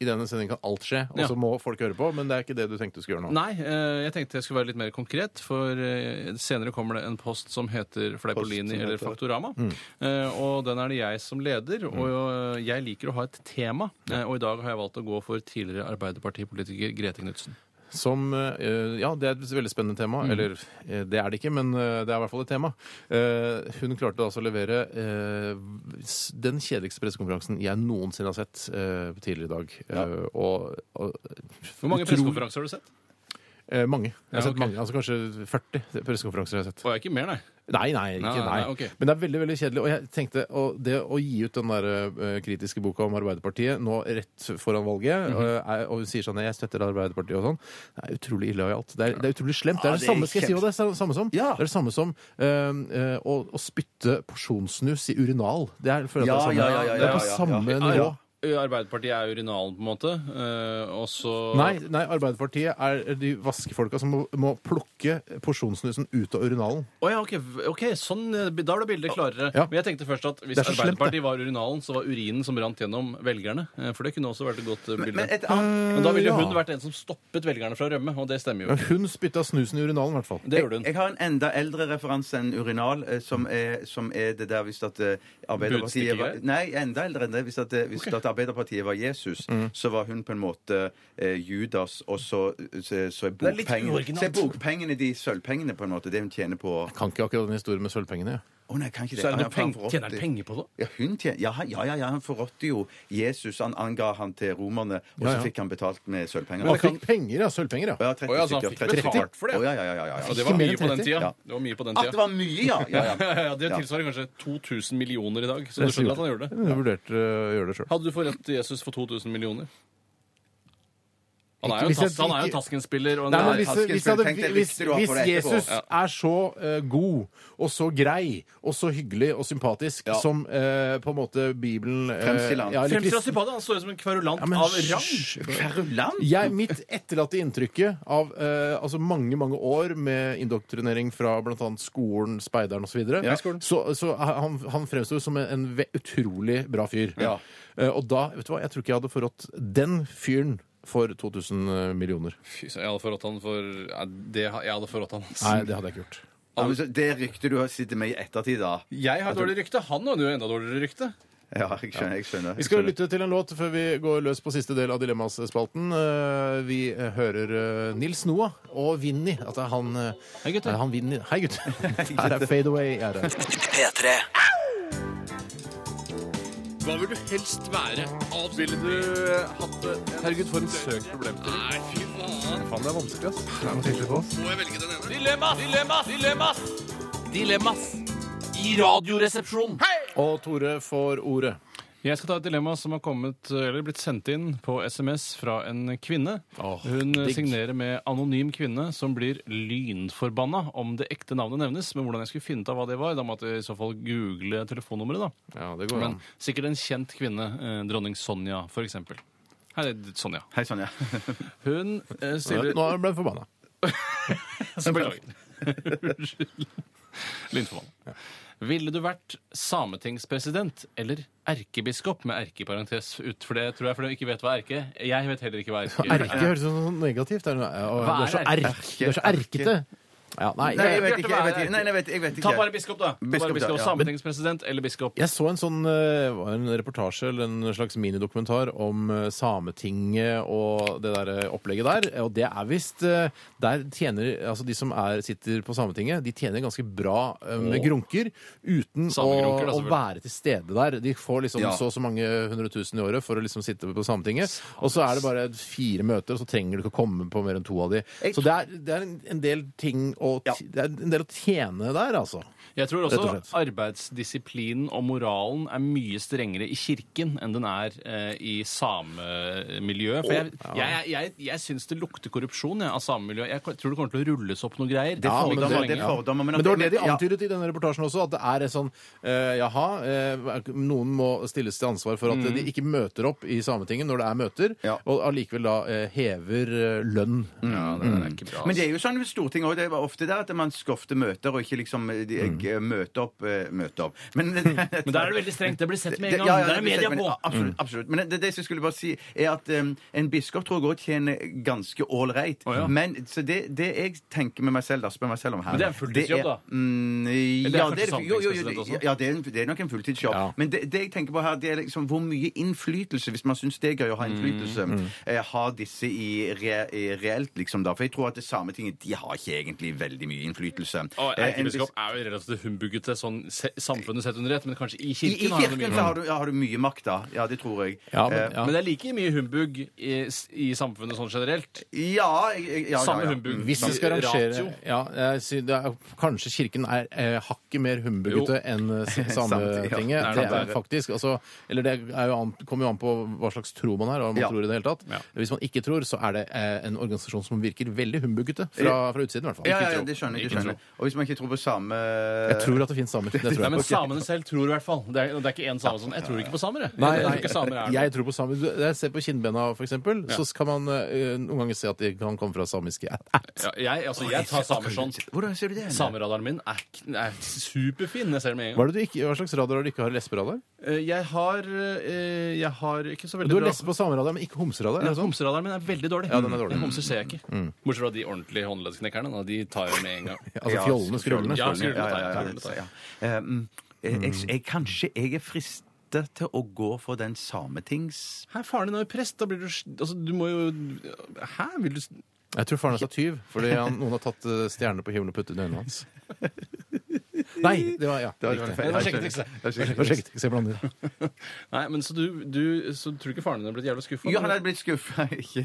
[SPEAKER 3] i denne sendingen kan alt skje, og
[SPEAKER 4] Ja.
[SPEAKER 3] så må folk høre på, men det er ikke det du tenkte du skulle gjøre nå.
[SPEAKER 4] Nei, eh, jeg tenkte jeg skulle være litt mer konkret, for eh, senere kommer det en post som heter
[SPEAKER 5] Post
[SPEAKER 4] Fleipolini
[SPEAKER 5] som
[SPEAKER 4] eller
[SPEAKER 5] heter-
[SPEAKER 4] Faktorama.
[SPEAKER 3] Mm.
[SPEAKER 4] Eh, Og den er det jeg som leder, og eh, jeg liker å ha et tema. eh, Og i dag har jeg valgt å gå for tidligere Arbeiderpartipolitiker Grete Knutsen.
[SPEAKER 3] Som eh, Ja, det er et veldig spennende tema.
[SPEAKER 4] Mm.
[SPEAKER 3] Eller eh, det er det ikke, men eh, det er i hvert fall et tema. Eh, hun klarte altså å levere eh, s- den kjedeligste pressekonferansen jeg noensinne har sett eh, tidligere i dag. Eh, og, og
[SPEAKER 4] Hvor mange
[SPEAKER 3] utrolig-
[SPEAKER 4] pressekonferanser har du sett?
[SPEAKER 3] Eh, mange. Jeg har
[SPEAKER 4] Ja,
[SPEAKER 3] sett
[SPEAKER 4] ok.
[SPEAKER 3] mange, altså Kanskje 40 pressekonferanser jeg har sett.
[SPEAKER 4] Og jeg er ikke mer, nei.
[SPEAKER 3] Nei, nei, ikke nei.
[SPEAKER 4] Nei, nei, ok.
[SPEAKER 3] Men det er veldig veldig kjedelig. Og jeg tenkte og det å gi ut den der eh, kritiske boka om Arbeiderpartiet nå rett foran
[SPEAKER 5] Mhm.
[SPEAKER 3] valget, og, er, og hun sier sånn «Nei, 'jeg støtter Arbeiderpartiet' og sånn, det er utrolig illojalt. Det, er- det er utrolig slemt. Det er det,
[SPEAKER 5] Ja, det er
[SPEAKER 3] samme skal jeg si,
[SPEAKER 5] kjempe-
[SPEAKER 3] og det er det samme som,
[SPEAKER 5] Ja.
[SPEAKER 3] det er det samme som eh, eh, å, å spytte porsjonssnus i urinal. Det er, jeg føler
[SPEAKER 5] Ja,
[SPEAKER 3] at det er samme,
[SPEAKER 5] ja, ja, ja,
[SPEAKER 3] det er
[SPEAKER 5] ja, ja,
[SPEAKER 3] på samme
[SPEAKER 5] ja.
[SPEAKER 3] nivå.
[SPEAKER 4] Ja, Arbeiderpartiet er urinalen, på en måte. eh, Og så
[SPEAKER 3] Nei, nei, Arbeiderpartiet er de vaskefolka som må, må plukke porsjonssnusen ut av urinalen.
[SPEAKER 4] Å ja, ok, v- ok, sånn, eh, da ble bildet klarere.
[SPEAKER 3] Ja.
[SPEAKER 4] Men jeg tenkte først at hvis
[SPEAKER 3] Det er så slemt,
[SPEAKER 4] Arbeiderpartiet var urinalen, så var urinen som rant gjennom velgerne. eh, For det kunne også vært et godt eh, bilde.
[SPEAKER 5] Men et annet
[SPEAKER 4] Men da ville jo
[SPEAKER 3] Ja.
[SPEAKER 4] hun vært en som stoppet velgerne fra å rømme, og det stemmer jo
[SPEAKER 3] Men
[SPEAKER 4] ikke.
[SPEAKER 3] hun spytta snusen i urinalen, i hvert fall.
[SPEAKER 4] Det gjorde hun.
[SPEAKER 5] Jeg har en enda eldre referanse enn urinal, eh, som
[SPEAKER 4] Mm.
[SPEAKER 5] er, som er det der hvis at eh, Arbeiderpartiet var,
[SPEAKER 4] Budstikkegreier?
[SPEAKER 5] Nei, enda eldre enn det. Hvis at, eh, hvis at Arbeiderpartiet var Jesus,
[SPEAKER 4] Mm.
[SPEAKER 5] så var hun på en måte eh, Judas, og så, så, så er
[SPEAKER 4] er litt
[SPEAKER 5] bokpengene
[SPEAKER 4] uoriginalt.
[SPEAKER 5] Så er bokpengene de sølvpengene, på en måte. Det hun tjener på Å
[SPEAKER 3] Kan ikke akkurat den historien med sølvpengene. Ja.
[SPEAKER 5] nei, kan ikke det.
[SPEAKER 4] Så er det
[SPEAKER 5] Han
[SPEAKER 4] noe
[SPEAKER 5] faen
[SPEAKER 4] peng,
[SPEAKER 5] for
[SPEAKER 4] tjener han
[SPEAKER 5] 80.
[SPEAKER 4] penger på det?
[SPEAKER 5] Ja, hun tjener, ja, han- ja, ja, ja, han forrådte jo Jesus. Han anga han til romerne, og
[SPEAKER 3] Ja, ja.
[SPEAKER 5] så fikk han betalt med sølvpenger.
[SPEAKER 3] Han
[SPEAKER 5] Å,
[SPEAKER 4] det kan-
[SPEAKER 3] fikk penger, ja. Sølvpenger, ja.
[SPEAKER 5] Ja, 30
[SPEAKER 4] Å ja, så han
[SPEAKER 5] stykker.
[SPEAKER 4] fikk betalt for det?
[SPEAKER 5] Å, ja, ja, ja, ja, ja.
[SPEAKER 4] Og det
[SPEAKER 3] Ikke
[SPEAKER 4] var
[SPEAKER 3] mer
[SPEAKER 4] mye
[SPEAKER 3] enn
[SPEAKER 4] på den
[SPEAKER 3] 30?
[SPEAKER 4] tida.
[SPEAKER 5] Ja.
[SPEAKER 4] Det var mye på den
[SPEAKER 5] At det
[SPEAKER 4] tida.
[SPEAKER 5] var mye, ja! ja, ja.
[SPEAKER 4] Ja, ja, det
[SPEAKER 5] Ja.
[SPEAKER 4] tilsvarer kanskje 2000 millioner i dag. Så du skjønner at han gjorde det.
[SPEAKER 3] Hun vurderte øh, å gjøre det sjøl.
[SPEAKER 4] Hadde du forrett Jesus for 2000 millioner? Han er jo en,
[SPEAKER 3] Hvis jeg-
[SPEAKER 4] tas, han er jo en Tasken-spiller. og en
[SPEAKER 3] Nei, men
[SPEAKER 4] er-
[SPEAKER 3] hvis, hvis, jeg hadde, hvis, hvis Jesus er så eh, god og så grei og så hyggelig og sympatisk som eh, på en måte Bibelen eh,
[SPEAKER 5] Fremstiller han.
[SPEAKER 3] ja, eller
[SPEAKER 4] Fremstår
[SPEAKER 3] kristen-
[SPEAKER 4] han sympatisk? Han står jo som en kverulant
[SPEAKER 3] Ja, men
[SPEAKER 4] av rang.
[SPEAKER 3] hysj.
[SPEAKER 5] Karolan?
[SPEAKER 3] jeg, mitt etterlatte inntrykket av eh, altså mange mange år med indoktrinering fra bl.a. skolen, speideren osv., så, videre,
[SPEAKER 4] Ja, skolen.
[SPEAKER 3] så, så han, han fremsto som en, en ve- utrolig bra fyr.
[SPEAKER 4] Ja.
[SPEAKER 3] Eh, og da, vet du hva, jeg tror ikke jeg hadde forrådt den fyren for 2000 millioner.
[SPEAKER 4] Fy søren, jeg hadde forrådt han for ja, det, ha- Jeg hadde forrådt han. altså. ass.
[SPEAKER 3] Nei, det hadde jeg ikke gjort.
[SPEAKER 5] Ja, men så det ryktet du har sittet med i ettertid, da.
[SPEAKER 4] Jeg har dårlig rykte. Han hadde jo enda dårligere rykte.
[SPEAKER 5] Ja, jeg skjønner. jeg skjønner.
[SPEAKER 3] Vi
[SPEAKER 5] Jeg
[SPEAKER 3] skal
[SPEAKER 5] skjønner.
[SPEAKER 3] lytte til en låt før vi går løs på siste del av Dilemmaspalten. Eh, Vi eh, hører eh, Nils Noah og Vinni. At det er han eh,
[SPEAKER 4] Hei, gutter.
[SPEAKER 3] er han Vinni. Hei, gutter. Her er Fade Away. Er det.
[SPEAKER 1] P3.
[SPEAKER 7] Hva vil du helst være? Ville du eh, hatt det? Herregud, for en søk problemstilling. Nei, fy faen. Faen, det er vanskelig, ass. Det er vanskelig på oss. Må jeg velge den ene? Dilemmas, dilemmas, dilemmas! Dilemmas i radioresepsjonen. Hei!
[SPEAKER 3] Og Tore får ordet.
[SPEAKER 4] Jeg skal ta et dilemma som har kommet, eller blitt sendt inn på SMS fra en kvinne.
[SPEAKER 3] Åh,
[SPEAKER 4] Hun eh,
[SPEAKER 3] digg.
[SPEAKER 4] signerer med 'anonym kvinne', som blir lynforbanna om det ekte navnet nevnes. Men hvordan jeg skulle finne ut av hva det var, da måtte jeg i så fall google telefonnummeret. da.
[SPEAKER 3] Ja, det går
[SPEAKER 4] Men sikkert en kjent kvinne. eh, Dronning Sonja, for eksempel. Her er Sonja.
[SPEAKER 5] Hei, Sonja.
[SPEAKER 4] Hun eh, stiller
[SPEAKER 3] Nå ble jeg forbanna.
[SPEAKER 4] Beklager. Unnskyld. Lynformann. Ville du vært sametingspresident eller erkebiskop med erke i parentes ut? For det tror jeg, for dere ikke vet hva erke er. Jeg vet heller ikke hva erke er.
[SPEAKER 3] Erke høres ut som noe negativt. Er det, og, du
[SPEAKER 4] Hva er
[SPEAKER 3] er så
[SPEAKER 4] erke?
[SPEAKER 3] erk. Du er så erkete. Ja, nei,
[SPEAKER 5] Nei, jeg
[SPEAKER 3] jeg,
[SPEAKER 5] vet ikke. Jeg vet ikke. Nei, nei, jeg vet, jeg vet ikke.
[SPEAKER 4] Ta bare biskop, da. Ta
[SPEAKER 5] Biskop,
[SPEAKER 4] bare biskop,
[SPEAKER 5] ja.
[SPEAKER 4] Sametingspresident eller biskop.
[SPEAKER 3] jeg så en sånn eh, var en reportasje eller en slags minidokumentar om eh, Sametinget og det der eh, opplegget der. Og det er visst eh, Der tjener altså de som er, sitter på Sametinget, de tjener ganske bra eh, med
[SPEAKER 4] Åh.
[SPEAKER 3] grunker uten å,
[SPEAKER 4] Samegrunker, da,
[SPEAKER 3] å
[SPEAKER 4] selvfølgelig.
[SPEAKER 3] være til stede der. De får liksom
[SPEAKER 5] Ja.
[SPEAKER 3] så og så mange hundre tusen i året for å liksom sitte på Sametinget. Og så er det bare fire møter, og så trenger du ikke å komme på mer enn to av de. Så det er, det er en- en del ting å, t- det er en del å tjene der, altså.
[SPEAKER 4] Jeg tror
[SPEAKER 3] Rett
[SPEAKER 4] også
[SPEAKER 3] og slett.
[SPEAKER 4] arbeidsdisiplinen og moralen er mye strengere i kirken enn den er eh, i samemiljøet. For jeg, jeg, jeg, jeg syns det lukter korrupsjon jeg, av samemiljøet. Jeg tror det kommer til å rulles opp noen greier.
[SPEAKER 5] Ja, men
[SPEAKER 4] Formiddag
[SPEAKER 5] det-
[SPEAKER 4] var lenge.
[SPEAKER 5] det får- fordommer, men
[SPEAKER 3] men,
[SPEAKER 5] at-
[SPEAKER 3] det var det de
[SPEAKER 5] ja.
[SPEAKER 3] antydet i denne reportasjen også, at det er et sånn eh, Jaha, eh, noen må stilles til ansvar for at de ikke møter opp i Sametinget når det er møter,
[SPEAKER 5] Mm. Ja.
[SPEAKER 3] og allikevel da eh, hever eh, lønn.
[SPEAKER 4] Ja, det er ikke bra.
[SPEAKER 5] Men det er jo sånn ved Stortinget også, det er ofte der at man skofter møter og ikke liksom eh, de, eh, møter opp. eh, Møter opp. Men,
[SPEAKER 4] Mm. Men der er det veldig strengt. Det blir sett med en gang.
[SPEAKER 5] Ja, ja,
[SPEAKER 4] Der er
[SPEAKER 5] det-
[SPEAKER 4] media
[SPEAKER 5] men-
[SPEAKER 4] på.
[SPEAKER 5] Absolutt. absolutt. Men det, det som jeg skulle bare si, er at um, en biskop tror jeg òg tjener ganske ålreit.
[SPEAKER 4] Å, ja.
[SPEAKER 5] Men så det, det jeg tenker med meg selv, da, spør meg selv om her
[SPEAKER 4] Men det er en
[SPEAKER 5] det
[SPEAKER 4] fulltidsjobb,
[SPEAKER 5] er-
[SPEAKER 4] da.
[SPEAKER 5] Mm,
[SPEAKER 4] Eller det er
[SPEAKER 5] ja,
[SPEAKER 4] kanskje
[SPEAKER 5] det er, det- jo, jo, jo,
[SPEAKER 4] samtingspresident også?
[SPEAKER 5] ja, det er, en- det er nok en fulltidsjobb.
[SPEAKER 3] Ja.
[SPEAKER 5] Men det, det jeg tenker på her, det er liksom hvor mye innflytelse, hvis man syns det er gøy å ha innflytelse, eh, har disse i, re, i reelt, liksom, da. For jeg tror at det Sametinget de har ikke egentlig veldig mye innflytelse.
[SPEAKER 4] Og
[SPEAKER 5] Eh, en
[SPEAKER 4] Erkebiskop er jo relativt humbuggete sånn se- samfunnet sett under ett, men kanskje i
[SPEAKER 5] I, I
[SPEAKER 4] kirken. har han
[SPEAKER 5] kirken
[SPEAKER 4] mye.
[SPEAKER 5] så har du, ja, har du mye makt, da. Ja, det tror jeg.
[SPEAKER 3] Ja, men-
[SPEAKER 5] Eh,
[SPEAKER 3] ja.
[SPEAKER 4] Men det er like mye humbug i, i samfunnet sånn generelt.
[SPEAKER 5] Ja, jeg- jeg- ja, ja, ja.
[SPEAKER 4] Samme humbug.
[SPEAKER 3] Hvis vi skal rangere
[SPEAKER 4] Ratio.
[SPEAKER 3] ja, jeg sy- det er, Kanskje Kirken er eh, hakket mer humbuggete enn eh, s-
[SPEAKER 5] Samtidig,
[SPEAKER 3] Sametinget.
[SPEAKER 4] ja.
[SPEAKER 3] Det
[SPEAKER 4] Nei,
[SPEAKER 3] er
[SPEAKER 4] det er-
[SPEAKER 3] faktisk altså, Eller det er jo an, kommer jo an på hva slags tro man er, og om man
[SPEAKER 5] Ja.
[SPEAKER 3] tror i det hele tatt.
[SPEAKER 4] Ja.
[SPEAKER 3] Hvis man ikke tror, så er det eh, en organisasjon som virker veldig humbuggete fra, fra utsiden, i hvert fall.
[SPEAKER 5] Ja, ja, ja,
[SPEAKER 4] tro.
[SPEAKER 5] det skjønner jeg.
[SPEAKER 4] Ikke
[SPEAKER 5] Det skjønner. jeg. Og hvis man ikke tror på samme
[SPEAKER 3] Jeg tror at det finnes samer. Det tror
[SPEAKER 4] Nei,
[SPEAKER 3] jeg.
[SPEAKER 4] men samene selv tror i hvert fall. Det er, det er ikke én same som Jeg tror ikke på samer, jeg.
[SPEAKER 3] Nei,
[SPEAKER 4] jeg tror
[SPEAKER 3] nei,
[SPEAKER 4] ikke samer er
[SPEAKER 3] jeg tror på samer. Du- Jeg ser på kinnbena, for eksempel,
[SPEAKER 4] Ja.
[SPEAKER 3] så kan man eh, noen ganger se at de kan komme fra samiske ætt.
[SPEAKER 4] ja, jeg, altså, jeg tar samer sånn.
[SPEAKER 5] Hvordan ser du det?
[SPEAKER 4] Sameradaren min er, k- er superfin. Jeg ser det med en
[SPEAKER 3] Hva,
[SPEAKER 4] gang.
[SPEAKER 3] er det du ikke, hva slags radar har du ikke? Har du lesberadar?
[SPEAKER 4] Eh, Jeg har, eh, jeg har ikke så
[SPEAKER 3] Du
[SPEAKER 4] veldig
[SPEAKER 3] har lesbe- og sameradar, men ikke homseradar? er
[SPEAKER 4] Ja,
[SPEAKER 3] det sånn?
[SPEAKER 4] Homseradaren min er veldig dårlig.
[SPEAKER 3] Ja, den er dårlig.
[SPEAKER 4] Men Homser ser jeg ikke. Bortsett fra de ordentlige håndleddsknekkerne. da, De tar jeg med en gang.
[SPEAKER 3] Altså fjollene, skrullene?
[SPEAKER 4] Ja, skrullene.
[SPEAKER 5] Ja, ja, ja, ja, ja. Eh, mm, eh, jeg, jeg, kanskje jeg er fristet til å gå for den sametings...
[SPEAKER 4] Hæ, faren din er jo prest. Da blir du s- Altså, du må jo Hæ? Vil du s-
[SPEAKER 3] Jeg tror faren hans er tyv, fordi han, noen har tatt eh, stjerner på himmelen og puttet den i øynene hans. Nei, det var ja.
[SPEAKER 5] Det var- det var
[SPEAKER 3] riktig.
[SPEAKER 5] en feil.
[SPEAKER 4] Det var sjekketrikset.
[SPEAKER 5] Det var
[SPEAKER 3] Det var
[SPEAKER 5] sjekketrikset.
[SPEAKER 3] kjekt. Se blander.
[SPEAKER 4] Nei, men Så du, du så tror du ikke faren din er blitt jævla skuffa?
[SPEAKER 5] Ja, han er blitt skuffa. Ikke,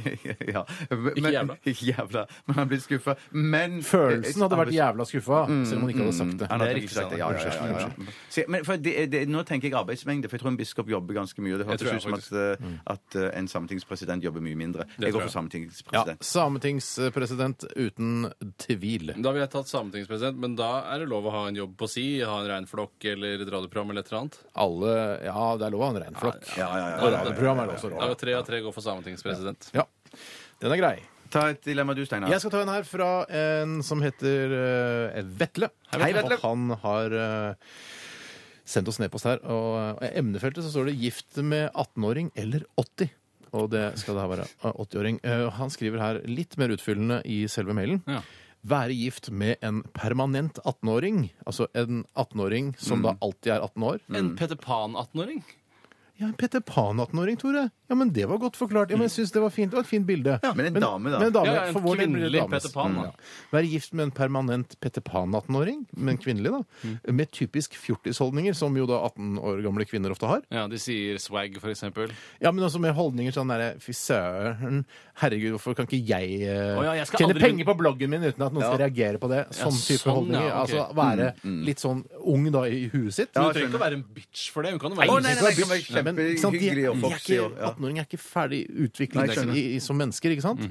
[SPEAKER 5] ja. Men-
[SPEAKER 4] Ikke jævla.
[SPEAKER 5] Ikke jævla, men han er blitt skuffa. Men Eh,
[SPEAKER 3] Følelsen hadde vært jævla skuffa, selv om han ikke hadde sagt det.
[SPEAKER 5] Han hadde
[SPEAKER 4] Det er
[SPEAKER 5] ikke sagt det. Mm,
[SPEAKER 4] riktig,
[SPEAKER 5] Ja, ja, ja, ja, ja. Se, men for det, det, nå tenker jeg arbeidsmengde, for jeg tror en biskop jobber ganske mye. Det
[SPEAKER 4] tror
[SPEAKER 5] høres
[SPEAKER 4] jeg
[SPEAKER 5] ut som at, at eh, en sametingspresident jobber mye mindre. Jeg går for
[SPEAKER 3] Ja,
[SPEAKER 5] sametingspresident.
[SPEAKER 3] Sametingspresident uten tvil.
[SPEAKER 4] Da ville jeg tatt sametingspresident, men da er det lov å ha en jobb på si, ha en reinflokk eller et radioprogram eller et eller annet.
[SPEAKER 3] Alle Ja, det er lov å ha en reinflokk.
[SPEAKER 5] Ja, ja, ja,
[SPEAKER 3] Og
[SPEAKER 5] ja, ja,
[SPEAKER 3] radioprogram er det også
[SPEAKER 4] Da
[SPEAKER 3] lov.
[SPEAKER 4] er tre av tre går for sametingspresident.
[SPEAKER 3] Ja. Den er grei.
[SPEAKER 5] Ta et dilemma du, Steinar.
[SPEAKER 3] Jeg skal ta en her fra en som heter eh, Vetle.
[SPEAKER 5] Hei, Vetle.
[SPEAKER 3] Og han har eh, sendt oss nedpost her. Og eh, i emnefeltet så står det 'gift med 18-åring eller 80'. Og det skal det her være. eh, 80-åring. Eh, Han skriver her litt mer utfyllende i selve mailen.
[SPEAKER 4] Ja.
[SPEAKER 3] Være gift med en permanent 18-åring. Altså en 18-åring som
[SPEAKER 5] Mm.
[SPEAKER 3] da alltid er 18 år.
[SPEAKER 4] En Peter Pan-18-åring?
[SPEAKER 3] Ja, en Peter Pan-18-åring, Tore. Ja, men det var godt forklart. Ja, men jeg synes Det var fint. Det var et fint bilde.
[SPEAKER 5] men en dame, da.
[SPEAKER 3] Men en dame,
[SPEAKER 4] Ja, ja, en
[SPEAKER 3] for vår del blir det
[SPEAKER 4] kvinnelig
[SPEAKER 3] dames.
[SPEAKER 4] Peter Pan, da.
[SPEAKER 3] Være gift med en permanent Peter Pan-18-åring, men kvinnelig, da.
[SPEAKER 4] Mm.
[SPEAKER 3] Med typisk fjortisholdninger, som jo da 18 år gamle kvinner ofte har.
[SPEAKER 4] Ja, de sier swag, for eksempel.
[SPEAKER 3] Ja, men også med holdninger sånn derre Fy søren, herregud, hvorfor kan ikke jeg eh,
[SPEAKER 4] Å ja, jeg skal
[SPEAKER 3] tjene
[SPEAKER 4] aldri begynne-
[SPEAKER 3] penger på bloggen min uten at noen skal reagere på det? Sånn type
[SPEAKER 4] sånn,
[SPEAKER 3] holdninger.
[SPEAKER 4] ja, ok.
[SPEAKER 3] Altså være
[SPEAKER 5] Mm,
[SPEAKER 3] litt sånn ung da i huet sitt.
[SPEAKER 4] Du trenger ikke å være en bitch for det. Hun kan jo være
[SPEAKER 5] Å, nei, nei, nei, det kan være
[SPEAKER 3] Nei, men, ikke sant, de,
[SPEAKER 5] kjempehyggelig og
[SPEAKER 3] de er
[SPEAKER 5] foxy.
[SPEAKER 3] ikke,
[SPEAKER 5] og- ja.
[SPEAKER 3] 18-åringer er ikke ferdig
[SPEAKER 5] Nei,
[SPEAKER 3] utviklet
[SPEAKER 5] jeg skjønner. Mhm.
[SPEAKER 3] i, i, som mennesker, ikke sant?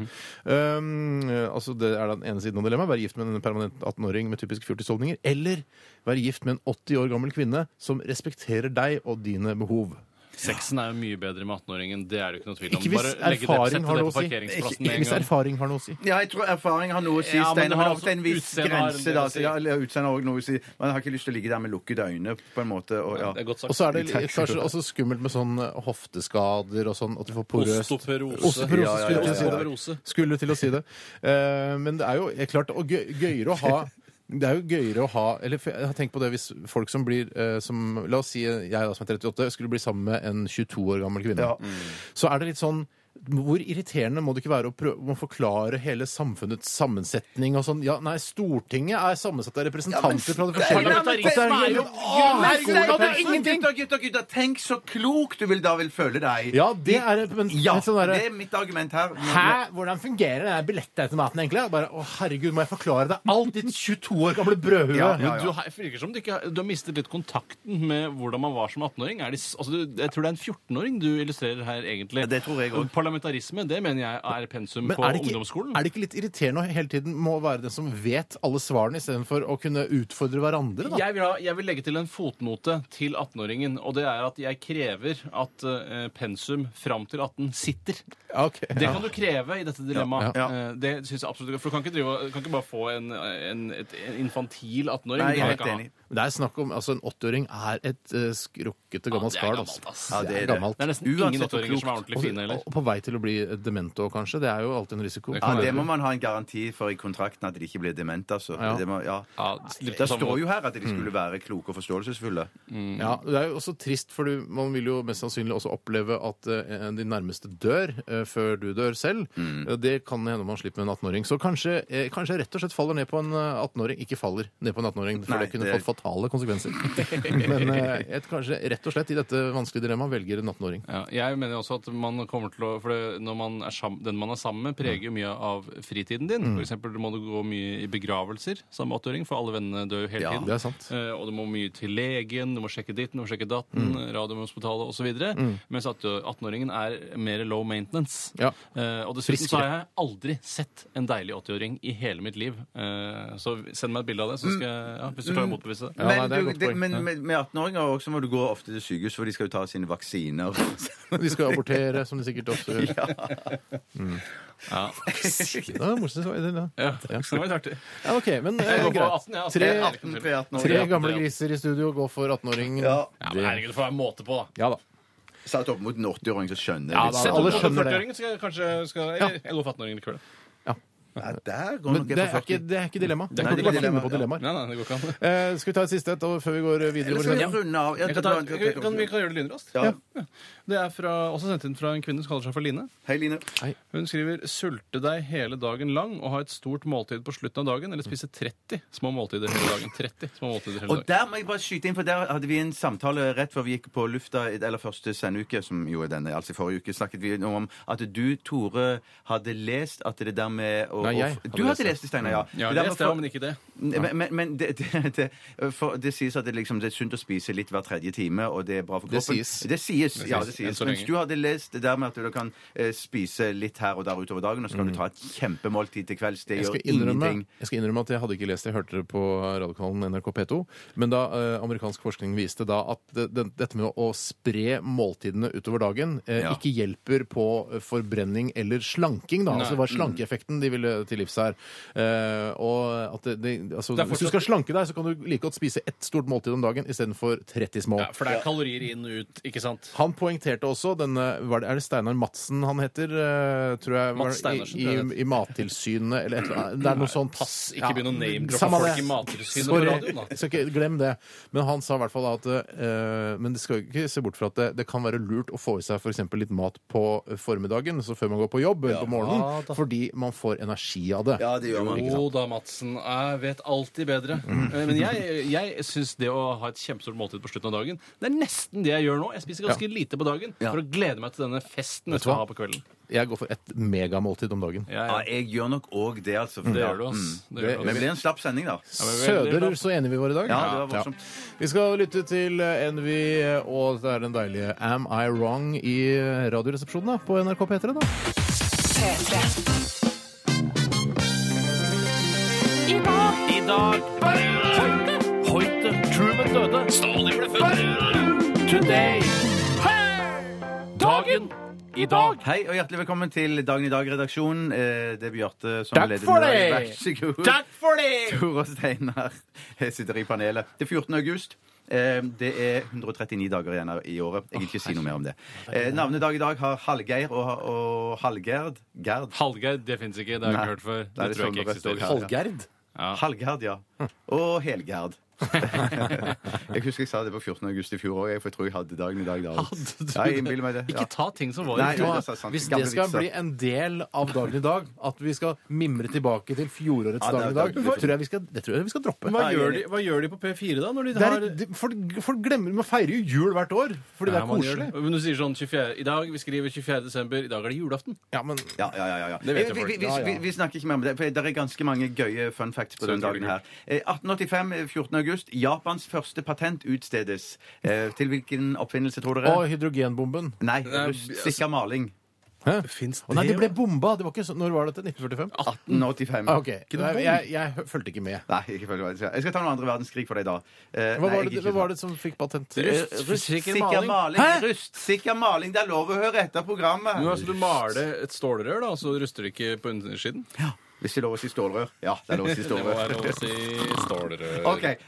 [SPEAKER 3] um, altså Det er den ene siden av dilemmaet. Være gift med en permanent 18-åring med typisk fjortisholdninger. Eller være gift med en 80 år gammel kvinne som respekterer deg og dine behov.
[SPEAKER 4] Sexen er jo mye bedre med 18-åringen. Det er det jo ikke noe tvil om.
[SPEAKER 3] Ikke hvis
[SPEAKER 4] legge det- sette
[SPEAKER 3] erfaring har
[SPEAKER 4] det
[SPEAKER 3] noe
[SPEAKER 4] på
[SPEAKER 3] å si.
[SPEAKER 4] parkeringsplassen
[SPEAKER 3] Ikke
[SPEAKER 4] med en
[SPEAKER 3] hvis
[SPEAKER 4] gang.
[SPEAKER 3] erfaring har noe å si.
[SPEAKER 5] Ja, jeg tror erfaring har noe å si,
[SPEAKER 4] Ja, men
[SPEAKER 5] Steinar.
[SPEAKER 4] det
[SPEAKER 5] Men
[SPEAKER 4] har
[SPEAKER 5] det er ofte en
[SPEAKER 4] også-
[SPEAKER 5] viss
[SPEAKER 4] utseendet har en
[SPEAKER 5] grense,
[SPEAKER 4] del
[SPEAKER 5] da.
[SPEAKER 4] å si.
[SPEAKER 5] Så, ja, eller utseendet har også noe å si. Man har ikke lyst til å ligge der med lukkede øyne, på en måte. Og, ja.
[SPEAKER 4] Det er godt sagt.
[SPEAKER 3] Og så er det litt- kanskje også skummelt med sånn hofteskader og sånn, at du får porøst
[SPEAKER 4] Osteoporose.
[SPEAKER 3] Osteoporose,
[SPEAKER 5] Ja, ja,
[SPEAKER 3] skulle jeg til å si det.
[SPEAKER 4] Osteoporose.
[SPEAKER 3] Skulle til å si det. Eh, men det er jo eh, klart og gøy, gøyere å ha det er jo gøyere å ha eller for Jeg har tenkt på det hvis folk som blir eh, som, La oss si jeg da som er 38, skulle bli sammen med en 22 år gammel kvinne.
[SPEAKER 5] Ja.
[SPEAKER 3] Så er det litt sånn hvor irriterende må det ikke være å prøve å forklare hele samfunnets sammensetning og sånn? Ja, nei, Stortinget er sammensatt av representanter fra det forskjellige
[SPEAKER 4] Parlamentarisme er jo-
[SPEAKER 5] Steinar,
[SPEAKER 3] Parlamentarisme
[SPEAKER 5] det er ingenting! Gutter, gutter, gutter, tenk så klok du vil da vil føle deg.
[SPEAKER 3] Ja, det er et- men,
[SPEAKER 5] Ja,
[SPEAKER 3] et sånn derre-
[SPEAKER 5] det er mitt argument her.
[SPEAKER 3] Hæ? Hvordan fungerer den billettautomaten egentlig? Bare, å herregud, må jeg forklare deg alt, ditt 22 år gamle brødhue?
[SPEAKER 5] Ja, ja.
[SPEAKER 4] Men du har, virker som du, ikke, har- du har mistet litt kontakten med hvordan man var som 18-åring. Er det s- Altså, du- jeg tror det er en 14-åring du illustrerer her, egentlig.
[SPEAKER 5] det tror jeg også.
[SPEAKER 4] Parlamentarisme, det mener jeg er pensum
[SPEAKER 3] Men
[SPEAKER 4] på
[SPEAKER 3] er det, ikke,
[SPEAKER 4] ungdomsskolen.
[SPEAKER 3] er det ikke litt irriterende å hele tiden må være den som vet alle svarene, istedenfor å kunne utfordre hverandre? da?
[SPEAKER 4] jeg vil, ha, jeg vil legge til en fotnote til 18-åringen, og det er at jeg krever at eh, pensum fram til 18 sitter.
[SPEAKER 3] Ja, ok.
[SPEAKER 4] Det kan du kreve i dette dilemmaet.
[SPEAKER 5] Ja, ja.
[SPEAKER 4] Eh, Det synes jeg absolutt ikke, For du kan ikke, drive, og- du kan ikke bare få en, en, et, en infantil 18-åring.
[SPEAKER 5] Nei, jeg
[SPEAKER 4] Det kan
[SPEAKER 5] er
[SPEAKER 4] du
[SPEAKER 5] helt
[SPEAKER 4] ikke ha.
[SPEAKER 5] enig.
[SPEAKER 3] Men Det er snakk om, altså En 80-åring er et eh, skrukkete gammelt
[SPEAKER 4] det er
[SPEAKER 3] skall.
[SPEAKER 4] gammelt,
[SPEAKER 3] altså.
[SPEAKER 4] ass.
[SPEAKER 5] Ja, det er det.
[SPEAKER 4] Det er nesten
[SPEAKER 5] Uansett
[SPEAKER 4] ingen
[SPEAKER 5] hvor
[SPEAKER 4] 80-åringer som er
[SPEAKER 5] klokt.
[SPEAKER 4] ordentlig fine heller.
[SPEAKER 3] Og, og på vei til å bli demento, kanskje. Det er jo alltid en risiko.
[SPEAKER 4] Det
[SPEAKER 5] Ja,
[SPEAKER 4] kan
[SPEAKER 5] det må man ha en garanti for i kontrakten, at de ikke blir demente. Altså.
[SPEAKER 3] Ja. Mm.
[SPEAKER 5] Det, må, ja.
[SPEAKER 4] Ja, litt på
[SPEAKER 5] det
[SPEAKER 4] samme
[SPEAKER 5] står
[SPEAKER 4] måte.
[SPEAKER 5] jo her at de skulle være kloke og forståelsesfulle. Mm.
[SPEAKER 3] Ja, Det er jo også trist, for du, man vil jo mest sannsynlig også oppleve at eh, de nærmeste dør eh, før du dør selv.
[SPEAKER 5] Mm.
[SPEAKER 3] Eh, Det kan hende man slipper med en 18-åring. Så kanskje, eh, kanskje jeg rett og slett faller ned på en eh, 18-åring. Ikke faller ned på en 18-åring, for
[SPEAKER 5] Nei,
[SPEAKER 3] det kunne
[SPEAKER 5] det-
[SPEAKER 3] fått fatale konsekvenser. Men eh, jeg kanskje rett og slett i dette vanskelige dilemmaet velger en 18-åring.
[SPEAKER 4] Ja, jeg mener også at man kommer til å For det, når man er sammen, den man er sammen med, preger jo mye av fritiden din. For eksempel må du gå mye i begravelser sammen med åtteåring, for alle vennene dør jo hele
[SPEAKER 5] Ja,
[SPEAKER 4] tiden.
[SPEAKER 3] det er sant.
[SPEAKER 4] Eh, og du må mye til legen, du må sjekke ditten, du må sjekke datten, Radiumhospitalet osv. videre Mens at, ø, 18-åringen er mer low maintenance.
[SPEAKER 3] Ja.
[SPEAKER 4] Eh, og dessuten så
[SPEAKER 3] Friskere.
[SPEAKER 4] har jeg aldri sett en deilig 80-åring i hele mitt liv. Eh, så send meg et bilde av det, så skal jeg, ja, hvis du klarer å motbevise det.
[SPEAKER 3] Ja, nei,
[SPEAKER 5] Men,
[SPEAKER 3] det er et
[SPEAKER 5] du,
[SPEAKER 3] godt
[SPEAKER 5] det,
[SPEAKER 3] poeng.
[SPEAKER 5] men med, med 18-åringer også må du gå ofte til sykehus, for de skal jo ta sine vaksiner.
[SPEAKER 3] De skal abortere, som de sikkert også gjør.
[SPEAKER 4] Ja.
[SPEAKER 3] Det var morsomt. det var det, da.
[SPEAKER 4] Ja, det var litt artig.
[SPEAKER 3] Ja, OK. Men eh,
[SPEAKER 4] Jeg går for
[SPEAKER 3] greit.
[SPEAKER 4] 18, ja.
[SPEAKER 3] Tre-
[SPEAKER 5] 18 til 18 år.
[SPEAKER 3] Tre
[SPEAKER 5] ja.
[SPEAKER 3] gamle griser i studio går for 18-åringen.
[SPEAKER 5] Ja.
[SPEAKER 4] Ja, men herregud, det får være måte på, da.
[SPEAKER 3] ja da.
[SPEAKER 5] Satt opp mot en 80-åring, så skjønner
[SPEAKER 3] Ja,
[SPEAKER 5] jeg litt.
[SPEAKER 3] da-
[SPEAKER 4] Sett
[SPEAKER 3] alle
[SPEAKER 4] opp mot
[SPEAKER 3] skjønner det.
[SPEAKER 4] 40-åringen, så skal jeg kanskje skal, eller, eller 18-åringen i kveld.
[SPEAKER 3] Ja.
[SPEAKER 5] Nei, der går
[SPEAKER 3] Men
[SPEAKER 5] nok jeg
[SPEAKER 3] det er
[SPEAKER 5] på
[SPEAKER 3] ikke,
[SPEAKER 5] 40.
[SPEAKER 3] det er ikke dilemma.
[SPEAKER 5] er
[SPEAKER 3] Man kan
[SPEAKER 5] ikke
[SPEAKER 3] ikke bare
[SPEAKER 5] dilemma,
[SPEAKER 3] finne på
[SPEAKER 5] ja.
[SPEAKER 3] dilemmaer.
[SPEAKER 4] Nei, nei, det går ikke an.
[SPEAKER 3] Eh, Skal vi ta et siste et og- før vi går videre? i
[SPEAKER 5] Eller
[SPEAKER 3] vår
[SPEAKER 5] skal vi
[SPEAKER 3] sending?
[SPEAKER 5] runde av? Ja,
[SPEAKER 4] Jeg kan ta, kan, kan, vi kan gjøre det lynraskt.
[SPEAKER 5] Ja.
[SPEAKER 4] Ja. Det er fra, også sendt inn fra en kvinne som kaller seg for Line.
[SPEAKER 5] Hei, Line.
[SPEAKER 4] Hun skriver 'sulte deg hele dagen lang og ha et stort måltid på slutten av dagen', eller spise 30 små måltider hele dagen. 30 små måltider hele
[SPEAKER 5] Og
[SPEAKER 4] dagen.
[SPEAKER 5] der må jeg bare skyte inn, for der hadde vi en samtale rett før vi gikk på lufta, eller første sendeuke, som jo er denne, altså i forrige uke, snakket vi om at du, Tore, hadde lest at det der med å
[SPEAKER 3] Nei, jeg
[SPEAKER 5] å-
[SPEAKER 3] hadde
[SPEAKER 5] Du
[SPEAKER 3] lest
[SPEAKER 5] hadde
[SPEAKER 3] det.
[SPEAKER 5] lest det, Steinar, ja.
[SPEAKER 4] Mm. Ja,
[SPEAKER 5] Det der
[SPEAKER 4] les
[SPEAKER 5] med
[SPEAKER 4] det,
[SPEAKER 5] for-
[SPEAKER 4] men ikke det.
[SPEAKER 5] Men, men, men det, det, det, for det sies at det, liksom, det er sunt å spise litt hver tredje time, og det er bra for
[SPEAKER 3] Det
[SPEAKER 5] kroppen.
[SPEAKER 3] sies.
[SPEAKER 5] Det sies, ja,
[SPEAKER 4] sies,
[SPEAKER 5] det
[SPEAKER 4] enn
[SPEAKER 5] sies.
[SPEAKER 4] så
[SPEAKER 5] Mens
[SPEAKER 4] lenge.
[SPEAKER 5] du hadde lest det der med at du da kan eh, spise litt her og der utover dagen, og så kan du ta et kjempemåltid til kvelds. Det
[SPEAKER 3] Jeg
[SPEAKER 5] gjør
[SPEAKER 3] skal, innrømme,
[SPEAKER 5] ingenting.
[SPEAKER 3] jeg skal innrømme at jeg hadde ikke lest det. Jeg hørte det på radiokanalen NRK P2. Men da eh, amerikansk forskning viste da at det, det, dette med å spre måltidene utover dagen eh,
[SPEAKER 5] Ja.
[SPEAKER 3] ikke hjelper på forbrenning eller slanking, da. Altså det var
[SPEAKER 5] Mm.
[SPEAKER 3] slankeeffekten de ville til livs her. Eh, og at det, det, altså,
[SPEAKER 4] Det er
[SPEAKER 3] Hvis du
[SPEAKER 4] fortsatt-
[SPEAKER 3] skal slanke deg, så kan du like godt spise ett stort måltid om dagen istedenfor 30 små.
[SPEAKER 4] Ja, for det er kalorier inn og ut, ikke sant?
[SPEAKER 3] Han poengterte også denne var det, Er det Steinar Madsen han heter? eh, tror jeg, var,
[SPEAKER 4] Mads Steinersen,
[SPEAKER 3] i,
[SPEAKER 4] tror jeg
[SPEAKER 3] i, I Mattilsynet eller et eller annet. Det er noe sånt.
[SPEAKER 4] Pass, ikke begynn å name-droppe
[SPEAKER 3] samme
[SPEAKER 4] folk
[SPEAKER 3] det.
[SPEAKER 4] i Mattilsynet på
[SPEAKER 3] Sorry.
[SPEAKER 4] radioen, da.
[SPEAKER 3] Jeg skal ikke glem det. Men han sa i hvert fall at eh, Men det skal jo ikke se bort fra at det, det kan være lurt å få i seg f.eks. litt mat på formiddagen, så før man går på jobb eller på morgenen, fordi man får energi av det.
[SPEAKER 5] Ja, det gjør man.
[SPEAKER 4] Jo da, Madsen. Jeg vet alltid bedre. Eh, Men jeg, jeg syns det å ha et kjempestort måltid på slutten av dagen, det er nesten det jeg gjør nå. Jeg spiser ganske lite på dagen
[SPEAKER 5] Ja.
[SPEAKER 4] for å glede meg til denne festen jeg
[SPEAKER 3] du hva?
[SPEAKER 4] skal ha på kvelden.
[SPEAKER 3] Jeg går for et megamåltid om dagen.
[SPEAKER 4] Ja,
[SPEAKER 5] Ja,
[SPEAKER 4] ja.
[SPEAKER 5] jeg gjør nok òg det, altså.
[SPEAKER 4] Det gjør du, ass. Det gjør du,
[SPEAKER 5] Men det
[SPEAKER 4] ass.
[SPEAKER 5] blir en slapp sending, da.
[SPEAKER 4] veldig
[SPEAKER 3] Søderer,
[SPEAKER 4] bra.
[SPEAKER 3] så enige vi var i dag.
[SPEAKER 5] Ja, det var voldsomt.
[SPEAKER 3] Vi skal lytte til Envy, og det er den deilige Am I Wrong i Radioresepsjonen da, på NRK P3. da.
[SPEAKER 2] P3.
[SPEAKER 4] I dag Hoite, Hoite, Truman døde. Stalin ble født. Today. Dagen i dag.
[SPEAKER 5] Hei og hjertelig velkommen til Dagen i dag-redaksjonen. Eh, Det er Bjarte som
[SPEAKER 3] Takk
[SPEAKER 5] leder
[SPEAKER 3] for
[SPEAKER 5] i dag.
[SPEAKER 3] det!
[SPEAKER 5] Vær så god.
[SPEAKER 4] for det!
[SPEAKER 5] Tore og Steinar jeg sitter i panelet. Det er 14. august. Eh, Det er 139 dager igjen i året. Jeg vil ikke si noe mer om det. Eh, Navnedag i dag har Hallgeir og, og Hallgerd. Gerd.
[SPEAKER 4] Halvgeir, det fins ikke. Det har jeg
[SPEAKER 5] Nei.
[SPEAKER 4] ikke hørt
[SPEAKER 5] Nei,
[SPEAKER 4] før. Det
[SPEAKER 5] det
[SPEAKER 4] tror jeg
[SPEAKER 5] sånn
[SPEAKER 4] ikke
[SPEAKER 5] det står
[SPEAKER 4] eksisterer.
[SPEAKER 5] her.
[SPEAKER 3] Hallgerd?
[SPEAKER 5] Hallgerd, ja. Og Helgerd. jeg husker jeg sa det på 14. august i fjor òg, for jeg tror jeg hadde dagen i dag. da.
[SPEAKER 4] Hadde du
[SPEAKER 5] Ja, jeg innbiller meg det.
[SPEAKER 4] Ikke
[SPEAKER 5] Ja.
[SPEAKER 4] ta ting som var
[SPEAKER 5] Nei,
[SPEAKER 4] i fjor.
[SPEAKER 5] jo, det er sant.
[SPEAKER 3] Hvis
[SPEAKER 5] Gamle
[SPEAKER 3] det skal
[SPEAKER 5] vitser.
[SPEAKER 3] bli en del av dagen i dag, at vi skal mimre tilbake til fjorårets
[SPEAKER 5] Ja, det er-
[SPEAKER 3] dag i dag,
[SPEAKER 5] det er-
[SPEAKER 3] tror jeg vi skal, det tror jeg vi skal droppe.
[SPEAKER 4] Hva gjør, de, hva gjør de på P4 da? Når de
[SPEAKER 3] Det
[SPEAKER 4] har
[SPEAKER 3] er, de- folk, folk glemmer Man feirer jo jul hvert år fordi det
[SPEAKER 4] Ja,
[SPEAKER 3] er
[SPEAKER 4] man gjør
[SPEAKER 3] koselig.
[SPEAKER 4] det. Men du sier sånn 24, I dag, vi skriver 24. desember, i dag er det julaften.
[SPEAKER 3] Ja, men
[SPEAKER 5] Ja, ja, ja, ja, ja.
[SPEAKER 4] Det vet jo
[SPEAKER 5] vi,
[SPEAKER 4] folk.
[SPEAKER 5] vi, vi,
[SPEAKER 3] Ja, ja.
[SPEAKER 5] vi- vi snakker ikke mer om det, for det er ganske mange gøye fun facts på
[SPEAKER 4] Så
[SPEAKER 5] den
[SPEAKER 4] utrolig
[SPEAKER 5] dagen her. Eh, 1885, 14. august. Japans første patent utstedes. Eh, Til hvilken oppfinnelse, tror dere?
[SPEAKER 3] Og hydrogenbomben.
[SPEAKER 5] Nei,
[SPEAKER 3] altså,
[SPEAKER 5] rustsikker maling.
[SPEAKER 4] Fins
[SPEAKER 3] Å nei, det ble bomba! Det var ikke så, når var dette? 1945?
[SPEAKER 5] 1885.
[SPEAKER 3] Ah, OK. Jeg, jeg, jeg fulgte ikke med.
[SPEAKER 5] Nei, ikke følg hva jeg sier. Jeg skal ta noen andre verdenskrig for deg da.
[SPEAKER 3] Hva
[SPEAKER 5] Eh, nei,
[SPEAKER 3] var,
[SPEAKER 5] jeg
[SPEAKER 3] det,
[SPEAKER 5] gikk
[SPEAKER 3] hva
[SPEAKER 5] ikke
[SPEAKER 3] var det som fikk patent?
[SPEAKER 5] sånn.
[SPEAKER 4] Rust- rustsikker maling.
[SPEAKER 3] Hæ?
[SPEAKER 5] Rustsikker maling. Det er lov å høre etter programmet.
[SPEAKER 4] Men altså, Du maler et stålrør, da, og så ruster det ikke på undersiden?
[SPEAKER 5] Hvis det er lov å si stålrør. Ja, det er lov å si
[SPEAKER 4] Det må være
[SPEAKER 5] stålrør.
[SPEAKER 4] lov å si stålrør.
[SPEAKER 5] Ok,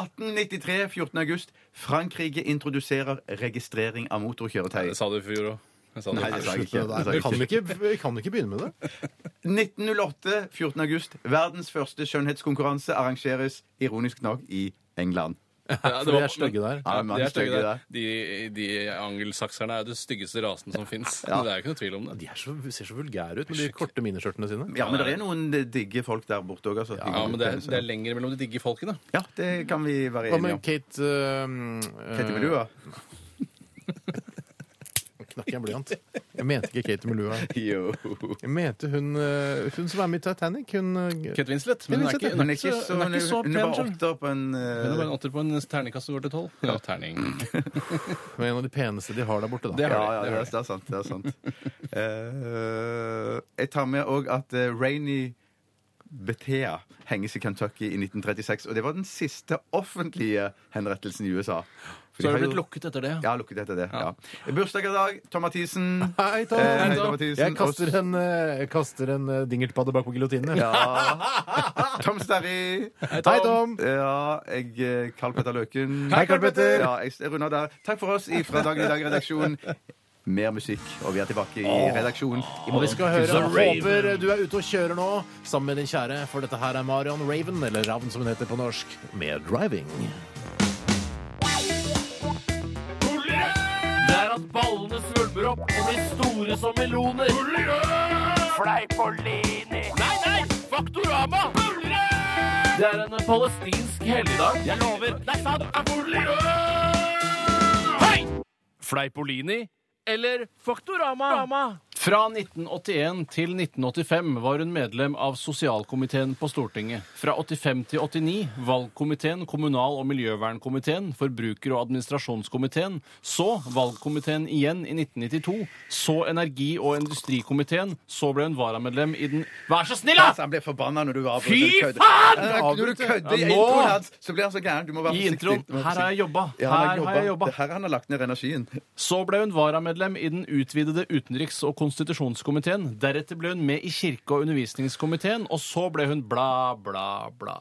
[SPEAKER 5] 1893, 14. august. Frankrike introduserer registrering av motorkjøretøy.
[SPEAKER 4] Jeg sa det i fjor òg.
[SPEAKER 5] Nei, det sa jeg ikke. Det sa
[SPEAKER 3] Vi
[SPEAKER 5] jeg
[SPEAKER 3] kan
[SPEAKER 5] ikke.
[SPEAKER 3] ikke, vi kan ikke begynne med det.
[SPEAKER 5] 1908, 14. august. Verdens første skjønnhetskonkurranse arrangeres ironisk nok i England.
[SPEAKER 4] Ja,
[SPEAKER 3] For vi er stygge der.
[SPEAKER 5] Ja,
[SPEAKER 4] Ja,
[SPEAKER 5] mange
[SPEAKER 4] de er stygge
[SPEAKER 5] stygge
[SPEAKER 4] der. De, de angelsakserne er den styggeste rasen som fins. Det er jo ikke noe tvil om det.
[SPEAKER 3] De er så, ser så vulgære ut med de korte miniskjørtene sine.
[SPEAKER 5] Ja, men det er noen digge folk der borte òg. Altså.
[SPEAKER 4] Ja, men det er, det er lenger mellom de digge folkene.
[SPEAKER 5] ja, det kan vi være
[SPEAKER 3] Hva
[SPEAKER 5] enige
[SPEAKER 3] med
[SPEAKER 5] om.
[SPEAKER 3] Kate uh,
[SPEAKER 5] Kette Melua?
[SPEAKER 3] Knakk jeg en blyant? Jeg mente ikke Kate Melua.
[SPEAKER 5] Jo.
[SPEAKER 3] Jeg mente hun, eh, hun som er med i Titanic. Hun eh,
[SPEAKER 4] Kate Winslet. Men hun er ikke, hun
[SPEAKER 5] Hun
[SPEAKER 4] er ikke så, hun er ikke så
[SPEAKER 5] hun
[SPEAKER 4] pen.
[SPEAKER 5] er bare
[SPEAKER 4] skjønner du.
[SPEAKER 5] åtte på en
[SPEAKER 4] Hun er bare
[SPEAKER 5] eh,
[SPEAKER 4] en åtter på en terningkast som går til tolv. Ja, terning.
[SPEAKER 3] er en av de peneste de har der borte. da.
[SPEAKER 4] Det
[SPEAKER 5] ja,
[SPEAKER 4] har
[SPEAKER 5] ja, det
[SPEAKER 4] de, det har
[SPEAKER 5] er, det er sant. Det er sant. Eh, jeg tar med òg at eh, Rainy Bethea henges i Kentucky i 1936. Og det var den siste offentlige henrettelsen i USA. For
[SPEAKER 4] Så
[SPEAKER 5] de
[SPEAKER 4] har det
[SPEAKER 5] jo-
[SPEAKER 4] blitt lukket etter det.
[SPEAKER 5] Ja, lukket etter det. Ja. Bursdag i dag. Tom Mathisen.
[SPEAKER 3] Hei, Tom!
[SPEAKER 5] Eh, hei,
[SPEAKER 3] Hei,
[SPEAKER 5] Tom
[SPEAKER 3] Tom.
[SPEAKER 5] Mathisen.
[SPEAKER 3] Jeg kaster en, eh, jeg kaster en eh, dingertpadde bak på giljotinen. jeg.
[SPEAKER 5] Tom Sterry.
[SPEAKER 3] Hei, Tom.
[SPEAKER 5] Ja, jeg eh, Karl Petter Løken.
[SPEAKER 3] Hei, Karl Petter.
[SPEAKER 5] Ja, jeg runder der. Takk for oss i Fra dagen i dag-redaksjonen. mer musikk, og vi er tilbake i redaksjonen
[SPEAKER 3] Og vi
[SPEAKER 5] i morgen.
[SPEAKER 3] skal høre
[SPEAKER 5] Tusen takk.
[SPEAKER 3] Håper du er ute og kjører nå sammen med din kjære, for dette her er Marion Raven, eller Ravn som hun heter på norsk, med 'Driving'.
[SPEAKER 4] Det er at ballene svulmer opp og blir store som meloner. Fleipolini. Nei, nei! Faktorama. Det er en palestinsk helligdag. Jeg lover. Det er sant. Hei! Fleipolini eller Faktorama. Fra 1981 til 1985 var hun medlem av sosialkomiteen på Stortinget. Fra 85 til 89 valgkomiteen, kommunal- og miljøvernkomiteen, forbruker- og administrasjonskomiteen, så valgkomiteen igjen i 1992, så energi- og industrikomiteen, så ble hun varamedlem i den Vær så snill,
[SPEAKER 5] Altså,
[SPEAKER 4] da!
[SPEAKER 5] han ble forbanna når du avbrøt.
[SPEAKER 4] Fy
[SPEAKER 5] når du kødde.
[SPEAKER 4] faen!
[SPEAKER 5] Ja, Når du kødder i
[SPEAKER 4] Ja, nå!
[SPEAKER 5] introen hans, så blir han så gæren. Du må være
[SPEAKER 4] I
[SPEAKER 5] forsiktig.
[SPEAKER 4] introen,
[SPEAKER 5] Du må være
[SPEAKER 4] her har jeg
[SPEAKER 5] forsiktig.
[SPEAKER 4] jobba.
[SPEAKER 5] Ja, han
[SPEAKER 4] Her har jeg jobba.
[SPEAKER 5] Det er her han har lagt ned energien.
[SPEAKER 4] Så ble hun varamedlem i den utvidede utenriks- og konstitusjonskomiteen. Deretter ble hun med i kirke- og undervisningskomiteen, og så ble hun bla, bla, bla.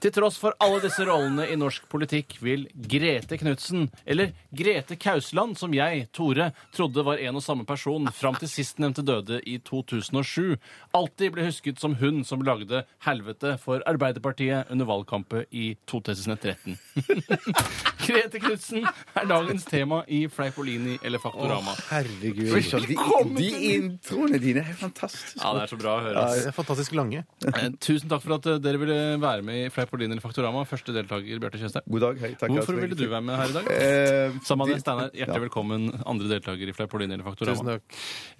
[SPEAKER 4] Til tross for alle disse rollene i norsk politikk vil Grete Knutsen, eller Grete Kausland, som jeg, Tore, trodde var en og samme person fram til sistnevnte døde i 2007, alltid bli husket som hun som lagde helvete for Arbeiderpartiet under valgkampet i 2013. Grete Knutsen er dagens tema i Fleipolini eller Faktorama.
[SPEAKER 5] Fy
[SPEAKER 3] Herregud.
[SPEAKER 5] søren, de, de introene dine er fantastiske.
[SPEAKER 4] Ja, det er så bra å høre. ass.
[SPEAKER 3] Det er fantastisk lange.
[SPEAKER 4] Eh, Tusen takk for at eh, dere ville være med i Fleipolini eller Faktorama. Første deltaker, Bjarte Tjøstheim.
[SPEAKER 5] God dag. Hei, takk. Altså,
[SPEAKER 4] Hvorfor ville du være med her i dag?
[SPEAKER 5] Eh,
[SPEAKER 4] Sammen
[SPEAKER 5] de-
[SPEAKER 4] med Steinar,
[SPEAKER 5] Ja.
[SPEAKER 4] hjertelig velkommen, andre deltaker i Fleipolini eller Faktorama.
[SPEAKER 3] Tusen takk.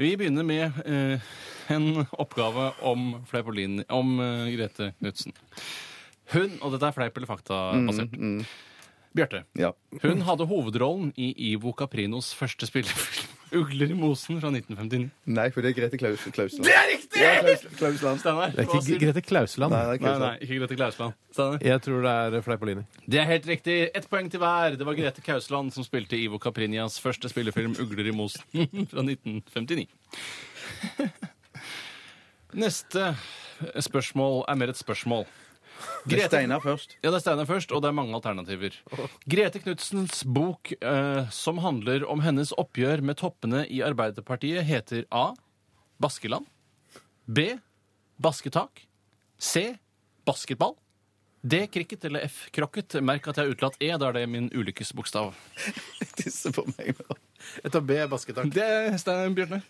[SPEAKER 4] Vi begynner med eh, en oppgave om Fleipolini, om eh, Grete Knutsen. Hun, og dette er fleip eller fakta-basert.
[SPEAKER 5] Mm,
[SPEAKER 4] Bjarte,
[SPEAKER 5] Ja.
[SPEAKER 4] hun hadde hovedrollen i Ivo Caprinos første spillefilm, 'Ugler i mosen', fra 1959.
[SPEAKER 5] Nei, for det er Grete Klaus, Klausland. Det er riktig! Ja, Klaus, Klausland.
[SPEAKER 4] Steinar,
[SPEAKER 3] Det er
[SPEAKER 4] hva
[SPEAKER 3] ikke
[SPEAKER 4] sier du?
[SPEAKER 3] Grete Klausland.
[SPEAKER 5] Nei, det er
[SPEAKER 4] Nei,
[SPEAKER 5] Klausland.
[SPEAKER 4] nei, ikke Grete Klausland. Steinar.
[SPEAKER 3] Jeg tror det er Fleipolini.
[SPEAKER 4] Det er helt riktig. Ett poeng til hver. Det var Grete Kausland som spilte Ivo Caprinias første spillefilm 'Ugler i mosen' fra 1959. Neste spørsmål er mer et spørsmål.
[SPEAKER 5] Det er
[SPEAKER 4] Grete,
[SPEAKER 5] Steinar først.
[SPEAKER 4] ja, det er Steinar først, og det er mange alternativer. Grete Knudsens bok eh, som handler om hennes oppgjør med toppene i Arbeiderpartiet, heter A. Baskeland. B. Basketak. C. Basketball. D. Cricket eller F. Krokket. Merk at jeg har utelatt E, da er det min ulykkesbokstav.
[SPEAKER 5] Tisse på meg nå.
[SPEAKER 3] Jeg tar B, basketak.
[SPEAKER 4] Det er Stein Bjørne.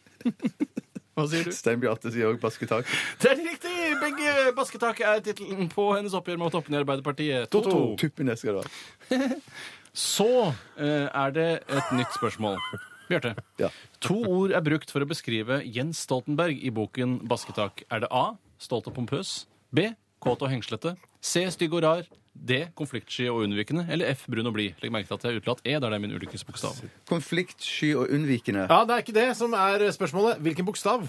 [SPEAKER 4] Hva sier du?
[SPEAKER 5] Stein Bjarte sier òg basketak.
[SPEAKER 4] Det er riktig! Begge basketak er tittelen på hennes oppgjør med toppene i Arbeiderpartiet. 2-2.
[SPEAKER 5] Tuppene skal du ha.
[SPEAKER 4] Så eh, er det et nytt spørsmål. Bjarte.
[SPEAKER 5] Ja.
[SPEAKER 4] To ord er brukt for å beskrive Jens Stoltenberg i boken Basketak. Er det A. Stolt og pompøs. B. Kåt og hengslete. C. Stygg og rar. D. Konfliktsky og unnvikende. Eller F. Brun og blid. Legg merke til at jeg har utelatt E. Der det er min ulykkesbokstav.
[SPEAKER 5] Konfliktsky og unnvikende.
[SPEAKER 3] Ja, det er ikke det som er spørsmålet. Hvilken bokstav?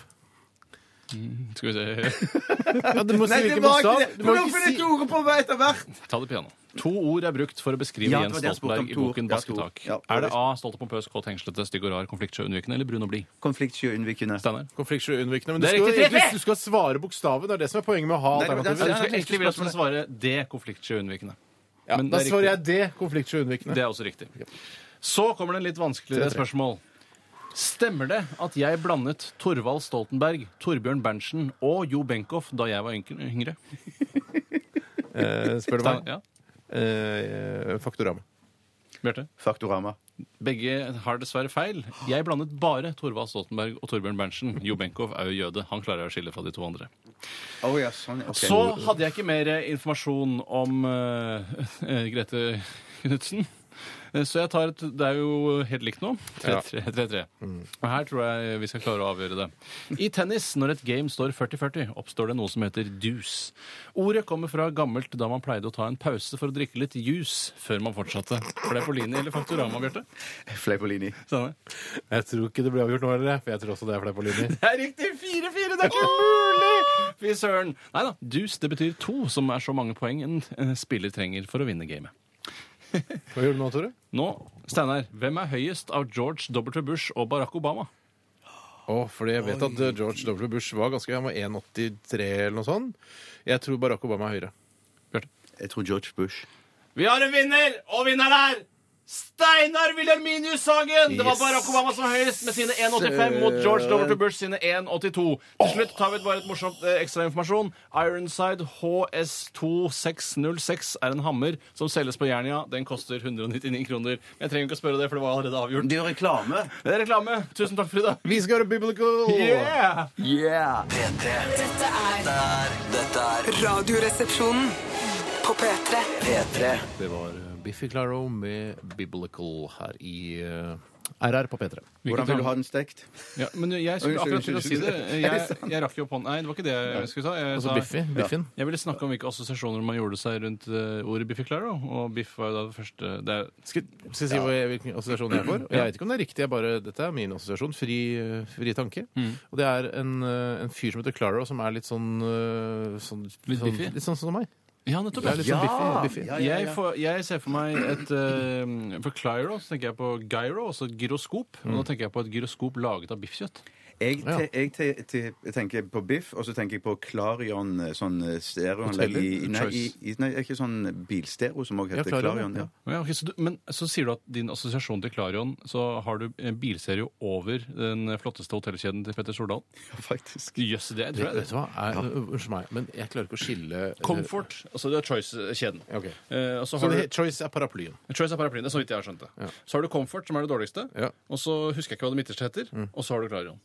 [SPEAKER 4] Skal vi se
[SPEAKER 3] Ja, du må si
[SPEAKER 5] Nei, det
[SPEAKER 3] hvilken
[SPEAKER 5] var ikke
[SPEAKER 3] bokstav.
[SPEAKER 5] det!
[SPEAKER 3] Du må
[SPEAKER 5] Hvorfor
[SPEAKER 3] ikke
[SPEAKER 5] det
[SPEAKER 3] si
[SPEAKER 5] ordet på vei etter hvert?
[SPEAKER 4] Ta det piano. To ord er brukt for å beskrive
[SPEAKER 5] Ja, det
[SPEAKER 4] Jens
[SPEAKER 5] var det jeg spurte om,
[SPEAKER 4] Stoltenberg i
[SPEAKER 5] to ord.
[SPEAKER 4] boken
[SPEAKER 5] Ja, to ord.
[SPEAKER 4] Basketak.
[SPEAKER 5] Ja,
[SPEAKER 4] er det A. Stolt og pompøs, kåt, hengslete, stygg og rar, konfliktsky og unnvikende? Eller brun og blid?
[SPEAKER 5] Konfliktsky og unnvikende.
[SPEAKER 4] Steinar?
[SPEAKER 3] Konfliktsky og unnvikende. Men du
[SPEAKER 4] Det er
[SPEAKER 3] skal,
[SPEAKER 4] riktig,
[SPEAKER 3] egentlig- du skal svare bokstaven. Det er det som er poenget med å ha
[SPEAKER 5] Nei, det var
[SPEAKER 3] alternativer.
[SPEAKER 5] den-
[SPEAKER 4] Jeg skulle egentlig ville at du skulle svare D. Konfliktsky og unnvikende.
[SPEAKER 3] Ja,
[SPEAKER 4] men
[SPEAKER 3] da
[SPEAKER 4] det er
[SPEAKER 3] svarer
[SPEAKER 4] riktig.
[SPEAKER 3] jeg D, konfliktsky og unnvikende.
[SPEAKER 4] Det er også riktig. Så kommer det en litt vanskeligere spørsmål. Stemmer det at jeg blandet Torvald Stoltenberg, Torbjørn Berntsen og Jo Benkow da jeg var enkel- yngre?
[SPEAKER 3] Eh, spør du meg?
[SPEAKER 4] Ja.
[SPEAKER 3] Eh, Faktorama.
[SPEAKER 4] Bjarte?
[SPEAKER 5] Faktorama.
[SPEAKER 4] Begge har dessverre feil. Jeg blandet bare Torvald Stoltenberg og Torbjørn Berntsen. Jo Benkow er jo jøde. Han klarer jeg å skille fra de to andre.
[SPEAKER 5] Å ja, sånn. ok.
[SPEAKER 4] Så hadde jeg ikke mer eh, informasjon om eh, eh, Grete Knutsen. Eh, Så jeg tar et Det er jo helt likt nå. 3-3. Og her tror jeg vi skal klare å avgjøre det. I tennis, når et game står 40-40, oppstår det noe som heter deuce. Ordet kommer fra gammelt da man pleide å ta en pause for å drikke litt juice før man fortsatte. For det er på linje eller Faktorama, Bjarte?
[SPEAKER 5] Fleipolini.
[SPEAKER 4] Steinar?
[SPEAKER 3] Jeg tror ikke det blir avgjort nå, eller? For jeg tror også det er fleipolini.
[SPEAKER 4] Det er riktig! 4-4! Det er ikke mulig! Fy søren. Nei da. Deuce det betyr to, som er så mange poeng en eh, spiller trenger for å vinne gamet.
[SPEAKER 3] Hva gjorde du nå, Tore?
[SPEAKER 4] Nå, Steinar, hvem er høyest av George W. Bush og Barack Obama?
[SPEAKER 3] Å, fordi jeg vet at eh, George W. Bush var ganske Han var 1,83 eller noe sånt. Jeg tror Barack Obama er høyere.
[SPEAKER 5] Jeg tror George Bush.
[SPEAKER 4] Vi har en vinner, og vinneren er Steinar Wilhelminius Sagen! Det var Barack Obama som høyest med sine 1,85 mot George W. Bush sine 1,82. Til slutt tar vi bare et morsomt eh, ekstrainformasjon. Ironside HS2606 er en hammer som selges på Jernia. Den koster 199 kroner. Men jeg trenger ikke å spørre det, for det var allerede avgjort.
[SPEAKER 5] Det er jo reklame.
[SPEAKER 4] Det er reklame. Tusen takk for i dag.
[SPEAKER 3] Vi skal være biblical!
[SPEAKER 4] Yeah!
[SPEAKER 1] P3.
[SPEAKER 2] Dette er
[SPEAKER 1] Dette er
[SPEAKER 2] Radioresepsjonen på P3.
[SPEAKER 1] P3.
[SPEAKER 3] Det var eh, Biffy Claro med Biblical her i eh, RR på P3.
[SPEAKER 5] Hvordan vil du ha den stekt?
[SPEAKER 4] Ja, men jeg skulle
[SPEAKER 5] Unnskyld,
[SPEAKER 4] akkurat til å si
[SPEAKER 5] unnskyld,
[SPEAKER 4] det.
[SPEAKER 5] unnskyld. Er det
[SPEAKER 4] Jeg,
[SPEAKER 5] sant?
[SPEAKER 4] jeg rakk jo opp hånden. Nei, det var ikke det jeg skulle ta. Jeg,
[SPEAKER 3] Altså
[SPEAKER 4] sa-
[SPEAKER 3] Biffy. Biffin.
[SPEAKER 4] jeg ville snakke om hvilke assosiasjoner man gjorde seg rundt eh, ordet Biffy Claro. Og Biff var jo da det første det er,
[SPEAKER 3] Skal skal jeg si hva jeg, hvilken assosiasjon jeg får? Og Jeg vet ikke om det er riktig, jeg bare, dette er min assosiasjon. Fri, eh, fri tanke. Og det er en, eh, en fyr som heter Claro, som er litt sånn eh, sånn,
[SPEAKER 4] Litt
[SPEAKER 3] sånn,
[SPEAKER 4] biffig?
[SPEAKER 3] litt sånn som meg.
[SPEAKER 4] Ja, nettopp.
[SPEAKER 3] Det er litt sånn biffig. biffig.
[SPEAKER 4] Jeg, får, jeg ser for meg et eh, For Clyro så tenker jeg på gyro, altså et gyroskop.
[SPEAKER 3] Mm.
[SPEAKER 4] Og da tenker jeg på et gyroskop laget av biffkjøtt.
[SPEAKER 5] Jeg, te, jeg te, te, tenker på biff, og så tenker jeg på Clarion eh, sånn eh, stereoanlegg i,
[SPEAKER 3] Hoteller?
[SPEAKER 5] nei, i,
[SPEAKER 3] Choice.
[SPEAKER 5] i Nei, ikke sånn bilstereo som også
[SPEAKER 3] Ja,
[SPEAKER 5] heter
[SPEAKER 3] Clarion,
[SPEAKER 5] Clarion.
[SPEAKER 3] ja.
[SPEAKER 5] ja.
[SPEAKER 4] Ja, ok, så du, men så sier du at din assosiasjon til Clarion, så har du en bilserie over den flotteste hotellkjeden til Petter Stordalen?
[SPEAKER 5] ja, faktisk.
[SPEAKER 4] Jøss, det
[SPEAKER 3] Det,
[SPEAKER 4] tror jeg.
[SPEAKER 3] vet du hva? Er, Unnskyld meg, men jeg klarer ikke å skille eh,
[SPEAKER 4] Comfort. Altså du har Choice-kjeden.
[SPEAKER 3] Ok.
[SPEAKER 4] Eh, og så
[SPEAKER 3] Så
[SPEAKER 4] har
[SPEAKER 3] det,
[SPEAKER 4] du
[SPEAKER 3] Choice er paraplyen.
[SPEAKER 4] Choice er paraplyen. Det er så vidt jeg har skjønt det. Så har du Comfort, som er det dårligste.
[SPEAKER 3] Ja. Mm.
[SPEAKER 4] Og så husker jeg ikke hva det midterste heter. Og så har du Clarion.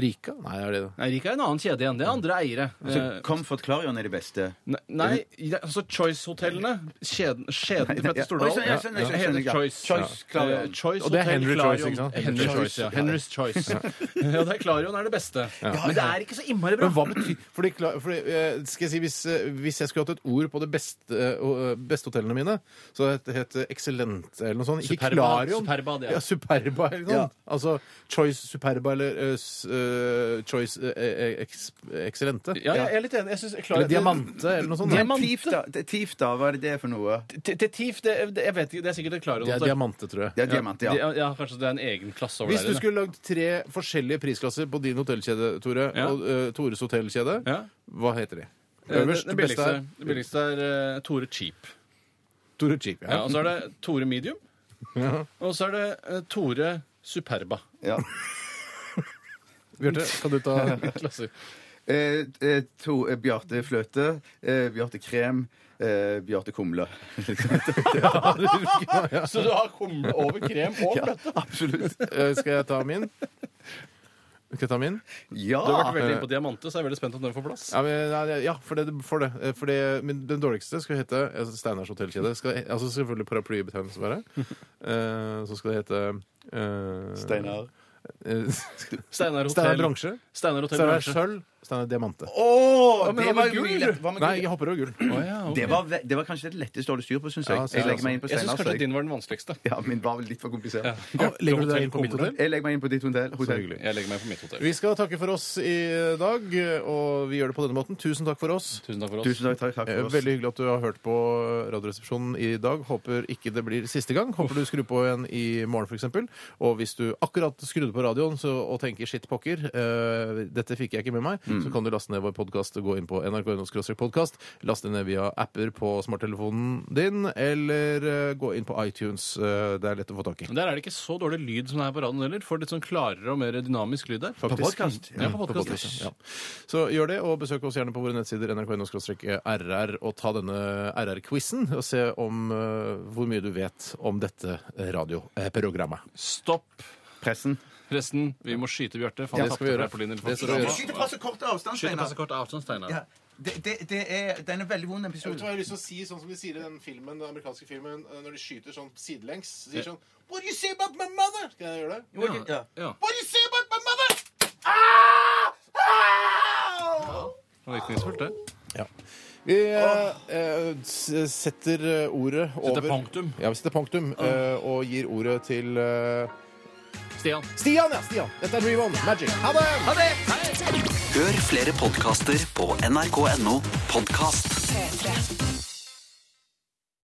[SPEAKER 3] Rika? Nei, er det det?
[SPEAKER 4] Nei, Rika er en annen kjede igjen. Det er andre eiere.
[SPEAKER 3] Altså,
[SPEAKER 5] Så
[SPEAKER 4] Eh,
[SPEAKER 5] Comfort Clarion er de beste.
[SPEAKER 4] Nei, nei ja, altså Choice-hotellene. Skjeden, skjeden til
[SPEAKER 5] Nei, ja.
[SPEAKER 4] Petter Stordal.
[SPEAKER 5] Oi, sånn, jeg skjønner, jeg skjønner,
[SPEAKER 4] heter
[SPEAKER 5] ja.
[SPEAKER 4] Choice.
[SPEAKER 5] Choice, Clarion.
[SPEAKER 4] Eh, Choice
[SPEAKER 3] Og det er
[SPEAKER 4] Hotel
[SPEAKER 3] Henry
[SPEAKER 4] Clarion.
[SPEAKER 3] Choice, ikke sant?
[SPEAKER 4] Henry
[SPEAKER 3] Henry
[SPEAKER 4] Choice, ja. Henry's Choice. ja, det er Clarion er det beste. Men det er ikke så innmari bra.
[SPEAKER 3] Men hva betyr fordi, kla- fordi, eh, skal jeg si, hvis, eh, hvis jeg skulle hatt et ord på de beste, eh, beste hotellene mine, så het het det Excellent eller noe sånt. Ikke
[SPEAKER 4] Superba.
[SPEAKER 3] Clarion.
[SPEAKER 4] Superba, det er.
[SPEAKER 3] ja. Superba eller noe
[SPEAKER 5] Ja.
[SPEAKER 3] sånt. Altså Choice Superba eller eh, s- eh, Choice eh, eh, ex, Excellente.
[SPEAKER 4] Ja, jeg er litt enig. Jeg synes Clarion-
[SPEAKER 3] Eller Diamante eller noe sånt.
[SPEAKER 4] Diamant-
[SPEAKER 5] Tief, da. Det- Tief, da. Hva er det det er for noe?
[SPEAKER 4] T- t- Tiff, det, det, jeg vet ikke, det er sikkert et Clarion.
[SPEAKER 3] Det er
[SPEAKER 4] hotell.
[SPEAKER 3] Diamante, tror jeg.
[SPEAKER 5] Det er diamant, ja.
[SPEAKER 4] Ja, ja, kanskje det er en egen klasse over
[SPEAKER 3] Hvis du
[SPEAKER 4] der.
[SPEAKER 3] skulle lagd tre forskjellige prisklasser på din hotellkjede, Tore,
[SPEAKER 4] Ja.
[SPEAKER 3] og eh, Tores hotellkjede,
[SPEAKER 4] Ja.
[SPEAKER 3] hva heter de?
[SPEAKER 4] Eh, det,
[SPEAKER 3] Øverst,
[SPEAKER 4] det,
[SPEAKER 3] det beste
[SPEAKER 4] billigste,
[SPEAKER 3] er
[SPEAKER 4] det billigste er eh, Tore Cheap.
[SPEAKER 3] Tore Cheap.
[SPEAKER 4] Ja, altså- og så er det Tore Medium. Og så er det eh, Tore Superba.
[SPEAKER 5] ja.
[SPEAKER 3] Bjarte, kan du ta
[SPEAKER 4] Klasser.
[SPEAKER 5] Eh, eh, to, eh, Bjarte Fløte, eh, Bjarte Krem, eh, Bjarte Kumle.
[SPEAKER 4] Så du har kumle over krem og fløte?
[SPEAKER 5] Absolutt.
[SPEAKER 3] Eh, Skal jeg ta min? Skal jeg ta min?
[SPEAKER 5] Ja!
[SPEAKER 4] Du har vært veldig inne på Diamante, så jeg er veldig spent om den får plass.
[SPEAKER 3] Ja, men, eh, nei, ja for det. For det. Eh, For det men den dårligste skal hete altså Steinars hotellkjede. Skal, altså selvfølgelig paraplybetegnelse være. Eh, så skal det hete eh, eh,
[SPEAKER 4] Steinar
[SPEAKER 3] Steinar
[SPEAKER 4] Hotell.
[SPEAKER 3] Bransje.
[SPEAKER 4] Steinar Hotell
[SPEAKER 3] Steinar
[SPEAKER 4] Bransje.
[SPEAKER 3] Sølv. Steinar Diamante.
[SPEAKER 5] Å!
[SPEAKER 4] Ja, men
[SPEAKER 5] det
[SPEAKER 4] hva med
[SPEAKER 5] var
[SPEAKER 4] gull?
[SPEAKER 5] jo mye lett. Hva med
[SPEAKER 3] Nei,
[SPEAKER 5] gull?
[SPEAKER 3] jeg hopper over gull.
[SPEAKER 4] Å, ja, ok.
[SPEAKER 5] Det var, ve- det var kanskje det letteste å holde styr på, syns jeg.
[SPEAKER 3] Ja,
[SPEAKER 5] jeg legger meg inn på
[SPEAKER 4] Jeg syns
[SPEAKER 5] Steinar. så
[SPEAKER 4] kanskje
[SPEAKER 5] jeg-
[SPEAKER 4] din var den vanskeligste.
[SPEAKER 5] Ja, min var vel litt for komplisert.
[SPEAKER 3] Å, legger du deg inn på mitt
[SPEAKER 4] mitt
[SPEAKER 3] hotell?
[SPEAKER 5] Jeg legger meg inn på ditt hotell.
[SPEAKER 3] Så
[SPEAKER 5] hotell.
[SPEAKER 3] hyggelig.
[SPEAKER 4] Jeg legger meg på mitt hotell.
[SPEAKER 3] Vi skal takke for oss i dag, og vi gjør det på denne måten. Tusen takk for oss.
[SPEAKER 4] Tusen takk for oss.
[SPEAKER 5] Tusen takk, takk, takk
[SPEAKER 3] Eh,
[SPEAKER 5] for oss.
[SPEAKER 3] Veldig hyggelig at du har hørt på eh, Radioresepsjonen i dag. Håper ikke det blir siste gang. Håper du skrur på igjen i morgen f.eks. Og hvis du akkurat skrudde på radioen så, og tenker 'shit pokker', eh, dette fikk jeg ikke med meg,
[SPEAKER 5] Mm.
[SPEAKER 3] så kan du laste ned vår podkast og gå inn på nrk.no-podkast. Laste den ned via apper på smarttelefonen din, eller eh, gå inn på iTunes. eh, Det er lett å få tak i.
[SPEAKER 4] Men Der er det ikke så dårlig lyd som det er på radioen heller. Får litt sånn klarere og mer dynamisk lyd der.
[SPEAKER 3] Faktisk.
[SPEAKER 5] podcast,
[SPEAKER 4] Ja, på podcast,
[SPEAKER 3] ja. Så gjør det, og besøk oss gjerne på våre nettsider nrk.no-rr, og ta denne RR-quizen og se om eh, hvor mye du vet om dette radioprogrammet.
[SPEAKER 4] Stopp
[SPEAKER 5] Pressen.
[SPEAKER 4] pressen. Vi må skyte Bjarte. for
[SPEAKER 3] Ja, det skal
[SPEAKER 4] han tapte
[SPEAKER 3] vi gjøre.
[SPEAKER 4] paraplyen i
[SPEAKER 3] Det skal vi
[SPEAKER 4] Fatorama.
[SPEAKER 3] gjøre.
[SPEAKER 5] Skyt fra så kort avstand,
[SPEAKER 4] Skyt
[SPEAKER 5] Steinar.
[SPEAKER 4] passe kort avstand, Steinar.
[SPEAKER 5] Ja. Det, det, det er, den er veldig vond episode.
[SPEAKER 3] har lyst til å si sånn som de sier i den filmen, den amerikanske filmen når de skyter sånn sidelengs? sier sånn What do you say about my mother? Skal jeg gjøre det?
[SPEAKER 5] Jo, ok, ja.
[SPEAKER 4] Ja.
[SPEAKER 3] What do you say about my mother?
[SPEAKER 4] Det var virkningsfullt, det.
[SPEAKER 3] Ja. Vi eh, eh, s- setter eh, ordet over
[SPEAKER 4] punktum.
[SPEAKER 3] Ja, vi setter punktum eh, og gir ordet til eh,
[SPEAKER 4] Stian.
[SPEAKER 3] Stian, ja! Stian. Dette er Dream On. Magic. Ha det!
[SPEAKER 1] Hør flere podkaster på nrk.no podkast.
[SPEAKER 2] P3.